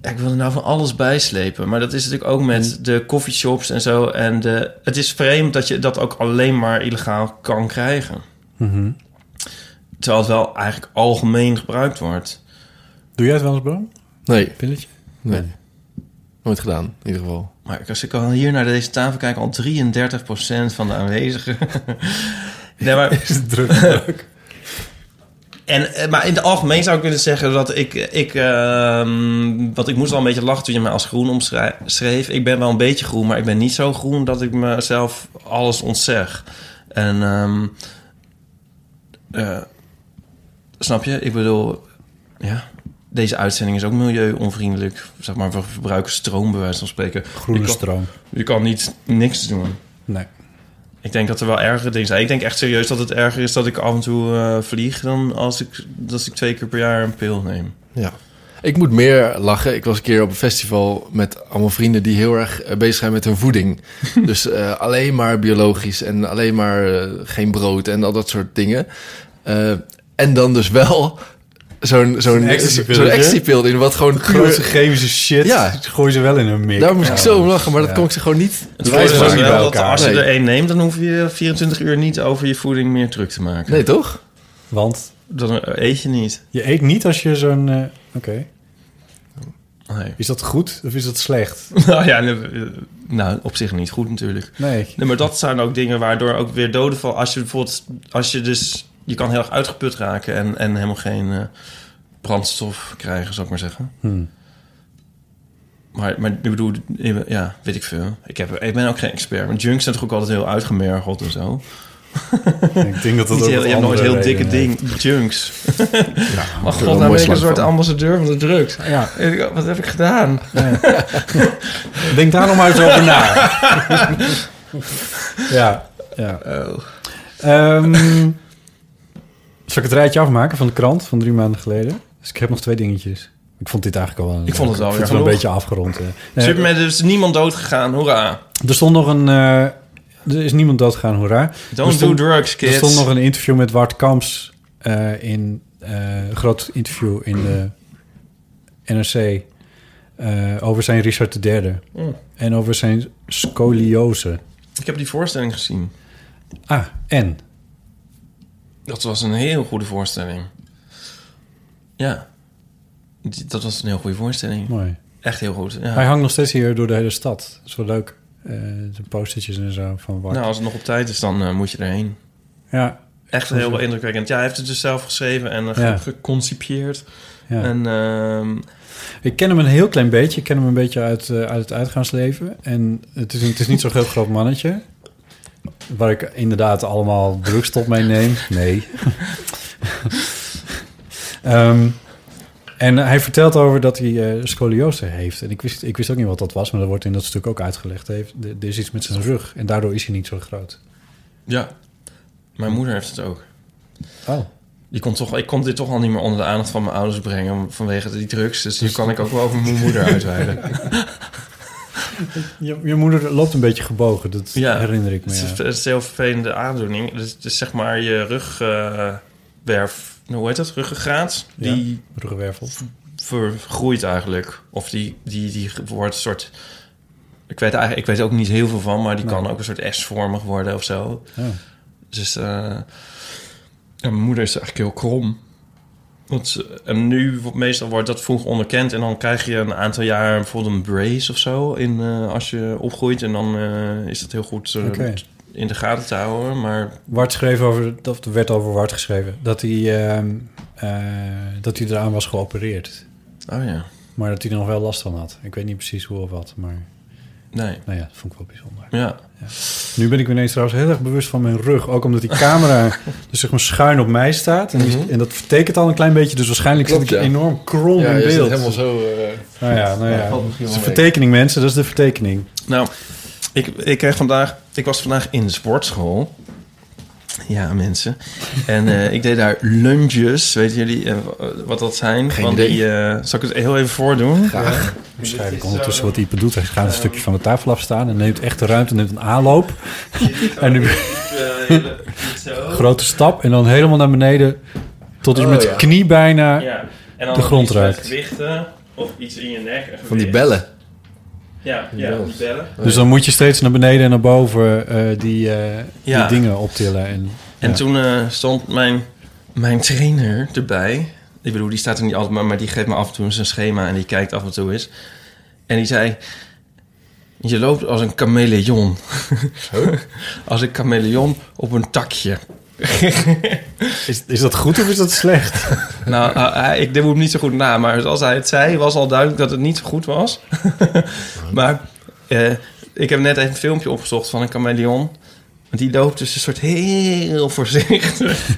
[SPEAKER 5] Ja, ik wil er nou van alles bijslepen, maar dat is natuurlijk ook met de coffeeshops en zo. En de, het is vreemd dat je dat ook alleen maar illegaal kan krijgen. Terwijl het wel eigenlijk algemeen gebruikt wordt.
[SPEAKER 2] Doe jij het wel eens, Bram?
[SPEAKER 3] Nee,
[SPEAKER 2] Pilletje?
[SPEAKER 3] nee. Nooit gedaan, in ieder geval.
[SPEAKER 5] Maar als ik al hier naar deze tafel kijk, al 33% van de aanwezigen. nee, maar, en, eh, maar in het algemeen zou ik willen zeggen dat ik... ik ehm, want ik moest al een beetje lachen toen je mij als groen omschreef. Ik ben wel een beetje groen, maar ik ben niet zo groen dat ik mezelf alles ontzeg. En... ehm, eh, snap je? Ik bedoel, ja... Deze uitzending is ook milieuonvriendelijk. Zeg maar, we verbruiken stroom, bij wijze van spreken.
[SPEAKER 2] Groene
[SPEAKER 5] Je kan-
[SPEAKER 2] stroom.
[SPEAKER 5] je kan niet niks doen.
[SPEAKER 2] Nee.
[SPEAKER 5] Ik denk dat er wel ergere dingen zijn. Ik denk echt serieus dat het erger is dat ik af en toe eh, vlieg... dan als ik, als ik twee keer per jaar een pil neem.
[SPEAKER 3] Ja. Ik moet meer lachen. Ik was een keer op een festival met allemaal vrienden die heel erg eh, bezig zijn met hun voeding. dus eh, alleen maar biologisch en alleen maar eh, geen brood en al dat soort dingen. Eh, en dan dus wel zo'n zo'n
[SPEAKER 2] ecstasypilletje.
[SPEAKER 3] zo'n ecstasypil in wat gewoon
[SPEAKER 2] Grootste
[SPEAKER 3] puur...
[SPEAKER 2] chemische shit.
[SPEAKER 3] Ja.
[SPEAKER 2] Gooi ze wel in een mik.
[SPEAKER 3] Daar moest ik zo om lachen, maar dat
[SPEAKER 2] Ja.
[SPEAKER 3] kon ik ze gewoon niet.
[SPEAKER 5] Het
[SPEAKER 2] wijzen
[SPEAKER 5] voordeel
[SPEAKER 2] ook
[SPEAKER 5] is
[SPEAKER 2] niet bij
[SPEAKER 5] wel dat
[SPEAKER 2] elkaar.
[SPEAKER 5] als je
[SPEAKER 3] Nee.
[SPEAKER 5] er één neemt... dan hoef je 24 uur niet over je voeding meer druk te maken.
[SPEAKER 3] Nee, toch?
[SPEAKER 2] Want
[SPEAKER 5] Dan eet je niet.
[SPEAKER 2] je eet niet als je zo'n... eh, Oké.
[SPEAKER 5] Nee.
[SPEAKER 2] Is dat goed of is dat slecht?
[SPEAKER 5] nou ja, nee, eh, nou, op zich niet goed natuurlijk.
[SPEAKER 2] Nee.
[SPEAKER 5] Nee, maar dat zijn ook dingen waardoor ook weer doden vallen. Als je bijvoorbeeld, als je dus, je kan heel erg uitgeput raken en, en helemaal geen eh, brandstof krijgen, zou ik maar zeggen.
[SPEAKER 3] Hmm.
[SPEAKER 5] Maar, maar ik bedoel, ja, weet ik veel. Ik, heb, ik ben ook geen expert. Maar junks zijn toch ook altijd heel uitgemergeld en zo.
[SPEAKER 2] ik denk dat dat
[SPEAKER 5] Niet
[SPEAKER 2] ook wat
[SPEAKER 5] heel, je hebt nooit
[SPEAKER 2] andere
[SPEAKER 5] heel dikke
[SPEAKER 2] redenen heeft.
[SPEAKER 5] ding, junks. maar
[SPEAKER 3] er wel
[SPEAKER 5] god,
[SPEAKER 3] een mooi
[SPEAKER 5] nou ben ik een
[SPEAKER 3] slang
[SPEAKER 5] soort
[SPEAKER 3] van.
[SPEAKER 5] ambassadeur van de drugs.
[SPEAKER 2] Ja.
[SPEAKER 5] Ik- Eh, Wat heb ik gedaan?
[SPEAKER 2] Denk daar nog maar eens over na. ja. ja.
[SPEAKER 5] Oh.
[SPEAKER 2] Ehm, zal ik het rijtje afmaken van de krant van drie maanden geleden? Dus ik heb nog twee dingetjes. Ik vond dit eigenlijk al wel een-
[SPEAKER 5] Ik vond het wel
[SPEAKER 2] ik
[SPEAKER 5] weer
[SPEAKER 2] wel een
[SPEAKER 5] genoeg.
[SPEAKER 2] beetje afgerond. hè. Eh, Nee,
[SPEAKER 5] Superman, er is niemand dood gegaan, hoera.
[SPEAKER 2] er stond nog een... eh, er is niemand doodgegaan, hoera.
[SPEAKER 5] Don't
[SPEAKER 2] Er stond-
[SPEAKER 5] do drugs, kids.
[SPEAKER 2] Er stond nog een interview met Wart Kamps eh, in eh, een groot interview in de NRC eh, over zijn Richard III
[SPEAKER 5] Mm.
[SPEAKER 2] en over zijn scoliose.
[SPEAKER 5] Ik heb die voorstelling gezien.
[SPEAKER 2] Ah, en
[SPEAKER 5] Dat was een heel goede voorstelling. Ja. Die- Dat was een heel goede voorstelling.
[SPEAKER 2] mooi.
[SPEAKER 5] Echt heel goed.
[SPEAKER 2] Hij
[SPEAKER 5] Ja.
[SPEAKER 2] hangt nog steeds hier door de hele stad. Dat is wel leuk. Eh, de postertjes en zo van Wart.
[SPEAKER 5] Nou, als het nog op tijd is, dan eh, moet je erheen.
[SPEAKER 2] Ja,
[SPEAKER 5] Echt heel indrukwekkend. Ja, hij heeft het dus zelf geschreven en eh, ge-
[SPEAKER 2] Ja.
[SPEAKER 5] geconcipieerd.
[SPEAKER 2] ja.
[SPEAKER 5] En ehm,
[SPEAKER 2] Ik ken hem een heel klein beetje. Ik ken hem een beetje uit, eh, uit het uitgaansleven. En het is, het is niet zo'n heel groot mannetje. Waar ik inderdaad allemaal drugstop mee neem. Nee. Ehm, en hij vertelt over dat hij eh, scoliose heeft. En ik wist, ik wist ook niet wat dat was, maar dat wordt in dat stuk ook uitgelegd. Hij heeft- Er er is iets met zijn rug en daardoor is hij niet zo groot.
[SPEAKER 5] ja, mijn moeder heeft het ook.
[SPEAKER 2] Oh.
[SPEAKER 5] Die kon toch, ik kon dit toch al niet meer onder de aandacht van mijn ouders brengen vanwege die drugs. Dus nu kan ik ook wel over mijn moeder uitweiden.
[SPEAKER 2] Je, je moeder loopt een beetje gebogen, dat
[SPEAKER 5] Ja,
[SPEAKER 2] herinner ik me. eh,
[SPEAKER 5] Het is,
[SPEAKER 2] ja.
[SPEAKER 5] het is een heel vervelende aandoening. Het is, het is zeg maar je rugwerf, hoe heet dat? Ruggengraat. Die
[SPEAKER 2] Ja, ruggenwervel.
[SPEAKER 5] vergroeit eigenlijk. Of die, die, die wordt een soort... Ik weet, eigenlijk, ik weet er ook niet heel veel van, maar die kan ook een soort S-vormig worden of zo.
[SPEAKER 2] Ja.
[SPEAKER 5] Dus eh, ja, mijn moeder is eigenlijk heel krom. Want, ze- en nu wo- meestal wordt dat vroeg onderkend. En dan krijg je een aantal jaar bijvoorbeeld een brace of zo. In, eh, als je opgroeit. En dan eh, is dat heel goed eh,
[SPEAKER 2] Oké.
[SPEAKER 5] in de gaten te houden. Maar
[SPEAKER 2] Wart schreef over, of er werd over Wart geschreven, dat hij, ehm, eh, dat hij eraan was geopereerd.
[SPEAKER 5] Oh ja.
[SPEAKER 2] Maar dat hij er nog wel last van had. Ik weet niet precies hoe of wat, maar
[SPEAKER 5] Nee.
[SPEAKER 2] nou ja, dat vond ik wel bijzonder.
[SPEAKER 5] Ja.
[SPEAKER 2] Nu ben ik me ineens trouwens heel erg bewust van mijn rug. Ook omdat die camera dus zeg maar schuin op mij staat. En, die- en dat vertekent al een klein beetje, dus waarschijnlijk
[SPEAKER 3] Mhm. Klopt,
[SPEAKER 2] zit ik
[SPEAKER 3] ja.
[SPEAKER 2] enorm krom
[SPEAKER 3] Ja,
[SPEAKER 2] in
[SPEAKER 3] je zit
[SPEAKER 2] beeld.
[SPEAKER 3] helemaal zo... eh,
[SPEAKER 2] Nou ja, nou ja.
[SPEAKER 3] valt misschien
[SPEAKER 2] Dat is
[SPEAKER 3] wel
[SPEAKER 2] de
[SPEAKER 3] mee.
[SPEAKER 2] vertekening mensen, dat is de vertekening.
[SPEAKER 5] Nou, ik, ik kreeg vandaag... Ik was vandaag in de sportschool. Ja, mensen. En eh, ik deed daar lunges, weten jullie eh, wat dat zijn?
[SPEAKER 3] Geen
[SPEAKER 5] Van
[SPEAKER 3] idee.
[SPEAKER 5] Die, eh, zal ik het heel even voordoen?
[SPEAKER 2] Beschrijf ik ondertussen wat Ipe doet. Hij gaat een stukje van de tafel afstaan en neemt echt de ruimte, neemt een aanloop. En nu grote stap en dan helemaal naar beneden. Tot dus
[SPEAKER 3] Oh,
[SPEAKER 2] met
[SPEAKER 3] ja.
[SPEAKER 2] knie bijna.
[SPEAKER 5] Ja. En dan
[SPEAKER 2] De grond
[SPEAKER 5] iets met
[SPEAKER 2] raakt.
[SPEAKER 5] gewichten of iets in je nek. een
[SPEAKER 3] Van die
[SPEAKER 5] gewicht.
[SPEAKER 3] bellen.
[SPEAKER 5] Ja,
[SPEAKER 3] die bellen.
[SPEAKER 5] bellen.
[SPEAKER 2] Dus dan moet je steeds naar beneden en naar boven eh, die, eh,
[SPEAKER 5] Ja.
[SPEAKER 2] die dingen optillen. En,
[SPEAKER 5] En
[SPEAKER 2] ja.
[SPEAKER 5] toen eh, stond mijn, mijn trainer erbij. Ik bedoel, die staat er niet altijd, maar, maar die geeft me af en toe zijn schema en die kijkt af en toe eens. En die zei: Je loopt als een chameleon. als een chameleon op een takje.
[SPEAKER 2] Is, is dat goed of is dat slecht?
[SPEAKER 5] Nou, eh, hij- ik deed hem niet zo goed na, maar zoals hij het zei, was al duidelijk dat het niet zo goed was. maar eh, ik heb net even een filmpje opgezocht van een chameleon. Want die loopt dus een soort heel voorzichtig.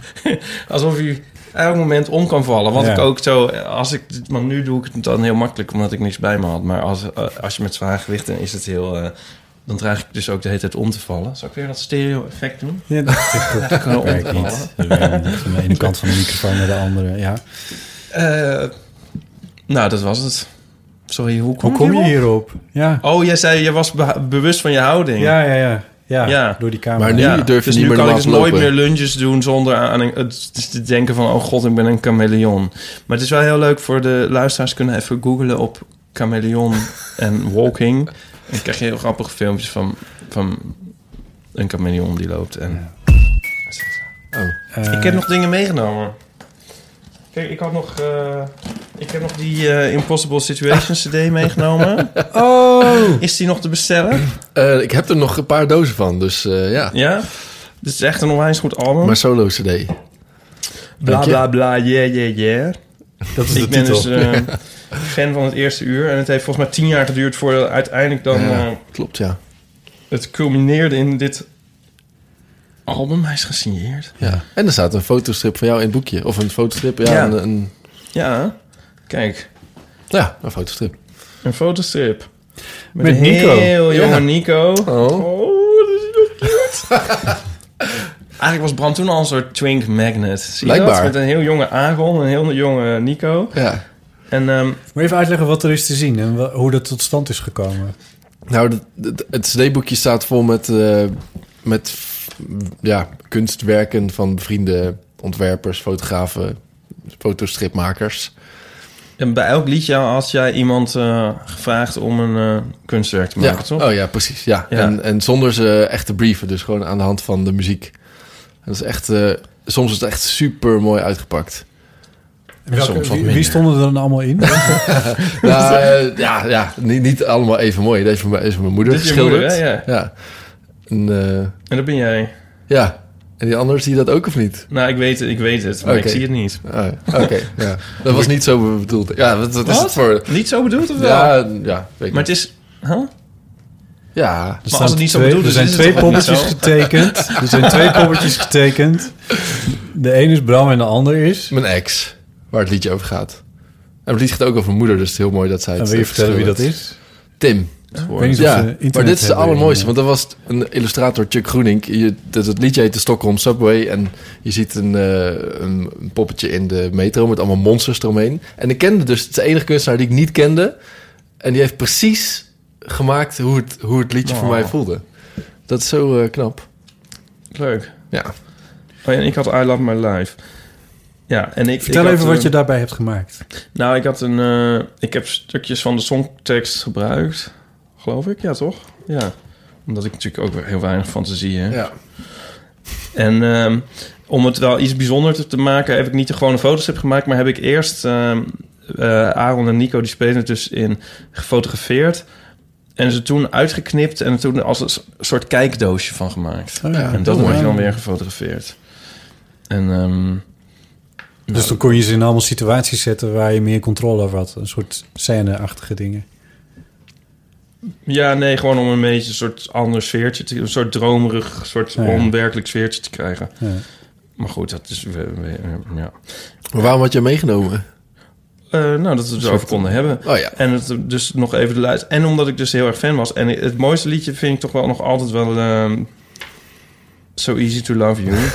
[SPEAKER 5] Alsof hij elk moment om kan vallen. Wat
[SPEAKER 2] Ja.
[SPEAKER 5] ik ook zo, eh, als ik, maar nu doe ik het dan heel makkelijk omdat ik niks bij me had. Maar als, eh, als je met zwaar gewicht, dan is het heel. eh, dan draag ik dus ook de hele tijd om te vallen. Zal ik weer dat stereo-effect doen?
[SPEAKER 2] Ja, dat
[SPEAKER 5] Ik kan er om te
[SPEAKER 2] werkt
[SPEAKER 5] vallen.
[SPEAKER 2] niet. Dat werkt niet. Van de ene kant van de microfoon naar de andere. Ja.
[SPEAKER 5] Eh, nou, dat was het. Sorry, hoe kom,
[SPEAKER 2] Hoe kom je
[SPEAKER 5] hierop?
[SPEAKER 2] hierop? Ja,
[SPEAKER 5] Oh, jij zei, je was be- bewust van je houding.
[SPEAKER 2] ja, ja. ja. ja,
[SPEAKER 5] Ja.
[SPEAKER 2] door die camera.
[SPEAKER 3] Maar nu durf je
[SPEAKER 5] dus
[SPEAKER 3] niet
[SPEAKER 5] nu
[SPEAKER 3] meer
[SPEAKER 5] kan ik
[SPEAKER 3] normaal
[SPEAKER 5] dus
[SPEAKER 3] te
[SPEAKER 5] nooit
[SPEAKER 3] lopen.
[SPEAKER 5] meer lunges doen zonder aan een- het het te denken van... oh god, ik ben een chameleon. Maar het is wel heel leuk voor de luisteraars... kunnen even googlen op chameleon en walking. En dan krijg je heel grappige filmpjes van, van een chameleon die loopt. En...
[SPEAKER 2] Eh,
[SPEAKER 5] Ik heb nog dingen meegenomen. Kijk, ik had nog... eh, ik heb nog die eh, Impossible Situations CD meegenomen.
[SPEAKER 2] Oh!
[SPEAKER 5] Is die nog te bestellen?
[SPEAKER 3] Eh, ik heb er nog een paar dozen van, dus eh, ja.
[SPEAKER 5] Ja? Dit is echt een onwijs goed album.
[SPEAKER 3] Maar solo cd.
[SPEAKER 5] Bla
[SPEAKER 3] Dank je.
[SPEAKER 5] bla bla, yeah yeah yeah.
[SPEAKER 2] Dat is
[SPEAKER 5] Ik ben dus eh, fan van het eerste uur. En het heeft volgens mij tien jaar geduurd voordat uiteindelijk dan
[SPEAKER 3] Ja.
[SPEAKER 5] eh,
[SPEAKER 3] Klopt, ja.
[SPEAKER 5] het culmineerde in dit album. Hij is gesigneerd.
[SPEAKER 3] ja. En er staat een fotostrip van jou in het boekje. Of een fotostrip, ja.
[SPEAKER 5] Ja.
[SPEAKER 3] Een, een,
[SPEAKER 5] Ja, kijk.
[SPEAKER 3] ja, een fotostrip.
[SPEAKER 5] Een fotostrip. Met,
[SPEAKER 2] Met
[SPEAKER 5] een
[SPEAKER 2] Nico.
[SPEAKER 5] heel jonge
[SPEAKER 3] Ja.
[SPEAKER 5] Nico.
[SPEAKER 3] Oh.
[SPEAKER 5] dat is zo cute. Eigenlijk was Bram toen al een soort twink magnet. Zie je dat?
[SPEAKER 3] Blijkbaar.
[SPEAKER 5] Met een heel jonge Aaron, een heel jonge Nico.
[SPEAKER 3] Ja.
[SPEAKER 5] En ehm,
[SPEAKER 2] Moet je even uitleggen wat er is te zien en wa- hoe dat tot stand is gekomen?
[SPEAKER 3] Nou, dat- dat- het CD-boekje staat vol met, eh, met f- ja, kunstwerken van bevriende ontwerpers, fotografen, fotostripmakers.
[SPEAKER 5] En bij elk liedje had jij iemand eh, gevraagd om een eh, kunstwerk te maken,
[SPEAKER 3] ja.
[SPEAKER 5] toch?
[SPEAKER 3] Oh ja, precies. Ja.
[SPEAKER 5] Ja.
[SPEAKER 3] En, en zonder ze echt te brieven, dus gewoon aan de hand van de muziek. En dat is echt, eh, soms is het echt super mooi uitgepakt.
[SPEAKER 5] soms wat
[SPEAKER 2] wie,
[SPEAKER 5] minder.
[SPEAKER 2] wie stonden er dan allemaal in?
[SPEAKER 3] Nou, eh, ja, ja niet, niet allemaal even mooi. Deze is van mijn, is van mijn moeder
[SPEAKER 5] Dit is je
[SPEAKER 3] geschilderd.
[SPEAKER 5] moeder, hè? Ja.
[SPEAKER 3] ja. En, eh,
[SPEAKER 5] En dat ben jij.
[SPEAKER 3] ja. En die anderen zie je dat ook of niet?
[SPEAKER 5] Nou, ik weet het, ik weet het, maar
[SPEAKER 3] Oké.
[SPEAKER 5] ik zie het niet.
[SPEAKER 3] Ah, Oké, ja. dat was niet zo bedoeld. Ja, wat, wat is het voor...
[SPEAKER 5] Niet zo bedoeld of wel?
[SPEAKER 3] Ja, ja, weet ik
[SPEAKER 5] Maar
[SPEAKER 3] niet.
[SPEAKER 5] het is... Huh?
[SPEAKER 3] Ja,
[SPEAKER 2] Er
[SPEAKER 5] als
[SPEAKER 2] staan
[SPEAKER 5] het niet zo
[SPEAKER 2] twee-
[SPEAKER 5] bedoeld is,
[SPEAKER 2] Er zijn
[SPEAKER 5] is het
[SPEAKER 2] twee
[SPEAKER 5] toch ook niet
[SPEAKER 2] poppetjes
[SPEAKER 5] zo?
[SPEAKER 2] getekend. Er zijn twee poppetjes getekend. De een is Bram en de ander is.
[SPEAKER 3] mijn ex, waar het liedje over gaat. En het lied gaat ook over mijn moeder, dus het is heel mooi dat zij het
[SPEAKER 2] En wil je
[SPEAKER 3] eh,
[SPEAKER 2] vertellen wie dat
[SPEAKER 3] verschildert.
[SPEAKER 2] is?
[SPEAKER 3] Tim.
[SPEAKER 2] Ik weet niet of ze
[SPEAKER 3] Ja,
[SPEAKER 2] internet
[SPEAKER 3] maar dit is de
[SPEAKER 2] hebben. eh,
[SPEAKER 3] allermooiste, want dat was een illustrator, Chuck Groening. Je, dat, het liedje heet de Stockholm Subway en je ziet een, eh, een, een poppetje in de metro met allemaal monsters eromheen. En ik kende dus, het is de enige kunstenaar die ik niet kende. En die heeft precies gemaakt hoe het, hoe het liedje voor
[SPEAKER 5] Oh.
[SPEAKER 2] Nou.
[SPEAKER 3] mij voelde. Dat is zo eh, knap.
[SPEAKER 5] Leuk.
[SPEAKER 3] Ja.
[SPEAKER 5] Oh, ja, en ik had I Love My Life. Ja, en ik...
[SPEAKER 2] Vertel
[SPEAKER 5] ik had,
[SPEAKER 2] even wat
[SPEAKER 5] eh,
[SPEAKER 2] je daarbij hebt gemaakt.
[SPEAKER 5] Nou, ik had een... eh, ik heb stukjes van de songtekst gebruikt, geloof ik. Ja, toch? Ja. Omdat ik natuurlijk ook weer heel weinig fantasie heb.
[SPEAKER 3] ja.
[SPEAKER 5] En ehm, om het wel iets bijzonders te maken, heb ik niet de gewone foto's heb gemaakt, maar heb ik eerst ehm, eh, Aaron en Nico, die spelen het dus in, gefotografeerd. En ze toen uitgeknipt en er toen als een s- soort kijkdoosje van gemaakt.
[SPEAKER 2] Oh ja,
[SPEAKER 5] en dat
[SPEAKER 2] oh,
[SPEAKER 5] heb ik
[SPEAKER 2] ja.
[SPEAKER 5] dan weer gefotografeerd. En ehm,
[SPEAKER 2] Dus dan kon je ze in allemaal situaties zetten waar je meer controle over had. Een soort scène-achtige dingen.
[SPEAKER 5] ja, nee, gewoon om een beetje een soort ander sfeertje, te, een soort dromerig, soort
[SPEAKER 2] Ja, ja.
[SPEAKER 5] onwerkelijk sfeertje te krijgen.
[SPEAKER 2] Ja.
[SPEAKER 5] Maar goed, dat is... we- we- ja.
[SPEAKER 3] Maar waarom had je hem meegenomen?
[SPEAKER 5] Eh, nou, dat we het erover konden hebben.
[SPEAKER 3] Oh ja.
[SPEAKER 5] En het dus nog even de luid. En omdat ik dus heel erg fan was. En het mooiste liedje vind ik toch wel nog altijd wel. ehm, So Easy to Love You.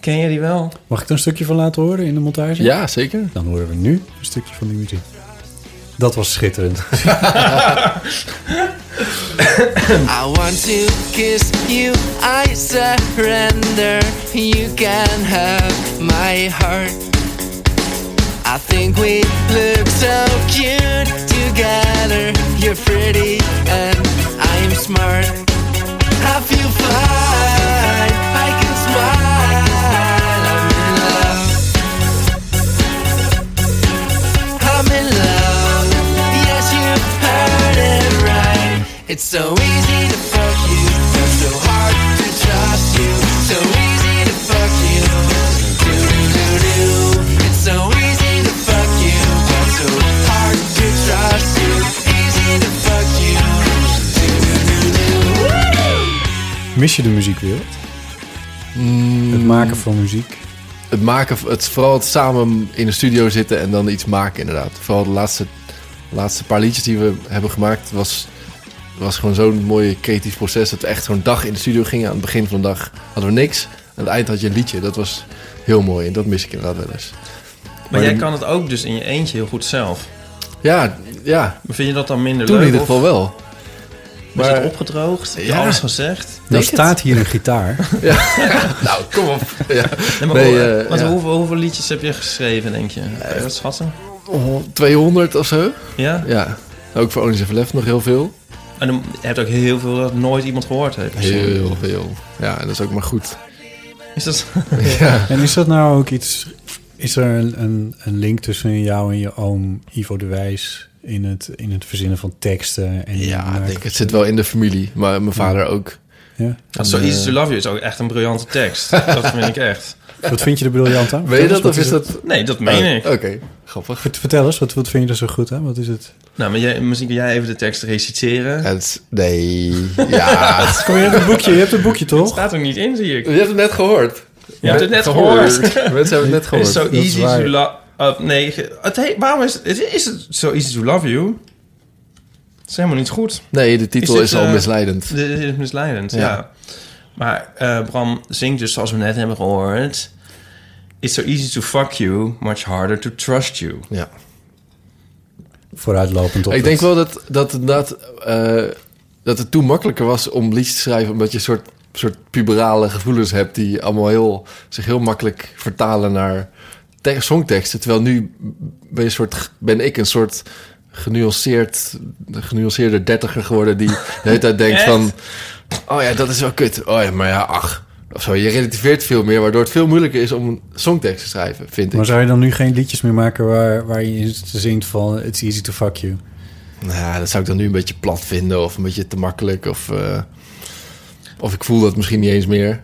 [SPEAKER 5] Ken jij die wel?
[SPEAKER 2] Mag ik er een stukje van laten horen in de montage?
[SPEAKER 3] Ja, zeker.
[SPEAKER 2] Dan horen we nu een stukje van die muziek. Dat was schitterend.
[SPEAKER 6] I want to kiss you, I surrender. You can have my heart. I think we look so cute together. You're pretty and I'm smart. I feel fine, I can smile. I'm in love. I'm in love. Yes, you heard it right. It's so easy to fuck you, but so hard to trust you. So easy to fuck you. Do do do. It's so easy to fuck you, but so hard to trust you. Easy to fuck you. Do do do.
[SPEAKER 2] Mis je de muziekwereld? Het maken van muziek.
[SPEAKER 3] Het maken, het, vooral het samen in de studio zitten en dan iets maken inderdaad. Vooral de laatste, laatste paar liedjes die we hebben gemaakt was, was gewoon zo'n mooi creatief proces. Dat we echt zo'n dag in de studio gingen. Aan het begin van de dag hadden we niks. Aan het eind had je een liedje. Dat was heel mooi en dat mis ik inderdaad wel eens.
[SPEAKER 5] Maar jij
[SPEAKER 3] dan-
[SPEAKER 5] kan het ook dus in je eentje heel goed zelf.
[SPEAKER 3] Ja, ja.
[SPEAKER 5] Maar Vind je dat dan minder
[SPEAKER 3] Toen in
[SPEAKER 5] leuk?
[SPEAKER 3] ieder geval
[SPEAKER 5] of
[SPEAKER 3] wel.
[SPEAKER 5] Is
[SPEAKER 3] maar-
[SPEAKER 5] het opgedroogd? Heb je
[SPEAKER 3] Ja.
[SPEAKER 5] alles gezegd?
[SPEAKER 2] Dan
[SPEAKER 3] het.
[SPEAKER 2] staat hier een gitaar.
[SPEAKER 3] Nou, kom op. Ja.
[SPEAKER 5] Nee, maar
[SPEAKER 3] Nee,
[SPEAKER 5] hoe-
[SPEAKER 3] eh,
[SPEAKER 5] want
[SPEAKER 3] ja.
[SPEAKER 5] hoeveel, hoeveel liedjes heb je geschreven, denk je? Kan je dat schatten?
[SPEAKER 3] 200 of zo.
[SPEAKER 5] Ja?
[SPEAKER 3] Ja. Ook voor Onis en Verlef nog heel veel.
[SPEAKER 5] En dan je hebt ook heel veel dat nooit iemand gehoord heeft.
[SPEAKER 3] Heel veel. Ja, en dat is ook maar goed.
[SPEAKER 5] Is dat...
[SPEAKER 2] En is dat nou ook iets... Is er een, een, een link tussen jou en je oom Ivo de Wijs... in het, in het verzinnen van teksten? En
[SPEAKER 3] Ja, ik
[SPEAKER 2] maken-
[SPEAKER 3] denk, het zit wel in de familie. Maar mijn vader ook.
[SPEAKER 2] Ja.
[SPEAKER 5] Want So Easy to Love You is ook echt een briljante tekst. dat vind ik echt.
[SPEAKER 2] Wat vind je er briljant aan?
[SPEAKER 3] Weet je
[SPEAKER 2] Vertel
[SPEAKER 3] dat
[SPEAKER 2] eens, wat
[SPEAKER 3] of is dat...
[SPEAKER 5] Nee, dat meen
[SPEAKER 3] Oh,
[SPEAKER 5] ik.
[SPEAKER 3] Oké, grappig.
[SPEAKER 2] Vert- Vertel eens, wat, wat vind je er zo goed aan? Wat is het?
[SPEAKER 5] Nou, maar jij, misschien kun jij even de tekst reciteren.
[SPEAKER 3] Het, is- nee, ja. het-
[SPEAKER 2] Kom, je hebt een boekje, je hebt een boekje
[SPEAKER 5] Het
[SPEAKER 2] toch?
[SPEAKER 5] staat er niet in, zie ik.
[SPEAKER 3] Je hebt het net gehoord.
[SPEAKER 5] Je hebt het net gehoord.
[SPEAKER 3] Mensen hebben het net
[SPEAKER 5] Het
[SPEAKER 3] gehoord.
[SPEAKER 5] is so
[SPEAKER 2] is
[SPEAKER 5] easy
[SPEAKER 2] waar.
[SPEAKER 5] to love... nee, ge- het he- waarom is het, is het so easy to love you? Het is helemaal niet goed.
[SPEAKER 3] Nee, de titel
[SPEAKER 5] Is
[SPEAKER 3] is,
[SPEAKER 5] dit,
[SPEAKER 3] al
[SPEAKER 5] eh,
[SPEAKER 3] misleidend.
[SPEAKER 5] Dit is misleidend, ja.
[SPEAKER 3] Ja.
[SPEAKER 5] Maar eh, Bram zingt dus, zoals we net hebben gehoord... It's so easy to fuck you, much harder to trust you.
[SPEAKER 3] Ja.
[SPEAKER 2] Vooruitlopend op
[SPEAKER 3] Ik
[SPEAKER 2] het-
[SPEAKER 3] denk wel dat, dat, inderdaad, eh, dat het toen makkelijker was om liedjes te schrijven... omdat je een soort, soort puberale gevoelens hebt... die allemaal heel, zich heel makkelijk vertalen naar te- songteksten. Terwijl nu ben, je een soort, ben ik een soort genuanceerd, genuanceerde dertiger geworden... die de hele tijd denkt
[SPEAKER 5] Echt?
[SPEAKER 3] van... oh ja, dat is wel kut. Oh ja, maar ja, ach. Of zo. Je relativeert veel meer, waardoor het veel moeilijker is om een songtekst te schrijven, vind ik.
[SPEAKER 2] Maar zou je dan nu geen liedjes meer maken waar, waar je in zingt van... It's easy to fuck you.
[SPEAKER 3] Nou, ja, dat zou ik dan nu een beetje plat vinden of een beetje te makkelijk. Of, eh, of ik voel dat misschien niet eens meer.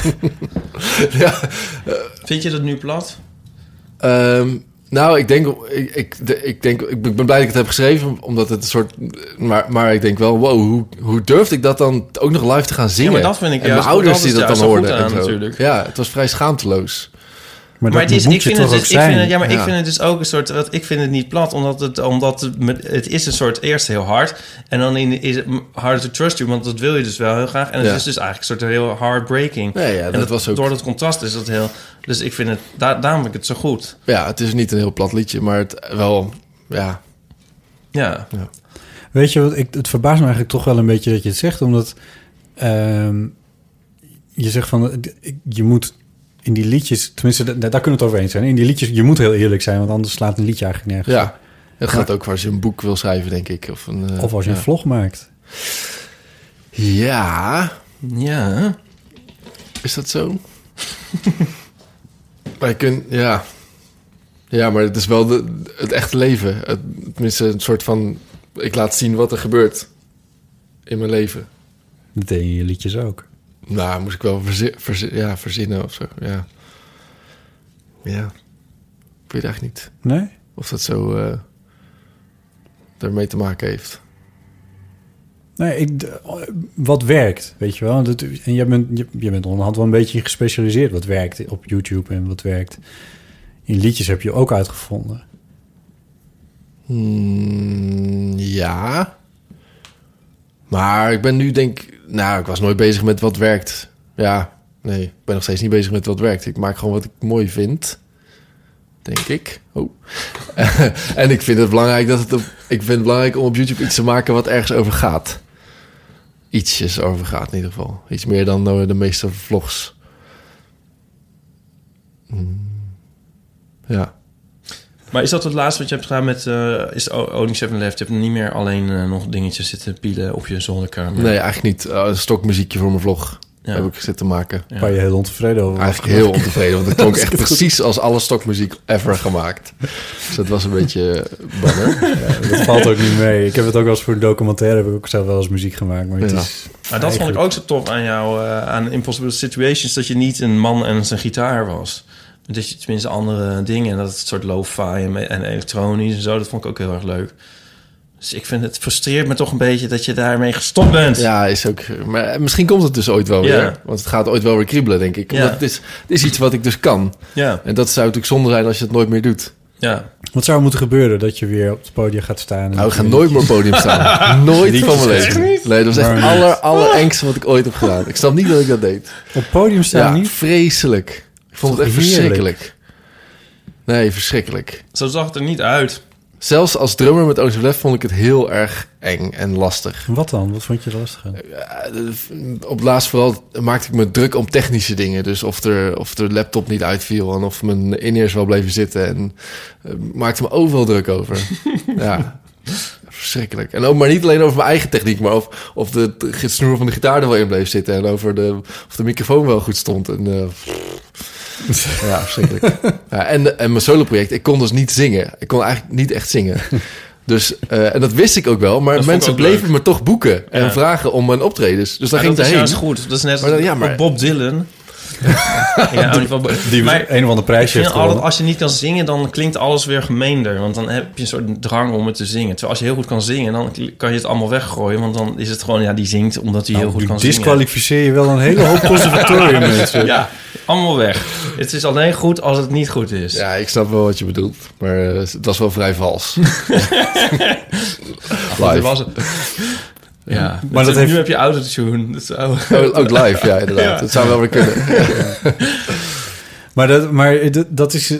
[SPEAKER 3] ja,
[SPEAKER 5] Vind je dat nu plat?
[SPEAKER 3] ehm, nou, ik denk, ik, ik, de- ik denk, ik ben blij dat ik het heb geschreven, omdat het een soort. Maar, maar ik denk wel, wow, hoe, hoe durfde ik dat dan ook nog live te gaan zingen?
[SPEAKER 5] dat vind ik
[SPEAKER 3] en
[SPEAKER 5] juist-
[SPEAKER 3] mijn ouders
[SPEAKER 5] dat
[SPEAKER 3] die
[SPEAKER 5] is
[SPEAKER 3] dat dan
[SPEAKER 5] juist zo
[SPEAKER 3] hoorden.
[SPEAKER 5] goed
[SPEAKER 3] en
[SPEAKER 5] aan
[SPEAKER 3] zo.
[SPEAKER 5] natuurlijk.
[SPEAKER 3] Ja, het was vrij schaamteloos.
[SPEAKER 2] Maar,
[SPEAKER 5] Maar
[SPEAKER 2] dat
[SPEAKER 5] het is,
[SPEAKER 2] moet
[SPEAKER 5] ik
[SPEAKER 2] je
[SPEAKER 5] vind
[SPEAKER 2] toch
[SPEAKER 5] het,
[SPEAKER 2] ook
[SPEAKER 5] dus, ik
[SPEAKER 2] zijn?
[SPEAKER 5] vind het, ja, maar ik
[SPEAKER 3] Ja.
[SPEAKER 5] vind het dus ook een soort, wat, ik vind het niet plat, omdat het, omdat het, me- het is een soort eerst heel hard en dan in, is het m- harder to trust you, want dat wil je dus wel heel graag. En het
[SPEAKER 3] Ja.
[SPEAKER 5] is dus eigenlijk een soort heel heartbreaking.
[SPEAKER 3] Nee, ja,
[SPEAKER 5] en
[SPEAKER 3] dat was ook-
[SPEAKER 5] Door dat contrast is dat heel, dus ik vind het, daar, daarom vind ik het zo goed.
[SPEAKER 3] Ja, het is niet een heel plat liedje, maar het wel, ja.
[SPEAKER 5] Ja,
[SPEAKER 2] Weet je wat, ik, het verbaast me eigenlijk toch wel een beetje dat je het zegt, omdat ehm, je zegt van, eh, d- ik- je moet in die liedjes, tenminste, da- daar, kunnen we het over eens zijn, in die liedjes, je moet heel eerlijk zijn, want anders slaat een liedje eigenlijk nergens.
[SPEAKER 3] Ja, het gaat ook voor als je een boek wil schrijven, denk ik. Of, een, eh,
[SPEAKER 2] Of als je
[SPEAKER 3] ja.
[SPEAKER 2] een vlog maakt.
[SPEAKER 3] Ja,
[SPEAKER 5] ja.
[SPEAKER 3] is dat zo? Wij kunnen, ja. Ja, maar het is wel de, het echte leven. Het, tenminste, een soort van... Ik laat zien wat er gebeurt in mijn leven.
[SPEAKER 2] Dat deed je in je liedjes ook.
[SPEAKER 3] Nou, moest ik wel verzi- verzi- ja, verzinnen of zo. Ja. ja. Ik weet eigenlijk niet
[SPEAKER 2] Nee?
[SPEAKER 3] of dat zo eh daarmee te maken heeft.
[SPEAKER 2] Nee, ik, d- eh, wat werkt, weet je wel. Dat, en jij bent, je, je bent onderhand wel een beetje gespecialiseerd wat werkt op YouTube en wat werkt. In liedjes heb je ook uitgevonden.
[SPEAKER 3] Hmm, ja. Maar ik ben nu denk ik nou, ik was nooit bezig met wat werkt. Ja, nee, ik ben nog steeds niet bezig met wat werkt. Ik maak gewoon wat ik mooi vind. Denk ik. Oh. en ik vind het belangrijk dat het op, ik vind het belangrijk om op YouTube iets te maken wat ergens over gaat. Ietsjes over gaat in ieder geval. Iets meer dan eh, de meeste vlogs. Mm. Ja.
[SPEAKER 5] Maar is dat het laatste wat je hebt gedaan met eh is O- Owning 7 Left? Je hebt niet meer alleen eh, nog dingetjes zitten pielen op je zolderkamer.
[SPEAKER 3] Nee, eigenlijk niet. Eh, een stokmuziekje voor mijn vlog
[SPEAKER 5] Ja.
[SPEAKER 3] heb ik zitten maken.
[SPEAKER 5] Ja.
[SPEAKER 2] Waar je heel ontevreden over was.
[SPEAKER 3] Eigenlijk heel ontevreden, want het klonk echt precies als alle stokmuziek ever gemaakt. Dus dat was een beetje eh, banner.
[SPEAKER 2] Dat valt ook niet mee. Ik heb het ook wel eens voor een documentaire, heb ik ook zelf wel eens muziek gemaakt. Maar het
[SPEAKER 3] Ja.
[SPEAKER 2] is
[SPEAKER 5] Maar dat vond ik ook zo tof aan jou, eh, aan Impossible Situations, dat je niet een man en zijn gitaar was. Dat je tenminste andere dingen, en dat het soort lo-fi en, me- en elektronisch en zo, dat vond ik ook heel erg leuk. Dus ik vind het frustreert me toch een beetje dat je daarmee gestopt bent.
[SPEAKER 3] Ja, is ook. Maar misschien komt het dus ooit wel weer.
[SPEAKER 5] Ja.
[SPEAKER 3] Want het gaat ooit wel weer kriebelen, denk ik.
[SPEAKER 5] Ja.
[SPEAKER 3] Omdat het, is, het is iets wat ik dus kan.
[SPEAKER 5] ja.
[SPEAKER 3] En dat zou natuurlijk zonde zijn als je het nooit meer doet.
[SPEAKER 5] ja.
[SPEAKER 2] Wat zou er moeten gebeuren dat je weer op het podium gaat staan? en
[SPEAKER 3] Nou, ik
[SPEAKER 2] dat
[SPEAKER 3] ga
[SPEAKER 2] je-
[SPEAKER 3] nooit meer op het podium staan. nooit van mijn leven. Nee, dat was echt
[SPEAKER 2] Maar
[SPEAKER 3] het
[SPEAKER 2] niet.
[SPEAKER 3] aller, allerengste wat ik ooit heb gedaan. Ik snap niet dat ik dat deed.
[SPEAKER 2] Op het podium staan
[SPEAKER 3] Ja,
[SPEAKER 2] niet?
[SPEAKER 3] vreselijk. Ik vond het
[SPEAKER 2] Toch
[SPEAKER 3] echt
[SPEAKER 2] heerlijk.
[SPEAKER 3] verschrikkelijk. Nee, verschrikkelijk.
[SPEAKER 5] Zo zag het er niet uit.
[SPEAKER 3] Zelfs als drummer met Ocean Left vond ik het heel erg eng en lastig.
[SPEAKER 2] En Wat dan? Wat vond je er lastig aan?
[SPEAKER 3] Eh, Op het laatst vooral maakte ik me druk om technische dingen. Dus of, er, of de laptop niet uitviel en of mijn in-ears wel bleven zitten. En eh, maakte me overal druk over. ja, verschrikkelijk. En ook maar niet alleen over mijn eigen techniek, maar of, of de t- snoer van de gitaar er wel in bleef zitten. En over de, of de microfoon wel goed stond. En, eh, ja, verschrikkelijk. ja, en, en mijn soloproject, ik kon dus niet zingen. Ik kon eigenlijk niet echt zingen. Dus, eh, en dat wist ik ook wel, maar
[SPEAKER 5] Dat vond ik
[SPEAKER 3] mensen
[SPEAKER 5] ook
[SPEAKER 3] bleven
[SPEAKER 5] leuk.
[SPEAKER 3] me toch boeken en
[SPEAKER 5] Ja.
[SPEAKER 3] vragen om mijn optredens. Dus daar
[SPEAKER 5] Maar
[SPEAKER 3] ging
[SPEAKER 5] dat
[SPEAKER 3] ik
[SPEAKER 5] is
[SPEAKER 3] heen.
[SPEAKER 5] juist goed. Dat is net als
[SPEAKER 3] Maar dan- ja, maar-
[SPEAKER 5] Bob Dylan. ja, in ieder geval-
[SPEAKER 2] Die
[SPEAKER 5] maar-
[SPEAKER 2] een of ander prijsje
[SPEAKER 5] Ik
[SPEAKER 2] heeft
[SPEAKER 5] vind altijd,
[SPEAKER 2] gewonnen.
[SPEAKER 5] als je niet kan zingen, dan klinkt alles weer gemeender. Want dan heb je een soort drang om het te zingen. Terwijl als je heel goed kan zingen, dan kan je het allemaal weggooien. Want dan is het gewoon, ja, die zingt omdat
[SPEAKER 2] Nou,
[SPEAKER 5] hij heel goed kan zingen.
[SPEAKER 2] Disqualificeer je wel een hele hoop conservatorium mensen.
[SPEAKER 5] Ja, allemaal weg. Het is alleen goed als het niet goed is.
[SPEAKER 3] Ja, ik snap wel wat je bedoelt, maar eh, het was wel vrij vals.
[SPEAKER 5] Dat
[SPEAKER 3] live.
[SPEAKER 5] was het. Ja,
[SPEAKER 2] Maar dat
[SPEAKER 5] nu
[SPEAKER 2] heeft-
[SPEAKER 5] heb je autotune. Dat zou...
[SPEAKER 3] Oh, ook live, ja, inderdaad.
[SPEAKER 5] Ja.
[SPEAKER 3] Het zou wel weer kunnen.
[SPEAKER 2] Maar, dat, maar dat- dat is,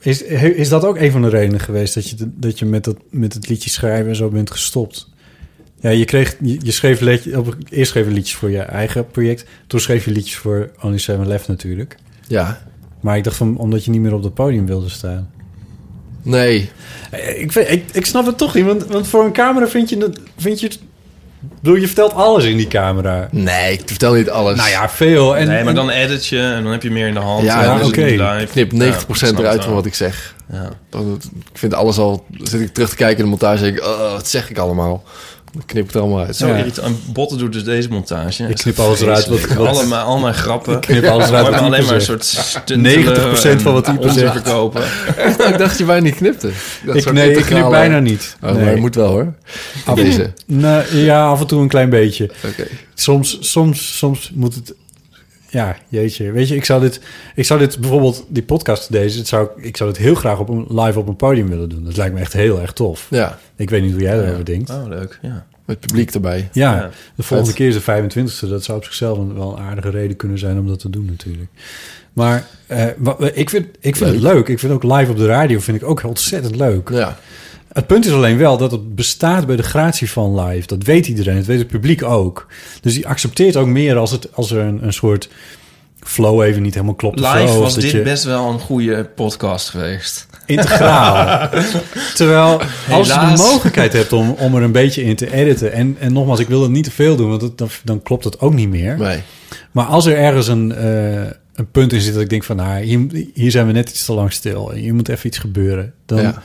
[SPEAKER 2] is, is dat ook een van de redenen geweest dat je, dat je met, dat, met het liedje schrijven en zo bent gestopt? Ja, je, kreeg, je, je schreef liedje, op, eerst schreef je liedjes voor je eigen project. Toen schreef je liedjes voor Only Seven Left natuurlijk.
[SPEAKER 3] Ja,
[SPEAKER 2] Maar ik dacht van, omdat je niet meer op dat podium wilde staan.
[SPEAKER 3] nee.
[SPEAKER 2] Ik, vind- ik, ik snap het toch niet, want, want voor een camera vind je... het- Vind je het- ik bedoel, je vertelt alles in die camera.
[SPEAKER 3] Nee, ik vertel niet alles.
[SPEAKER 2] Nou ja, veel. En,
[SPEAKER 5] nee, maar dan edit je en dan heb je meer in de hand.
[SPEAKER 3] Ja,
[SPEAKER 5] en dan is
[SPEAKER 2] oké.
[SPEAKER 5] het niet live.
[SPEAKER 3] Ik knip 90%
[SPEAKER 5] Ja,
[SPEAKER 3] eruit
[SPEAKER 5] snap
[SPEAKER 3] van
[SPEAKER 5] het
[SPEAKER 3] wat ik zeg.
[SPEAKER 5] wel. Ja.
[SPEAKER 3] Dan- Ik vind alles al... dan zit ik terug te kijken in de montage en denk ik... oh, wat zeg ik allemaal? Dan knip ik het allemaal uit.
[SPEAKER 5] Zo
[SPEAKER 2] Ja.
[SPEAKER 5] irritant. En Botten doet dus deze montage.
[SPEAKER 2] Ik knip alles eruit wat-
[SPEAKER 5] Vreselijk. Allemaal, al mijn grappen. Ik
[SPEAKER 2] knip alles eruit wat
[SPEAKER 5] alleen
[SPEAKER 2] Ieper
[SPEAKER 5] maar een
[SPEAKER 2] zegt.
[SPEAKER 5] soort stuntelen
[SPEAKER 2] 90% van
[SPEAKER 5] en
[SPEAKER 2] wat Ieper
[SPEAKER 5] onzin
[SPEAKER 2] zegt.
[SPEAKER 5] verkopen.
[SPEAKER 3] ik dacht je bijna niet knipte. Dat
[SPEAKER 2] ik,
[SPEAKER 3] soort
[SPEAKER 2] nee, ik knip
[SPEAKER 3] integrale-
[SPEAKER 2] bijna niet.
[SPEAKER 3] Oh,
[SPEAKER 2] nee.
[SPEAKER 3] maar het moet wel hoor. Deze.
[SPEAKER 2] Nou, ja, af en toe een klein beetje.
[SPEAKER 3] Oké.
[SPEAKER 2] Soms, soms, soms moet het... Ja, jeetje. Weet je, ik zou dit, ik zou dit bijvoorbeeld, die podcast deze, het zou, ik zou dit heel graag op een, live op een podium willen doen. Dat lijkt me echt heel erg tof.
[SPEAKER 3] Ja,
[SPEAKER 2] Ik weet niet hoe jij daarover denkt.
[SPEAKER 5] Oh, leuk. Ja.
[SPEAKER 3] met publiek erbij.
[SPEAKER 2] Ja,
[SPEAKER 5] Ja.
[SPEAKER 2] de volgende keer is de 25e. Dat zou op zichzelf een, wel een aardige reden kunnen zijn om dat te doen natuurlijk. Maar eh, wa- ik vind, ik vind het leuk. Ik vind ook live op de radio vind ik ook ontzettend leuk.
[SPEAKER 3] Ja.
[SPEAKER 2] Het punt is alleen wel dat het bestaat bij de gratie van live. Dat weet iedereen, dat weet het publiek ook. Dus die accepteert ook meer als, het, als er een, een soort flow even niet helemaal klopt. of zo,
[SPEAKER 5] Live
[SPEAKER 2] of
[SPEAKER 5] was
[SPEAKER 2] dat
[SPEAKER 5] dit
[SPEAKER 2] je-
[SPEAKER 5] best wel een goede podcast geweest.
[SPEAKER 2] integraal. Terwijl als
[SPEAKER 5] Helaas.
[SPEAKER 2] je de mogelijkheid hebt om, om er een beetje in te editen... en, en nogmaals, ik wil het niet te veel doen, want dat- dan, dan klopt het ook niet meer.
[SPEAKER 3] Nee.
[SPEAKER 2] Maar als er ergens een, eh, een punt in zit dat ik denk van... Nou, hier, hier zijn we net iets te lang stil. Hier moet even iets gebeuren. Dan,
[SPEAKER 3] Ja.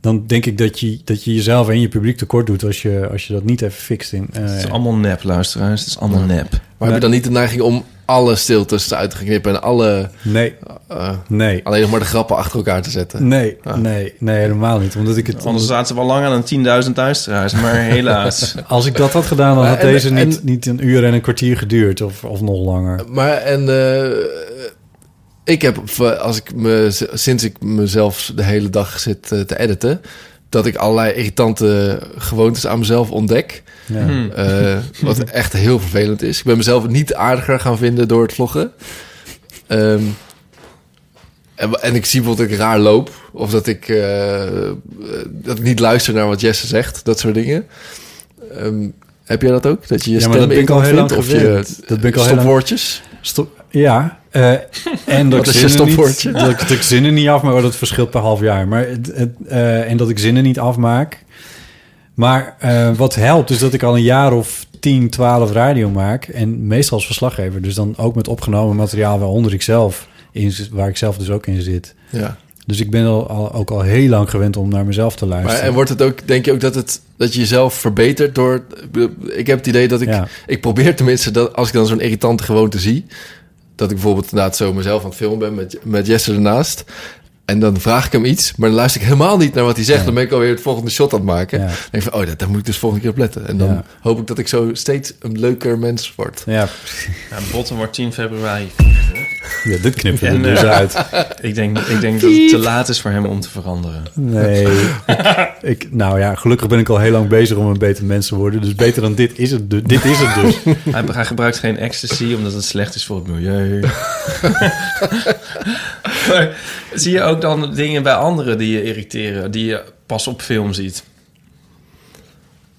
[SPEAKER 2] dan denk ik dat je, dat je jezelf en je publiek tekort doet... als je, als je dat niet even fixt. In, eh,
[SPEAKER 5] Het is allemaal nep, luisteraars. Het is allemaal nep.
[SPEAKER 3] Maar heb je dan niet de neiging om alle stiltes eruit te knippen en alle,
[SPEAKER 2] nee,
[SPEAKER 3] eh,
[SPEAKER 2] nee,
[SPEAKER 3] alleen nog maar de grappen achter elkaar te zetten?
[SPEAKER 2] nee, nee, nee, helemaal niet. Omdat ik het...
[SPEAKER 5] Ah. Anders zaten we al lang aan 10.000 luisteraars. Maar helaas.
[SPEAKER 2] Als ik dat had gedaan,
[SPEAKER 5] Eh,
[SPEAKER 2] dan had
[SPEAKER 3] En-
[SPEAKER 2] deze
[SPEAKER 3] en-
[SPEAKER 2] niet, niet een uur en een kwartier geduurd. Of, of nog langer.
[SPEAKER 3] Maar en eh, ik heb, v- als ik me, sinds ik mezelf de hele dag zit eh, te editen, dat ik allerlei irritante gewoontes aan mezelf ontdek.
[SPEAKER 2] Ja.
[SPEAKER 5] Hmm.
[SPEAKER 3] Eh, wat echt heel vervelend is. Ik ben mezelf niet aardiger gaan vinden door het vloggen. Ehm, en, wa- en ik zie bijvoorbeeld dat ik raar loop. Of dat ik, eh, eh, dat ik niet luister naar wat Jesse zegt. Dat soort dingen. Ehm, heb jij dat ook? Dat je je
[SPEAKER 2] Ja, maar
[SPEAKER 3] stem
[SPEAKER 2] dat ben
[SPEAKER 3] in
[SPEAKER 2] ik al
[SPEAKER 3] kan
[SPEAKER 2] heel lang
[SPEAKER 3] vindt? Of je
[SPEAKER 2] gewend. Dat ben ik al heel lang-
[SPEAKER 3] stopwoordjes?
[SPEAKER 2] Stop. Ja. eh, en dat
[SPEAKER 3] Wat
[SPEAKER 2] ik
[SPEAKER 3] is je
[SPEAKER 2] zinnen
[SPEAKER 3] stopwoordje?
[SPEAKER 2] niet, dat, ik- dat ik zinnen niet afmaak, maar dat verschilt per half jaar. Maar het, het, eh, en dat ik zinnen niet afmaak. Maar eh, wat helpt is dat ik al een jaar of 10, 12 radio maak. En meestal als verslaggever. Dus dan ook met opgenomen materiaal waaronder ik zelf in, zit- waar ik zelf dus ook in zit.
[SPEAKER 3] Ja.
[SPEAKER 2] Dus ik ben al, al- ook al heel lang gewend om naar mezelf te
[SPEAKER 3] Maar,
[SPEAKER 2] luisteren.
[SPEAKER 3] en wordt het ook, denk je ook dat, het, dat je jezelf verbetert door... ik bedoel, Ik heb het idee dat ik...
[SPEAKER 2] Ja.
[SPEAKER 3] Ik probeer tenminste, dat als ik dan zo'n irritante gewoonte zie... dat ik bijvoorbeeld inderdaad zo mezelf aan het filmen ben met, met Jesse ernaast... en dan vraag ik hem iets, maar dan luister ik helemaal niet naar wat hij zegt. Dan ben ik alweer het volgende shot aan het maken.
[SPEAKER 2] Ja.
[SPEAKER 3] Dan denk ik van, oh, dat, daar moet ik dus volgende keer op letten. En dan
[SPEAKER 2] Ja.
[SPEAKER 3] hoop ik dat ik zo steeds een leuker mens word.
[SPEAKER 2] ja,
[SPEAKER 5] Ja, Botten wordt 10 februari.
[SPEAKER 2] ja, dit knippen we
[SPEAKER 5] En,
[SPEAKER 2] er dus
[SPEAKER 5] eh,
[SPEAKER 2] uit.
[SPEAKER 5] Ik denk, ik denk dat het te laat is voor hem om te veranderen.
[SPEAKER 2] Nee. ik, ik- nou ja, gelukkig ben ik al heel lang bezig om een beter mens te worden. Dus beter dan dit is het, du- dit is het dus.
[SPEAKER 5] Hij, hij gebruikt geen ecstasy omdat het slecht is voor het milieu. Maar zie je ook dan dingen bij anderen die je irriteren, die je pas op film ziet?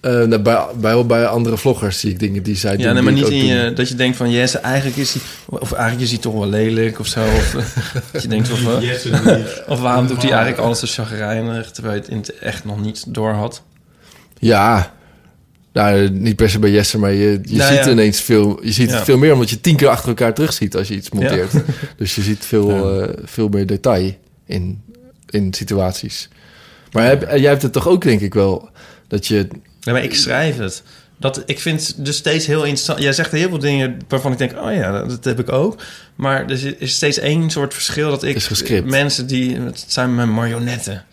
[SPEAKER 3] Eh, nou, bij, bij, bij andere vloggers zie ik dingen die zij doen.
[SPEAKER 5] Ja, nee,
[SPEAKER 3] die
[SPEAKER 5] maar
[SPEAKER 3] ik
[SPEAKER 5] niet
[SPEAKER 3] ook
[SPEAKER 5] in
[SPEAKER 3] doe.
[SPEAKER 5] je, dat je denkt van yes, eigenlijk is hij, of eigenlijk is hij toch wel lelijk of zo. Of, eh, dat je denkt of, eh, of waarom doet hij eigenlijk alles zo chagrijnig, terwijl je het in het echt nog niet door had.
[SPEAKER 3] Ja. Nou, niet per se bij Jesse, maar je, je
[SPEAKER 5] Nou,
[SPEAKER 3] ziet
[SPEAKER 5] ja.
[SPEAKER 3] ineens veel... Je ziet
[SPEAKER 5] Ja.
[SPEAKER 3] het veel meer, omdat je tien keer achter elkaar terugziet als je iets monteert. Dus je ziet veel, eh, veel meer detail in, in situaties. Maar heb, eh, jij hebt het toch ook, denk ik wel, dat je...
[SPEAKER 5] Ja, maar ik schrijf het. Dat, ik vind het dus steeds heel interessant. Jij zegt heel veel dingen waarvan ik denk: oh ja, dat, dat heb ik ook. Maar er is steeds één soort verschil dat ik.
[SPEAKER 3] Is gescript.
[SPEAKER 5] Mensen die. Het zijn mijn marionetten.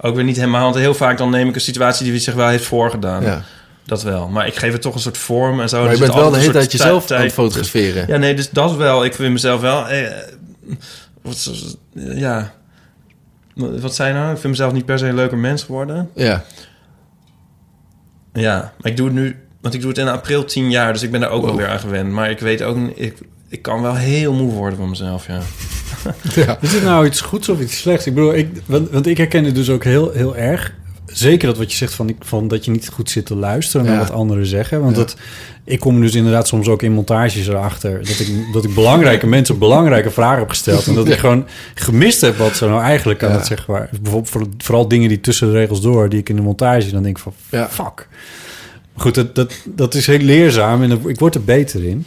[SPEAKER 5] Ook weer niet helemaal. Want heel vaak dan neem ik een situatie die zich wel heeft voorgedaan.
[SPEAKER 3] ja.
[SPEAKER 5] Dat wel. Maar ik geef het toch een soort vorm en zo.
[SPEAKER 3] maar
[SPEAKER 5] Er
[SPEAKER 3] je
[SPEAKER 5] zit
[SPEAKER 3] bent wel de
[SPEAKER 5] altijd
[SPEAKER 3] hele
[SPEAKER 5] een
[SPEAKER 3] tijd
[SPEAKER 5] soort
[SPEAKER 3] jezelf
[SPEAKER 5] tijd-
[SPEAKER 3] aan het fotograferen.
[SPEAKER 5] Ja, nee, dus dat wel. Ik vind mezelf wel. Eh, wat, is- ja. Wat zei je nou? Ik vind mezelf niet per se een leuker mens geworden.
[SPEAKER 3] Ja.
[SPEAKER 5] Ja, maar ik doe het nu, want ik doe het in april tien jaar, dus ik ben daar ook wel weer aan gewend. Maar ik weet ook, niet- ik, ik kan wel heel moe worden van mezelf, ja.
[SPEAKER 2] Is dit nou iets goeds of iets slechts? Ik bedoel, ik, want, want ik herken het dus ook heel, heel erg. Zeker dat wat je zegt van, ik- van dat je niet goed zit te luisteren naar
[SPEAKER 3] Ja.
[SPEAKER 2] wat anderen zeggen. Want dat, ik kom dus inderdaad soms ook in montages erachter. Dat ik, dat ik belangrijke mensen belangrijke vragen heb gesteld. En dat ik gewoon gemist heb wat ze nou eigenlijk aan
[SPEAKER 3] Ja.
[SPEAKER 2] het zeggen waren. Bijvoorbeeld voor- vooral dingen die tussen de regels door, die ik in de montage dan denk ik van,
[SPEAKER 3] Ja.
[SPEAKER 2] fuck. Maar Goed, dat, dat, dat is heel leerzaam en ik word er beter in.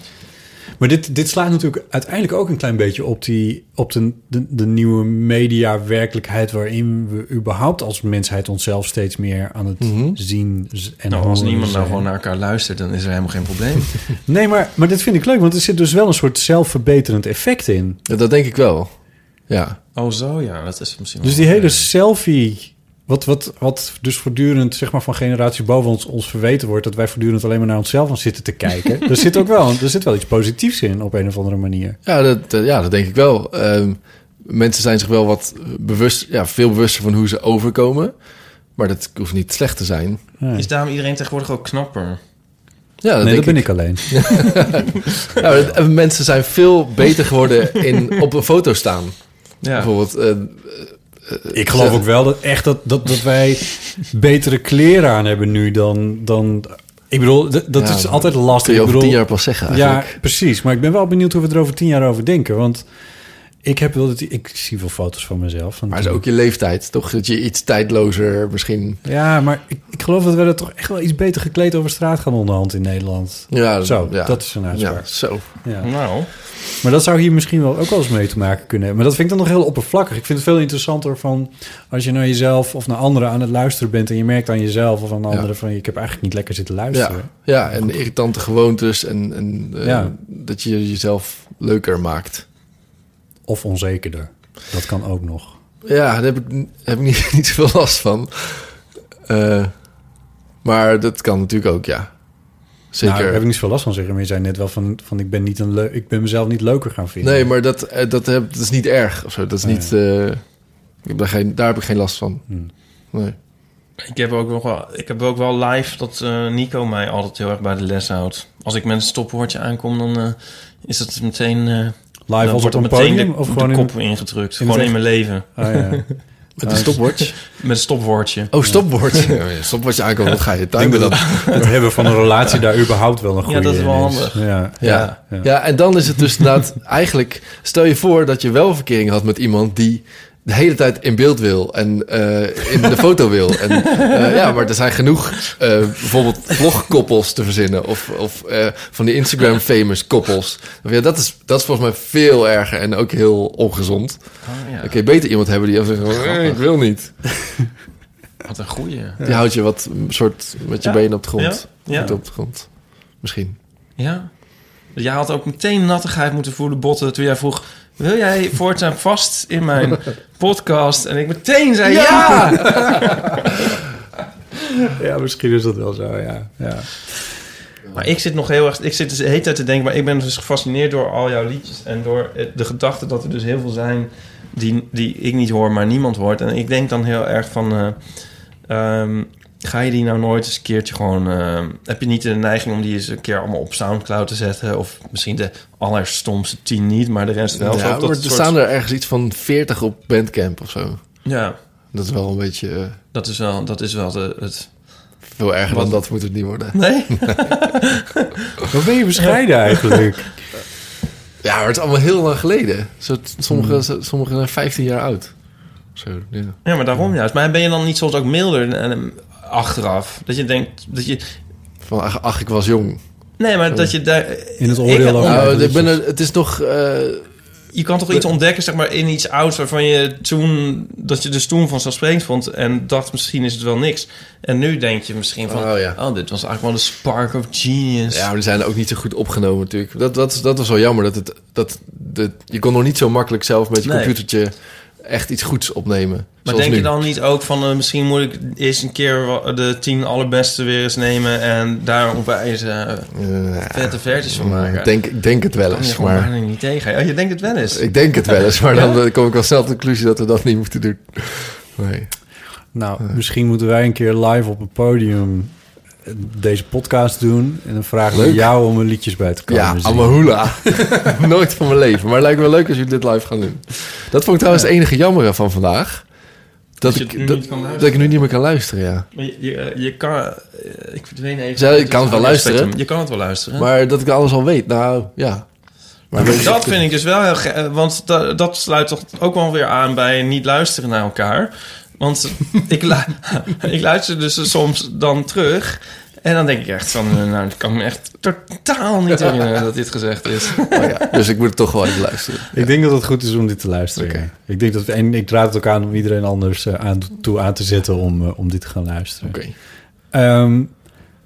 [SPEAKER 2] Maar dit, dit slaat natuurlijk uiteindelijk ook een klein beetje op, die, op de, de, de nieuwe media-werkelijkheid... waarin we überhaupt als mensheid onszelf steeds meer aan het zien z- en
[SPEAKER 5] Mhm. Nou, als
[SPEAKER 2] horen
[SPEAKER 5] niemand nou
[SPEAKER 2] zijn.
[SPEAKER 5] gewoon naar elkaar luistert, dan is er helemaal geen probleem.
[SPEAKER 2] Nee, maar, maar dit vind ik leuk, want er zit dus wel een soort zelfverbeterend effect in.
[SPEAKER 3] Ja, dat denk ik wel. Ja.
[SPEAKER 5] oh, zo ja, dat is misschien wel-
[SPEAKER 2] Dus die hele selfie... Wat, wat, wat dus voortdurend zeg maar, van generaties boven ons, ons verweten wordt... dat wij voortdurend alleen maar naar onszelf aan zitten te kijken. er zit ook wel, er zit wel iets positiefs in op een of andere manier.
[SPEAKER 3] Ja, dat, eh, ja, dat denk ik wel. Ehm, mensen zijn zich wel wat bewust, ja, veel bewuster van hoe ze overkomen. Maar dat hoeft niet slecht te zijn.
[SPEAKER 5] Is daarom iedereen tegenwoordig ook knapper?
[SPEAKER 3] Ja, dat
[SPEAKER 2] nee,
[SPEAKER 3] Eh,
[SPEAKER 2] dat
[SPEAKER 3] denk
[SPEAKER 2] ben
[SPEAKER 3] ik.
[SPEAKER 2] ik alleen.
[SPEAKER 3] Ja, maar Nou, het- mensen zijn veel beter geworden in op een foto staan.
[SPEAKER 5] Ja,
[SPEAKER 3] Bijvoorbeeld, eh,
[SPEAKER 2] Ik geloof ook wel dat echt dat, dat, dat wij betere kleren aan hebben nu dan. dan ik bedoel, d- dat
[SPEAKER 3] Ja,
[SPEAKER 2] is altijd
[SPEAKER 3] kun
[SPEAKER 2] lastig.
[SPEAKER 3] je
[SPEAKER 2] Ik
[SPEAKER 3] over
[SPEAKER 2] bedoel,
[SPEAKER 3] tien jaar pas zeggen
[SPEAKER 2] ja,
[SPEAKER 3] eigenlijk.
[SPEAKER 2] precies. Maar ik ben wel benieuwd hoe we er over tien jaar over denken. Want ik heb wel dat ik zie veel foto's van mezelf. Van
[SPEAKER 3] Maar het
[SPEAKER 2] toen.
[SPEAKER 3] is ook je leeftijd, toch? Dat je iets tijdlozer misschien...
[SPEAKER 2] Ja, maar ik, ik geloof dat we er toch echt wel iets beter gekleed over straat gaan onderhand in Nederland.
[SPEAKER 3] Ja,
[SPEAKER 2] Zo,
[SPEAKER 3] ja.
[SPEAKER 2] dat is een
[SPEAKER 3] Ja,
[SPEAKER 2] uitspraak.
[SPEAKER 3] zo.
[SPEAKER 2] Ja.
[SPEAKER 5] nou,
[SPEAKER 2] Maar dat zou hier misschien wel ook wel eens mee te maken kunnen hebben. Maar dat vind ik dan nog heel oppervlakkig. Ik vind het veel interessanter van als je naar jezelf of naar anderen aan het luisteren bent en je merkt aan jezelf of aan anderen van ik heb eigenlijk niet lekker zitten
[SPEAKER 3] Ja,
[SPEAKER 2] luisteren.
[SPEAKER 3] ja, en irritante gewoontes en, en eh,
[SPEAKER 2] Ja.
[SPEAKER 3] dat je jezelf leuker maakt.
[SPEAKER 2] Of onzekerder. Dat kan ook nog.
[SPEAKER 3] Ja, daar heb ik, n- heb ik niet, niet zoveel last van. Eh, maar dat kan natuurlijk ook, ja. Zeker.
[SPEAKER 2] Nou, daar heb ik niet zoveel last van zeggen. Maar je zei net wel van, van ik, ben niet een leu- ik ben mezelf niet leuker gaan vinden.
[SPEAKER 3] Nee, maar dat, eh, dat, heb, dat is niet erg of zo. Dat is
[SPEAKER 2] Nee.
[SPEAKER 3] niet. eh, ik heb daar, geen, daar heb ik geen last van. Nee.
[SPEAKER 5] Ik heb ook, nog wel, ik heb ook wel live dat eh, Nico mij altijd heel erg bij de les houdt. Als ik met een stopwoordje aankom, dan eh, is dat meteen... eh, dan
[SPEAKER 2] op
[SPEAKER 5] wordt er
[SPEAKER 2] een
[SPEAKER 5] meteen
[SPEAKER 2] podium
[SPEAKER 5] de,
[SPEAKER 2] of
[SPEAKER 5] de
[SPEAKER 2] gewoon in-
[SPEAKER 5] kop ingedrukt.
[SPEAKER 2] in het
[SPEAKER 5] gewoon in
[SPEAKER 2] echt?
[SPEAKER 5] mijn leven.
[SPEAKER 2] Ah, ja.
[SPEAKER 3] Met een stopwatch.
[SPEAKER 5] Met een stopwoordje.
[SPEAKER 3] Oh, stopwatch. Ja, ja, stopwatch aankomen, wat ga je tuin doen?
[SPEAKER 2] Het hebben van een relatie daar überhaupt wel een goede
[SPEAKER 5] Ja, dat is wel
[SPEAKER 2] in
[SPEAKER 5] handig.
[SPEAKER 2] Ja.
[SPEAKER 3] Ja. Ja. en dan is het dus inderdaad eigenlijk... Stel je voor dat je wel verkering had met iemand die de hele tijd in beeld wil en eh, in de foto wil. En, eh, ja, maar er zijn genoeg eh, bijvoorbeeld vlogkoppels te verzinnen... of, of eh, van die Instagram-famous koppels. Ja, dat, is, dat is volgens mij veel erger en ook heel ongezond.
[SPEAKER 5] Oh, ja.
[SPEAKER 3] Dan kun je beter iemand hebben die dan zegt... "Nee, ik wil niet.
[SPEAKER 5] Wat een goeie.
[SPEAKER 3] Die houdt je wat mm, soort met je
[SPEAKER 5] Ja.
[SPEAKER 3] benen op de grond.
[SPEAKER 5] Ja. Ja.
[SPEAKER 3] Voeten op de grond. Misschien.
[SPEAKER 5] Ja. Jij had ook meteen nattigheid moeten voelen, botten, toen jij vroeg... Wil jij voortaan vast in mijn podcast? En ik meteen zei ja!
[SPEAKER 2] ja, misschien is dat wel zo, ja. ja.
[SPEAKER 5] Maar ik zit nog heel erg... Ik zit dus de hele tijd te denken... Maar ik ben dus gefascineerd door al jouw liedjes... en door eh, de gedachte dat er dus heel veel zijn... die, die ik niet hoor, maar niemand hoort. En ik denk dan heel erg van... eh, ehm, ga je die nou nooit eens een keertje gewoon... eh, heb je niet de neiging om die eens een keer allemaal op Soundcloud te zetten? Of misschien de allerstomste tien niet, maar de rest wel. Zo
[SPEAKER 3] ja,
[SPEAKER 5] dat
[SPEAKER 3] maar er
[SPEAKER 5] soort-
[SPEAKER 3] staan er ergens iets van 40 op Bandcamp of zo.
[SPEAKER 5] Ja,
[SPEAKER 3] Dat is wel een beetje eh,
[SPEAKER 5] dat is wel, dat is wel de, het...
[SPEAKER 3] veel erger dan
[SPEAKER 5] Wat?
[SPEAKER 3] dat moet het niet worden.
[SPEAKER 5] Nee?
[SPEAKER 2] Wat ben je bescheiden eigenlijk?
[SPEAKER 3] Ja, maar het is allemaal heel lang geleden. Zo, sommige,
[SPEAKER 5] Hmm.
[SPEAKER 3] zo- sommige zijn 15 jaar oud. Zo, ja.
[SPEAKER 5] Ja, maar daarom juist. Maar ben je dan niet soms ook milder en, en achteraf? Dat je denkt dat je...
[SPEAKER 3] Van, ach, ach, ik was jong.
[SPEAKER 5] Nee, maar dat je daar...
[SPEAKER 2] In het
[SPEAKER 5] Ik- Oh,
[SPEAKER 2] oordeel over.
[SPEAKER 3] nou,
[SPEAKER 2] dat
[SPEAKER 3] ik ben
[SPEAKER 2] is-
[SPEAKER 5] dus-
[SPEAKER 3] er- het is nog... eh,
[SPEAKER 5] Je kan toch iets ontdekken, zeg maar, in iets ouds... waarvan je toen... dat je dus toen vanzelfsprekend vond... en dacht, misschien is het wel niks. En nu denk je misschien van...
[SPEAKER 3] Oh,
[SPEAKER 5] Oh,
[SPEAKER 3] ja.
[SPEAKER 5] dit was eigenlijk wel de spark of genius.
[SPEAKER 3] ja, maar die zijn ook niet zo goed opgenomen natuurlijk. Dat, dat, is- dat was wel jammer. Dat het, dat, de, je kon nog niet zo makkelijk zelf met je
[SPEAKER 5] Nee.
[SPEAKER 3] computertje echt iets goeds opnemen.
[SPEAKER 5] maar
[SPEAKER 3] zoals
[SPEAKER 5] denk je
[SPEAKER 3] nu.
[SPEAKER 5] dan niet ook van... eh, misschien moet ik eens een keer wel- de tien allerbeste weer eens nemen... en daar onwijs eh,
[SPEAKER 3] Ja.
[SPEAKER 5] vette versies van maken?
[SPEAKER 3] Ik denk, ik denk het wel
[SPEAKER 5] kan je
[SPEAKER 3] eens,
[SPEAKER 5] gewoon
[SPEAKER 3] maar...
[SPEAKER 5] bijna niet tegen. Oh, je denkt het wel eens.
[SPEAKER 3] Ik denk het wel eens, maar dan eh, kom ik wel snel tot de conclusie dat we dat niet moeten doen. Nee.
[SPEAKER 2] Nou,
[SPEAKER 3] Eh.
[SPEAKER 2] misschien moeten wij een keer live op een podium eh, deze podcast doen. En dan vragen we
[SPEAKER 3] Leuk.
[SPEAKER 2] jou om er liedjes bij te komen
[SPEAKER 3] Ja,
[SPEAKER 2] zingen.
[SPEAKER 3] Amahula. Nooit van mijn leven. Maar het lijkt me wel leuk als jullie dit live gaan doen. Dat vond ik trouwens het enige jammere van vandaag. Dat,
[SPEAKER 5] Dat je het nu
[SPEAKER 3] ik, dat,
[SPEAKER 5] niet kan luisteren.
[SPEAKER 3] dat ik nu niet meer kan luisteren, ja.
[SPEAKER 5] Maar je, je, je kan... eh, Ik verdween even.
[SPEAKER 3] Zij- ik kan het wel luisteren.
[SPEAKER 5] Spectrum. Je kan het wel luisteren.
[SPEAKER 3] Maar dat ik alles al weet, nou ja. Maar
[SPEAKER 5] dat vind ik dus wel heel ge- eh, Want da- dat sluit toch ook wel weer aan bij niet luisteren naar elkaar. Want ik, lu- ik luister dus soms dan terug. En dan denk ik echt van... eh, Nou, ik kan me echt totaal niet herinneren dat dit gezegd is.
[SPEAKER 3] Oh ja, dus ik moet het toch wel even luisteren.
[SPEAKER 2] Ik denk dat het goed is om dit te luisteren.
[SPEAKER 3] Oké.
[SPEAKER 2] Ik denk dat en ik raad het ook aan om iedereen anders eh, aan, toe aan te zetten om, eh, om dit te gaan luisteren.
[SPEAKER 3] Oké,
[SPEAKER 2] Ehm,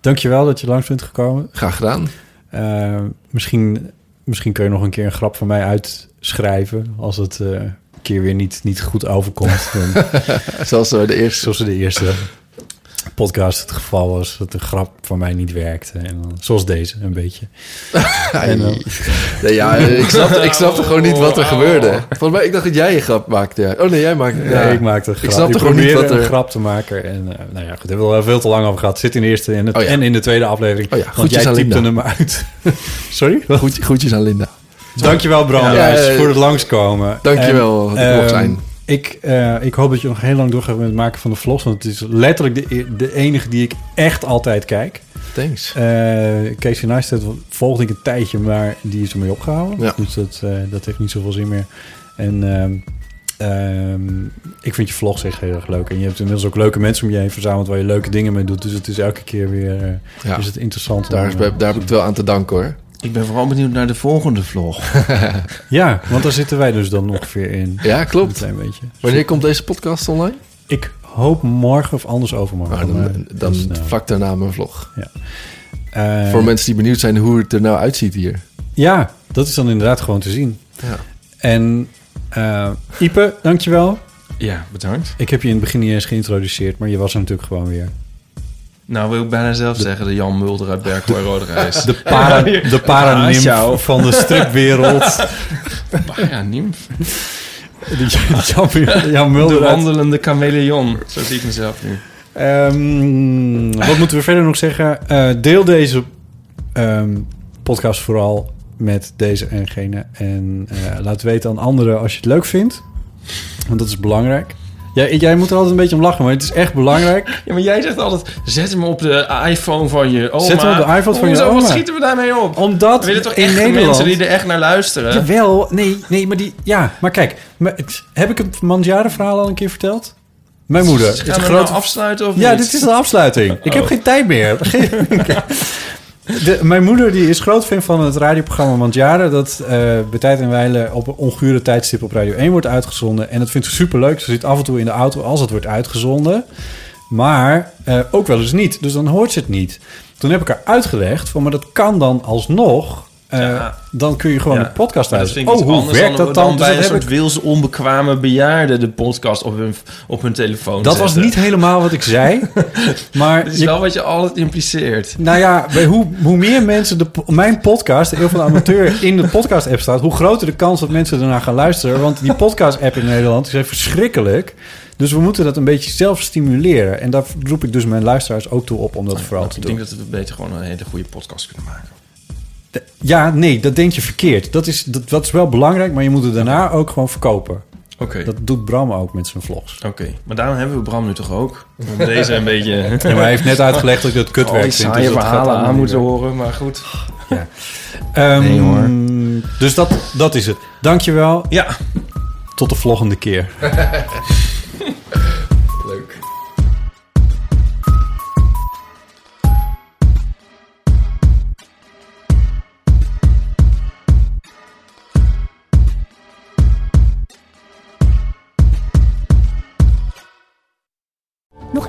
[SPEAKER 2] dankjewel dat je langs bent gekomen.
[SPEAKER 3] graag gedaan.
[SPEAKER 2] Eh, misschien, misschien kun je nog een keer een grap van mij uitschrijven als het eh, een keer weer niet, niet goed overkomt. Dan,
[SPEAKER 3] Zoals we de eerste...
[SPEAKER 2] zoals in de eerste podcast het geval was, dat een grap van mij niet werkte. En dan, zoals deze, een beetje. eh,
[SPEAKER 3] Ai. Nee, ja, eh, ik snapte, ik snapte gewoon niet wat er gebeurde. Volgens mij, ik dacht dat jij een grap maakte. ja. Oh nee, jij maakte...
[SPEAKER 2] Ja, ik maakte een grap.
[SPEAKER 3] Ik snapte
[SPEAKER 2] Ik
[SPEAKER 3] gewoon niet
[SPEAKER 2] probeerde
[SPEAKER 3] wat
[SPEAKER 2] een
[SPEAKER 3] er...
[SPEAKER 2] grap te maken. En eh, nou ja, goed, daar hebben we al veel te lang over gehad. Zit in de eerste en, het-
[SPEAKER 3] Oh ja.
[SPEAKER 2] en in de tweede aflevering.
[SPEAKER 3] Oh ja,
[SPEAKER 2] want
[SPEAKER 3] groetjes
[SPEAKER 2] jij
[SPEAKER 3] aan
[SPEAKER 2] typte
[SPEAKER 3] Linda.
[SPEAKER 2] hem uit. Sorry?
[SPEAKER 3] Goed, groetjes aan Linda.
[SPEAKER 2] Dankjewel, Bram,
[SPEAKER 3] Ja,
[SPEAKER 2] Ruijs,
[SPEAKER 3] eh,
[SPEAKER 2] voor het langskomen.
[SPEAKER 3] dankjewel dat ik
[SPEAKER 2] En,
[SPEAKER 3] mocht
[SPEAKER 2] ehm,
[SPEAKER 3] zijn.
[SPEAKER 2] Ik, eh, ik hoop dat je nog heel lang doorgaat met het maken van de vlogs. Want het is letterlijk de, e- de enige die ik echt altijd kijk.
[SPEAKER 3] Thanks.
[SPEAKER 2] Eh Casey Neistat volgde ik een tijdje, maar die is ermee opgehouden.
[SPEAKER 3] Ja.
[SPEAKER 2] Dus dat, eh, dat heeft niet zoveel zin meer. En ehm, ehm, ik vind je vlogs echt heel erg leuk. En je hebt inmiddels ook leuke mensen om je heen verzameld... waar je leuke dingen mee doet. Dus het is elke keer weer eh,
[SPEAKER 3] Ja.
[SPEAKER 2] is het interessant. om,
[SPEAKER 3] Daar, is,
[SPEAKER 2] eh,
[SPEAKER 3] bij- daar heb ik het wel aan te danken hoor.
[SPEAKER 5] Ik ben vooral benieuwd naar de volgende vlog.
[SPEAKER 2] Ja, want daar zitten wij dus dan ongeveer in.
[SPEAKER 3] Ja,
[SPEAKER 2] Een
[SPEAKER 3] klopt.
[SPEAKER 2] klein beetje.
[SPEAKER 3] Wanneer komt deze podcast online?
[SPEAKER 2] Ik hoop morgen of anders overmorgen.
[SPEAKER 3] Nou,
[SPEAKER 2] maar
[SPEAKER 3] dan dan
[SPEAKER 2] heel snel.
[SPEAKER 3] vlak daarna mijn vlog.
[SPEAKER 2] Eh,
[SPEAKER 3] Voor mensen die benieuwd zijn hoe het er nou uitziet hier.
[SPEAKER 2] Ja, dat is dan inderdaad gewoon te zien.
[SPEAKER 3] Ja.
[SPEAKER 2] En eh Ipe, dankjewel.
[SPEAKER 5] Ja, bedankt.
[SPEAKER 2] Ik heb je in het begin niet eens geïntroduceerd, maar je was er natuurlijk gewoon weer.
[SPEAKER 5] Nou wil ik bijna zelf zeggen de Jan Mulder uit Berkhoorn Roderijs.
[SPEAKER 2] De, para, de paranimf
[SPEAKER 5] ciao.
[SPEAKER 2] van de stripwereld.
[SPEAKER 5] Ja, nimf.
[SPEAKER 2] Die Jan, Jan
[SPEAKER 5] De
[SPEAKER 2] Mulder. uit-
[SPEAKER 5] wandelende chameleon. Zo zie ik mezelf nu.
[SPEAKER 2] Ehm, wat moeten we verder nog zeggen? Eh, deel deze ehm, podcast vooral met deze en gene. En eh, laat weten aan anderen als je het leuk vindt. Want dat is belangrijk. Jij, jij moet er altijd een beetje om lachen, maar het is echt belangrijk.
[SPEAKER 5] Ja, maar jij zegt altijd, zet hem op de iPhone van je oma.
[SPEAKER 2] Zet hem op de iPhone van je
[SPEAKER 5] Hoezo,
[SPEAKER 2] oma.
[SPEAKER 5] Wat schieten we daarmee op?
[SPEAKER 2] Omdat
[SPEAKER 5] we willen toch
[SPEAKER 2] in
[SPEAKER 5] echt
[SPEAKER 2] Nederland...
[SPEAKER 5] mensen die er echt naar luisteren?
[SPEAKER 2] Jawel, nee, nee, maar die... Ja, maar kijk. maar het- heb ik het Mandjaren verhaal al een keer verteld? Mijn moeder.
[SPEAKER 5] Gaan we
[SPEAKER 2] het
[SPEAKER 5] hem
[SPEAKER 2] grote
[SPEAKER 5] nou afsluiten of
[SPEAKER 2] ja,
[SPEAKER 5] niet? Oh.
[SPEAKER 2] dit is de afsluiting. Ik heb geen tijd meer. Oké. De, mijn moeder die is groot fan van het radioprogramma Mandjaren... dat eh, bij tijd en wijle op een ongure tijdstip op Radio 1 wordt uitgezonden. En dat vindt ze superleuk. Ze zit af en toe in de auto als het wordt uitgezonden. Maar eh, ook wel eens niet. Dus dan hoort ze het niet. Toen heb ik haar uitgelegd van... maar dat kan dan alsnog... eh,
[SPEAKER 5] Ja.
[SPEAKER 2] Dan kun je gewoon
[SPEAKER 5] Ja.
[SPEAKER 2] een podcast
[SPEAKER 5] Maar dat vind
[SPEAKER 2] luisteren.
[SPEAKER 5] ik
[SPEAKER 2] Oh,
[SPEAKER 5] iets
[SPEAKER 2] hoe
[SPEAKER 5] anders
[SPEAKER 2] werkt dat dan?
[SPEAKER 5] dan
[SPEAKER 2] Dus
[SPEAKER 5] bij een
[SPEAKER 2] dat, heb
[SPEAKER 5] soort
[SPEAKER 2] ik-
[SPEAKER 5] wils onbekwame bejaarden de podcast op hun, op hun telefoon
[SPEAKER 2] dat was
[SPEAKER 5] zetten.
[SPEAKER 2] niet helemaal wat ik zei. maar
[SPEAKER 5] Het is
[SPEAKER 2] je
[SPEAKER 5] wel wat je altijd impliceert.
[SPEAKER 2] Nou ja, bij hoe, hoe meer mensen de, po- mijn podcast, de Eeuw van de Amateur, in de podcast-app staat, hoe groter de kans dat mensen ernaar gaan luisteren. Want die podcast-app in Nederland is echt verschrikkelijk. Dus we moeten dat een beetje zelf stimuleren. En daar roep ik dus mijn luisteraars ook toe op om dat vooral te
[SPEAKER 5] ik
[SPEAKER 2] doen.
[SPEAKER 5] denk dat we beter gewoon een hele goede podcast kunnen maken.
[SPEAKER 2] Ja, nee, dat denk je verkeerd. Dat is, dat, dat is wel belangrijk, maar je moet het daarna ook gewoon verkopen.
[SPEAKER 5] Oké,
[SPEAKER 2] Dat doet Bram ook met zijn vlogs.
[SPEAKER 5] oké. Maar daarom hebben we Bram nu toch ook? Om deze een beetje...
[SPEAKER 2] Ja, maar hij heeft net uitgelegd dat ik dat
[SPEAKER 5] al Oh, die
[SPEAKER 2] kutwerk vind.
[SPEAKER 5] saaie
[SPEAKER 2] dus dat gaat
[SPEAKER 5] verhalen
[SPEAKER 2] allemaal
[SPEAKER 5] aan
[SPEAKER 2] niet
[SPEAKER 5] moeten
[SPEAKER 2] werken.
[SPEAKER 5] horen, maar goed.
[SPEAKER 2] Ehm,
[SPEAKER 5] Nee, hoor.
[SPEAKER 2] Dus dat, dat is het. Dankjewel.
[SPEAKER 5] Ja,
[SPEAKER 2] Tot de volgende keer.
[SPEAKER 3] Leuk.
[SPEAKER 1] Nog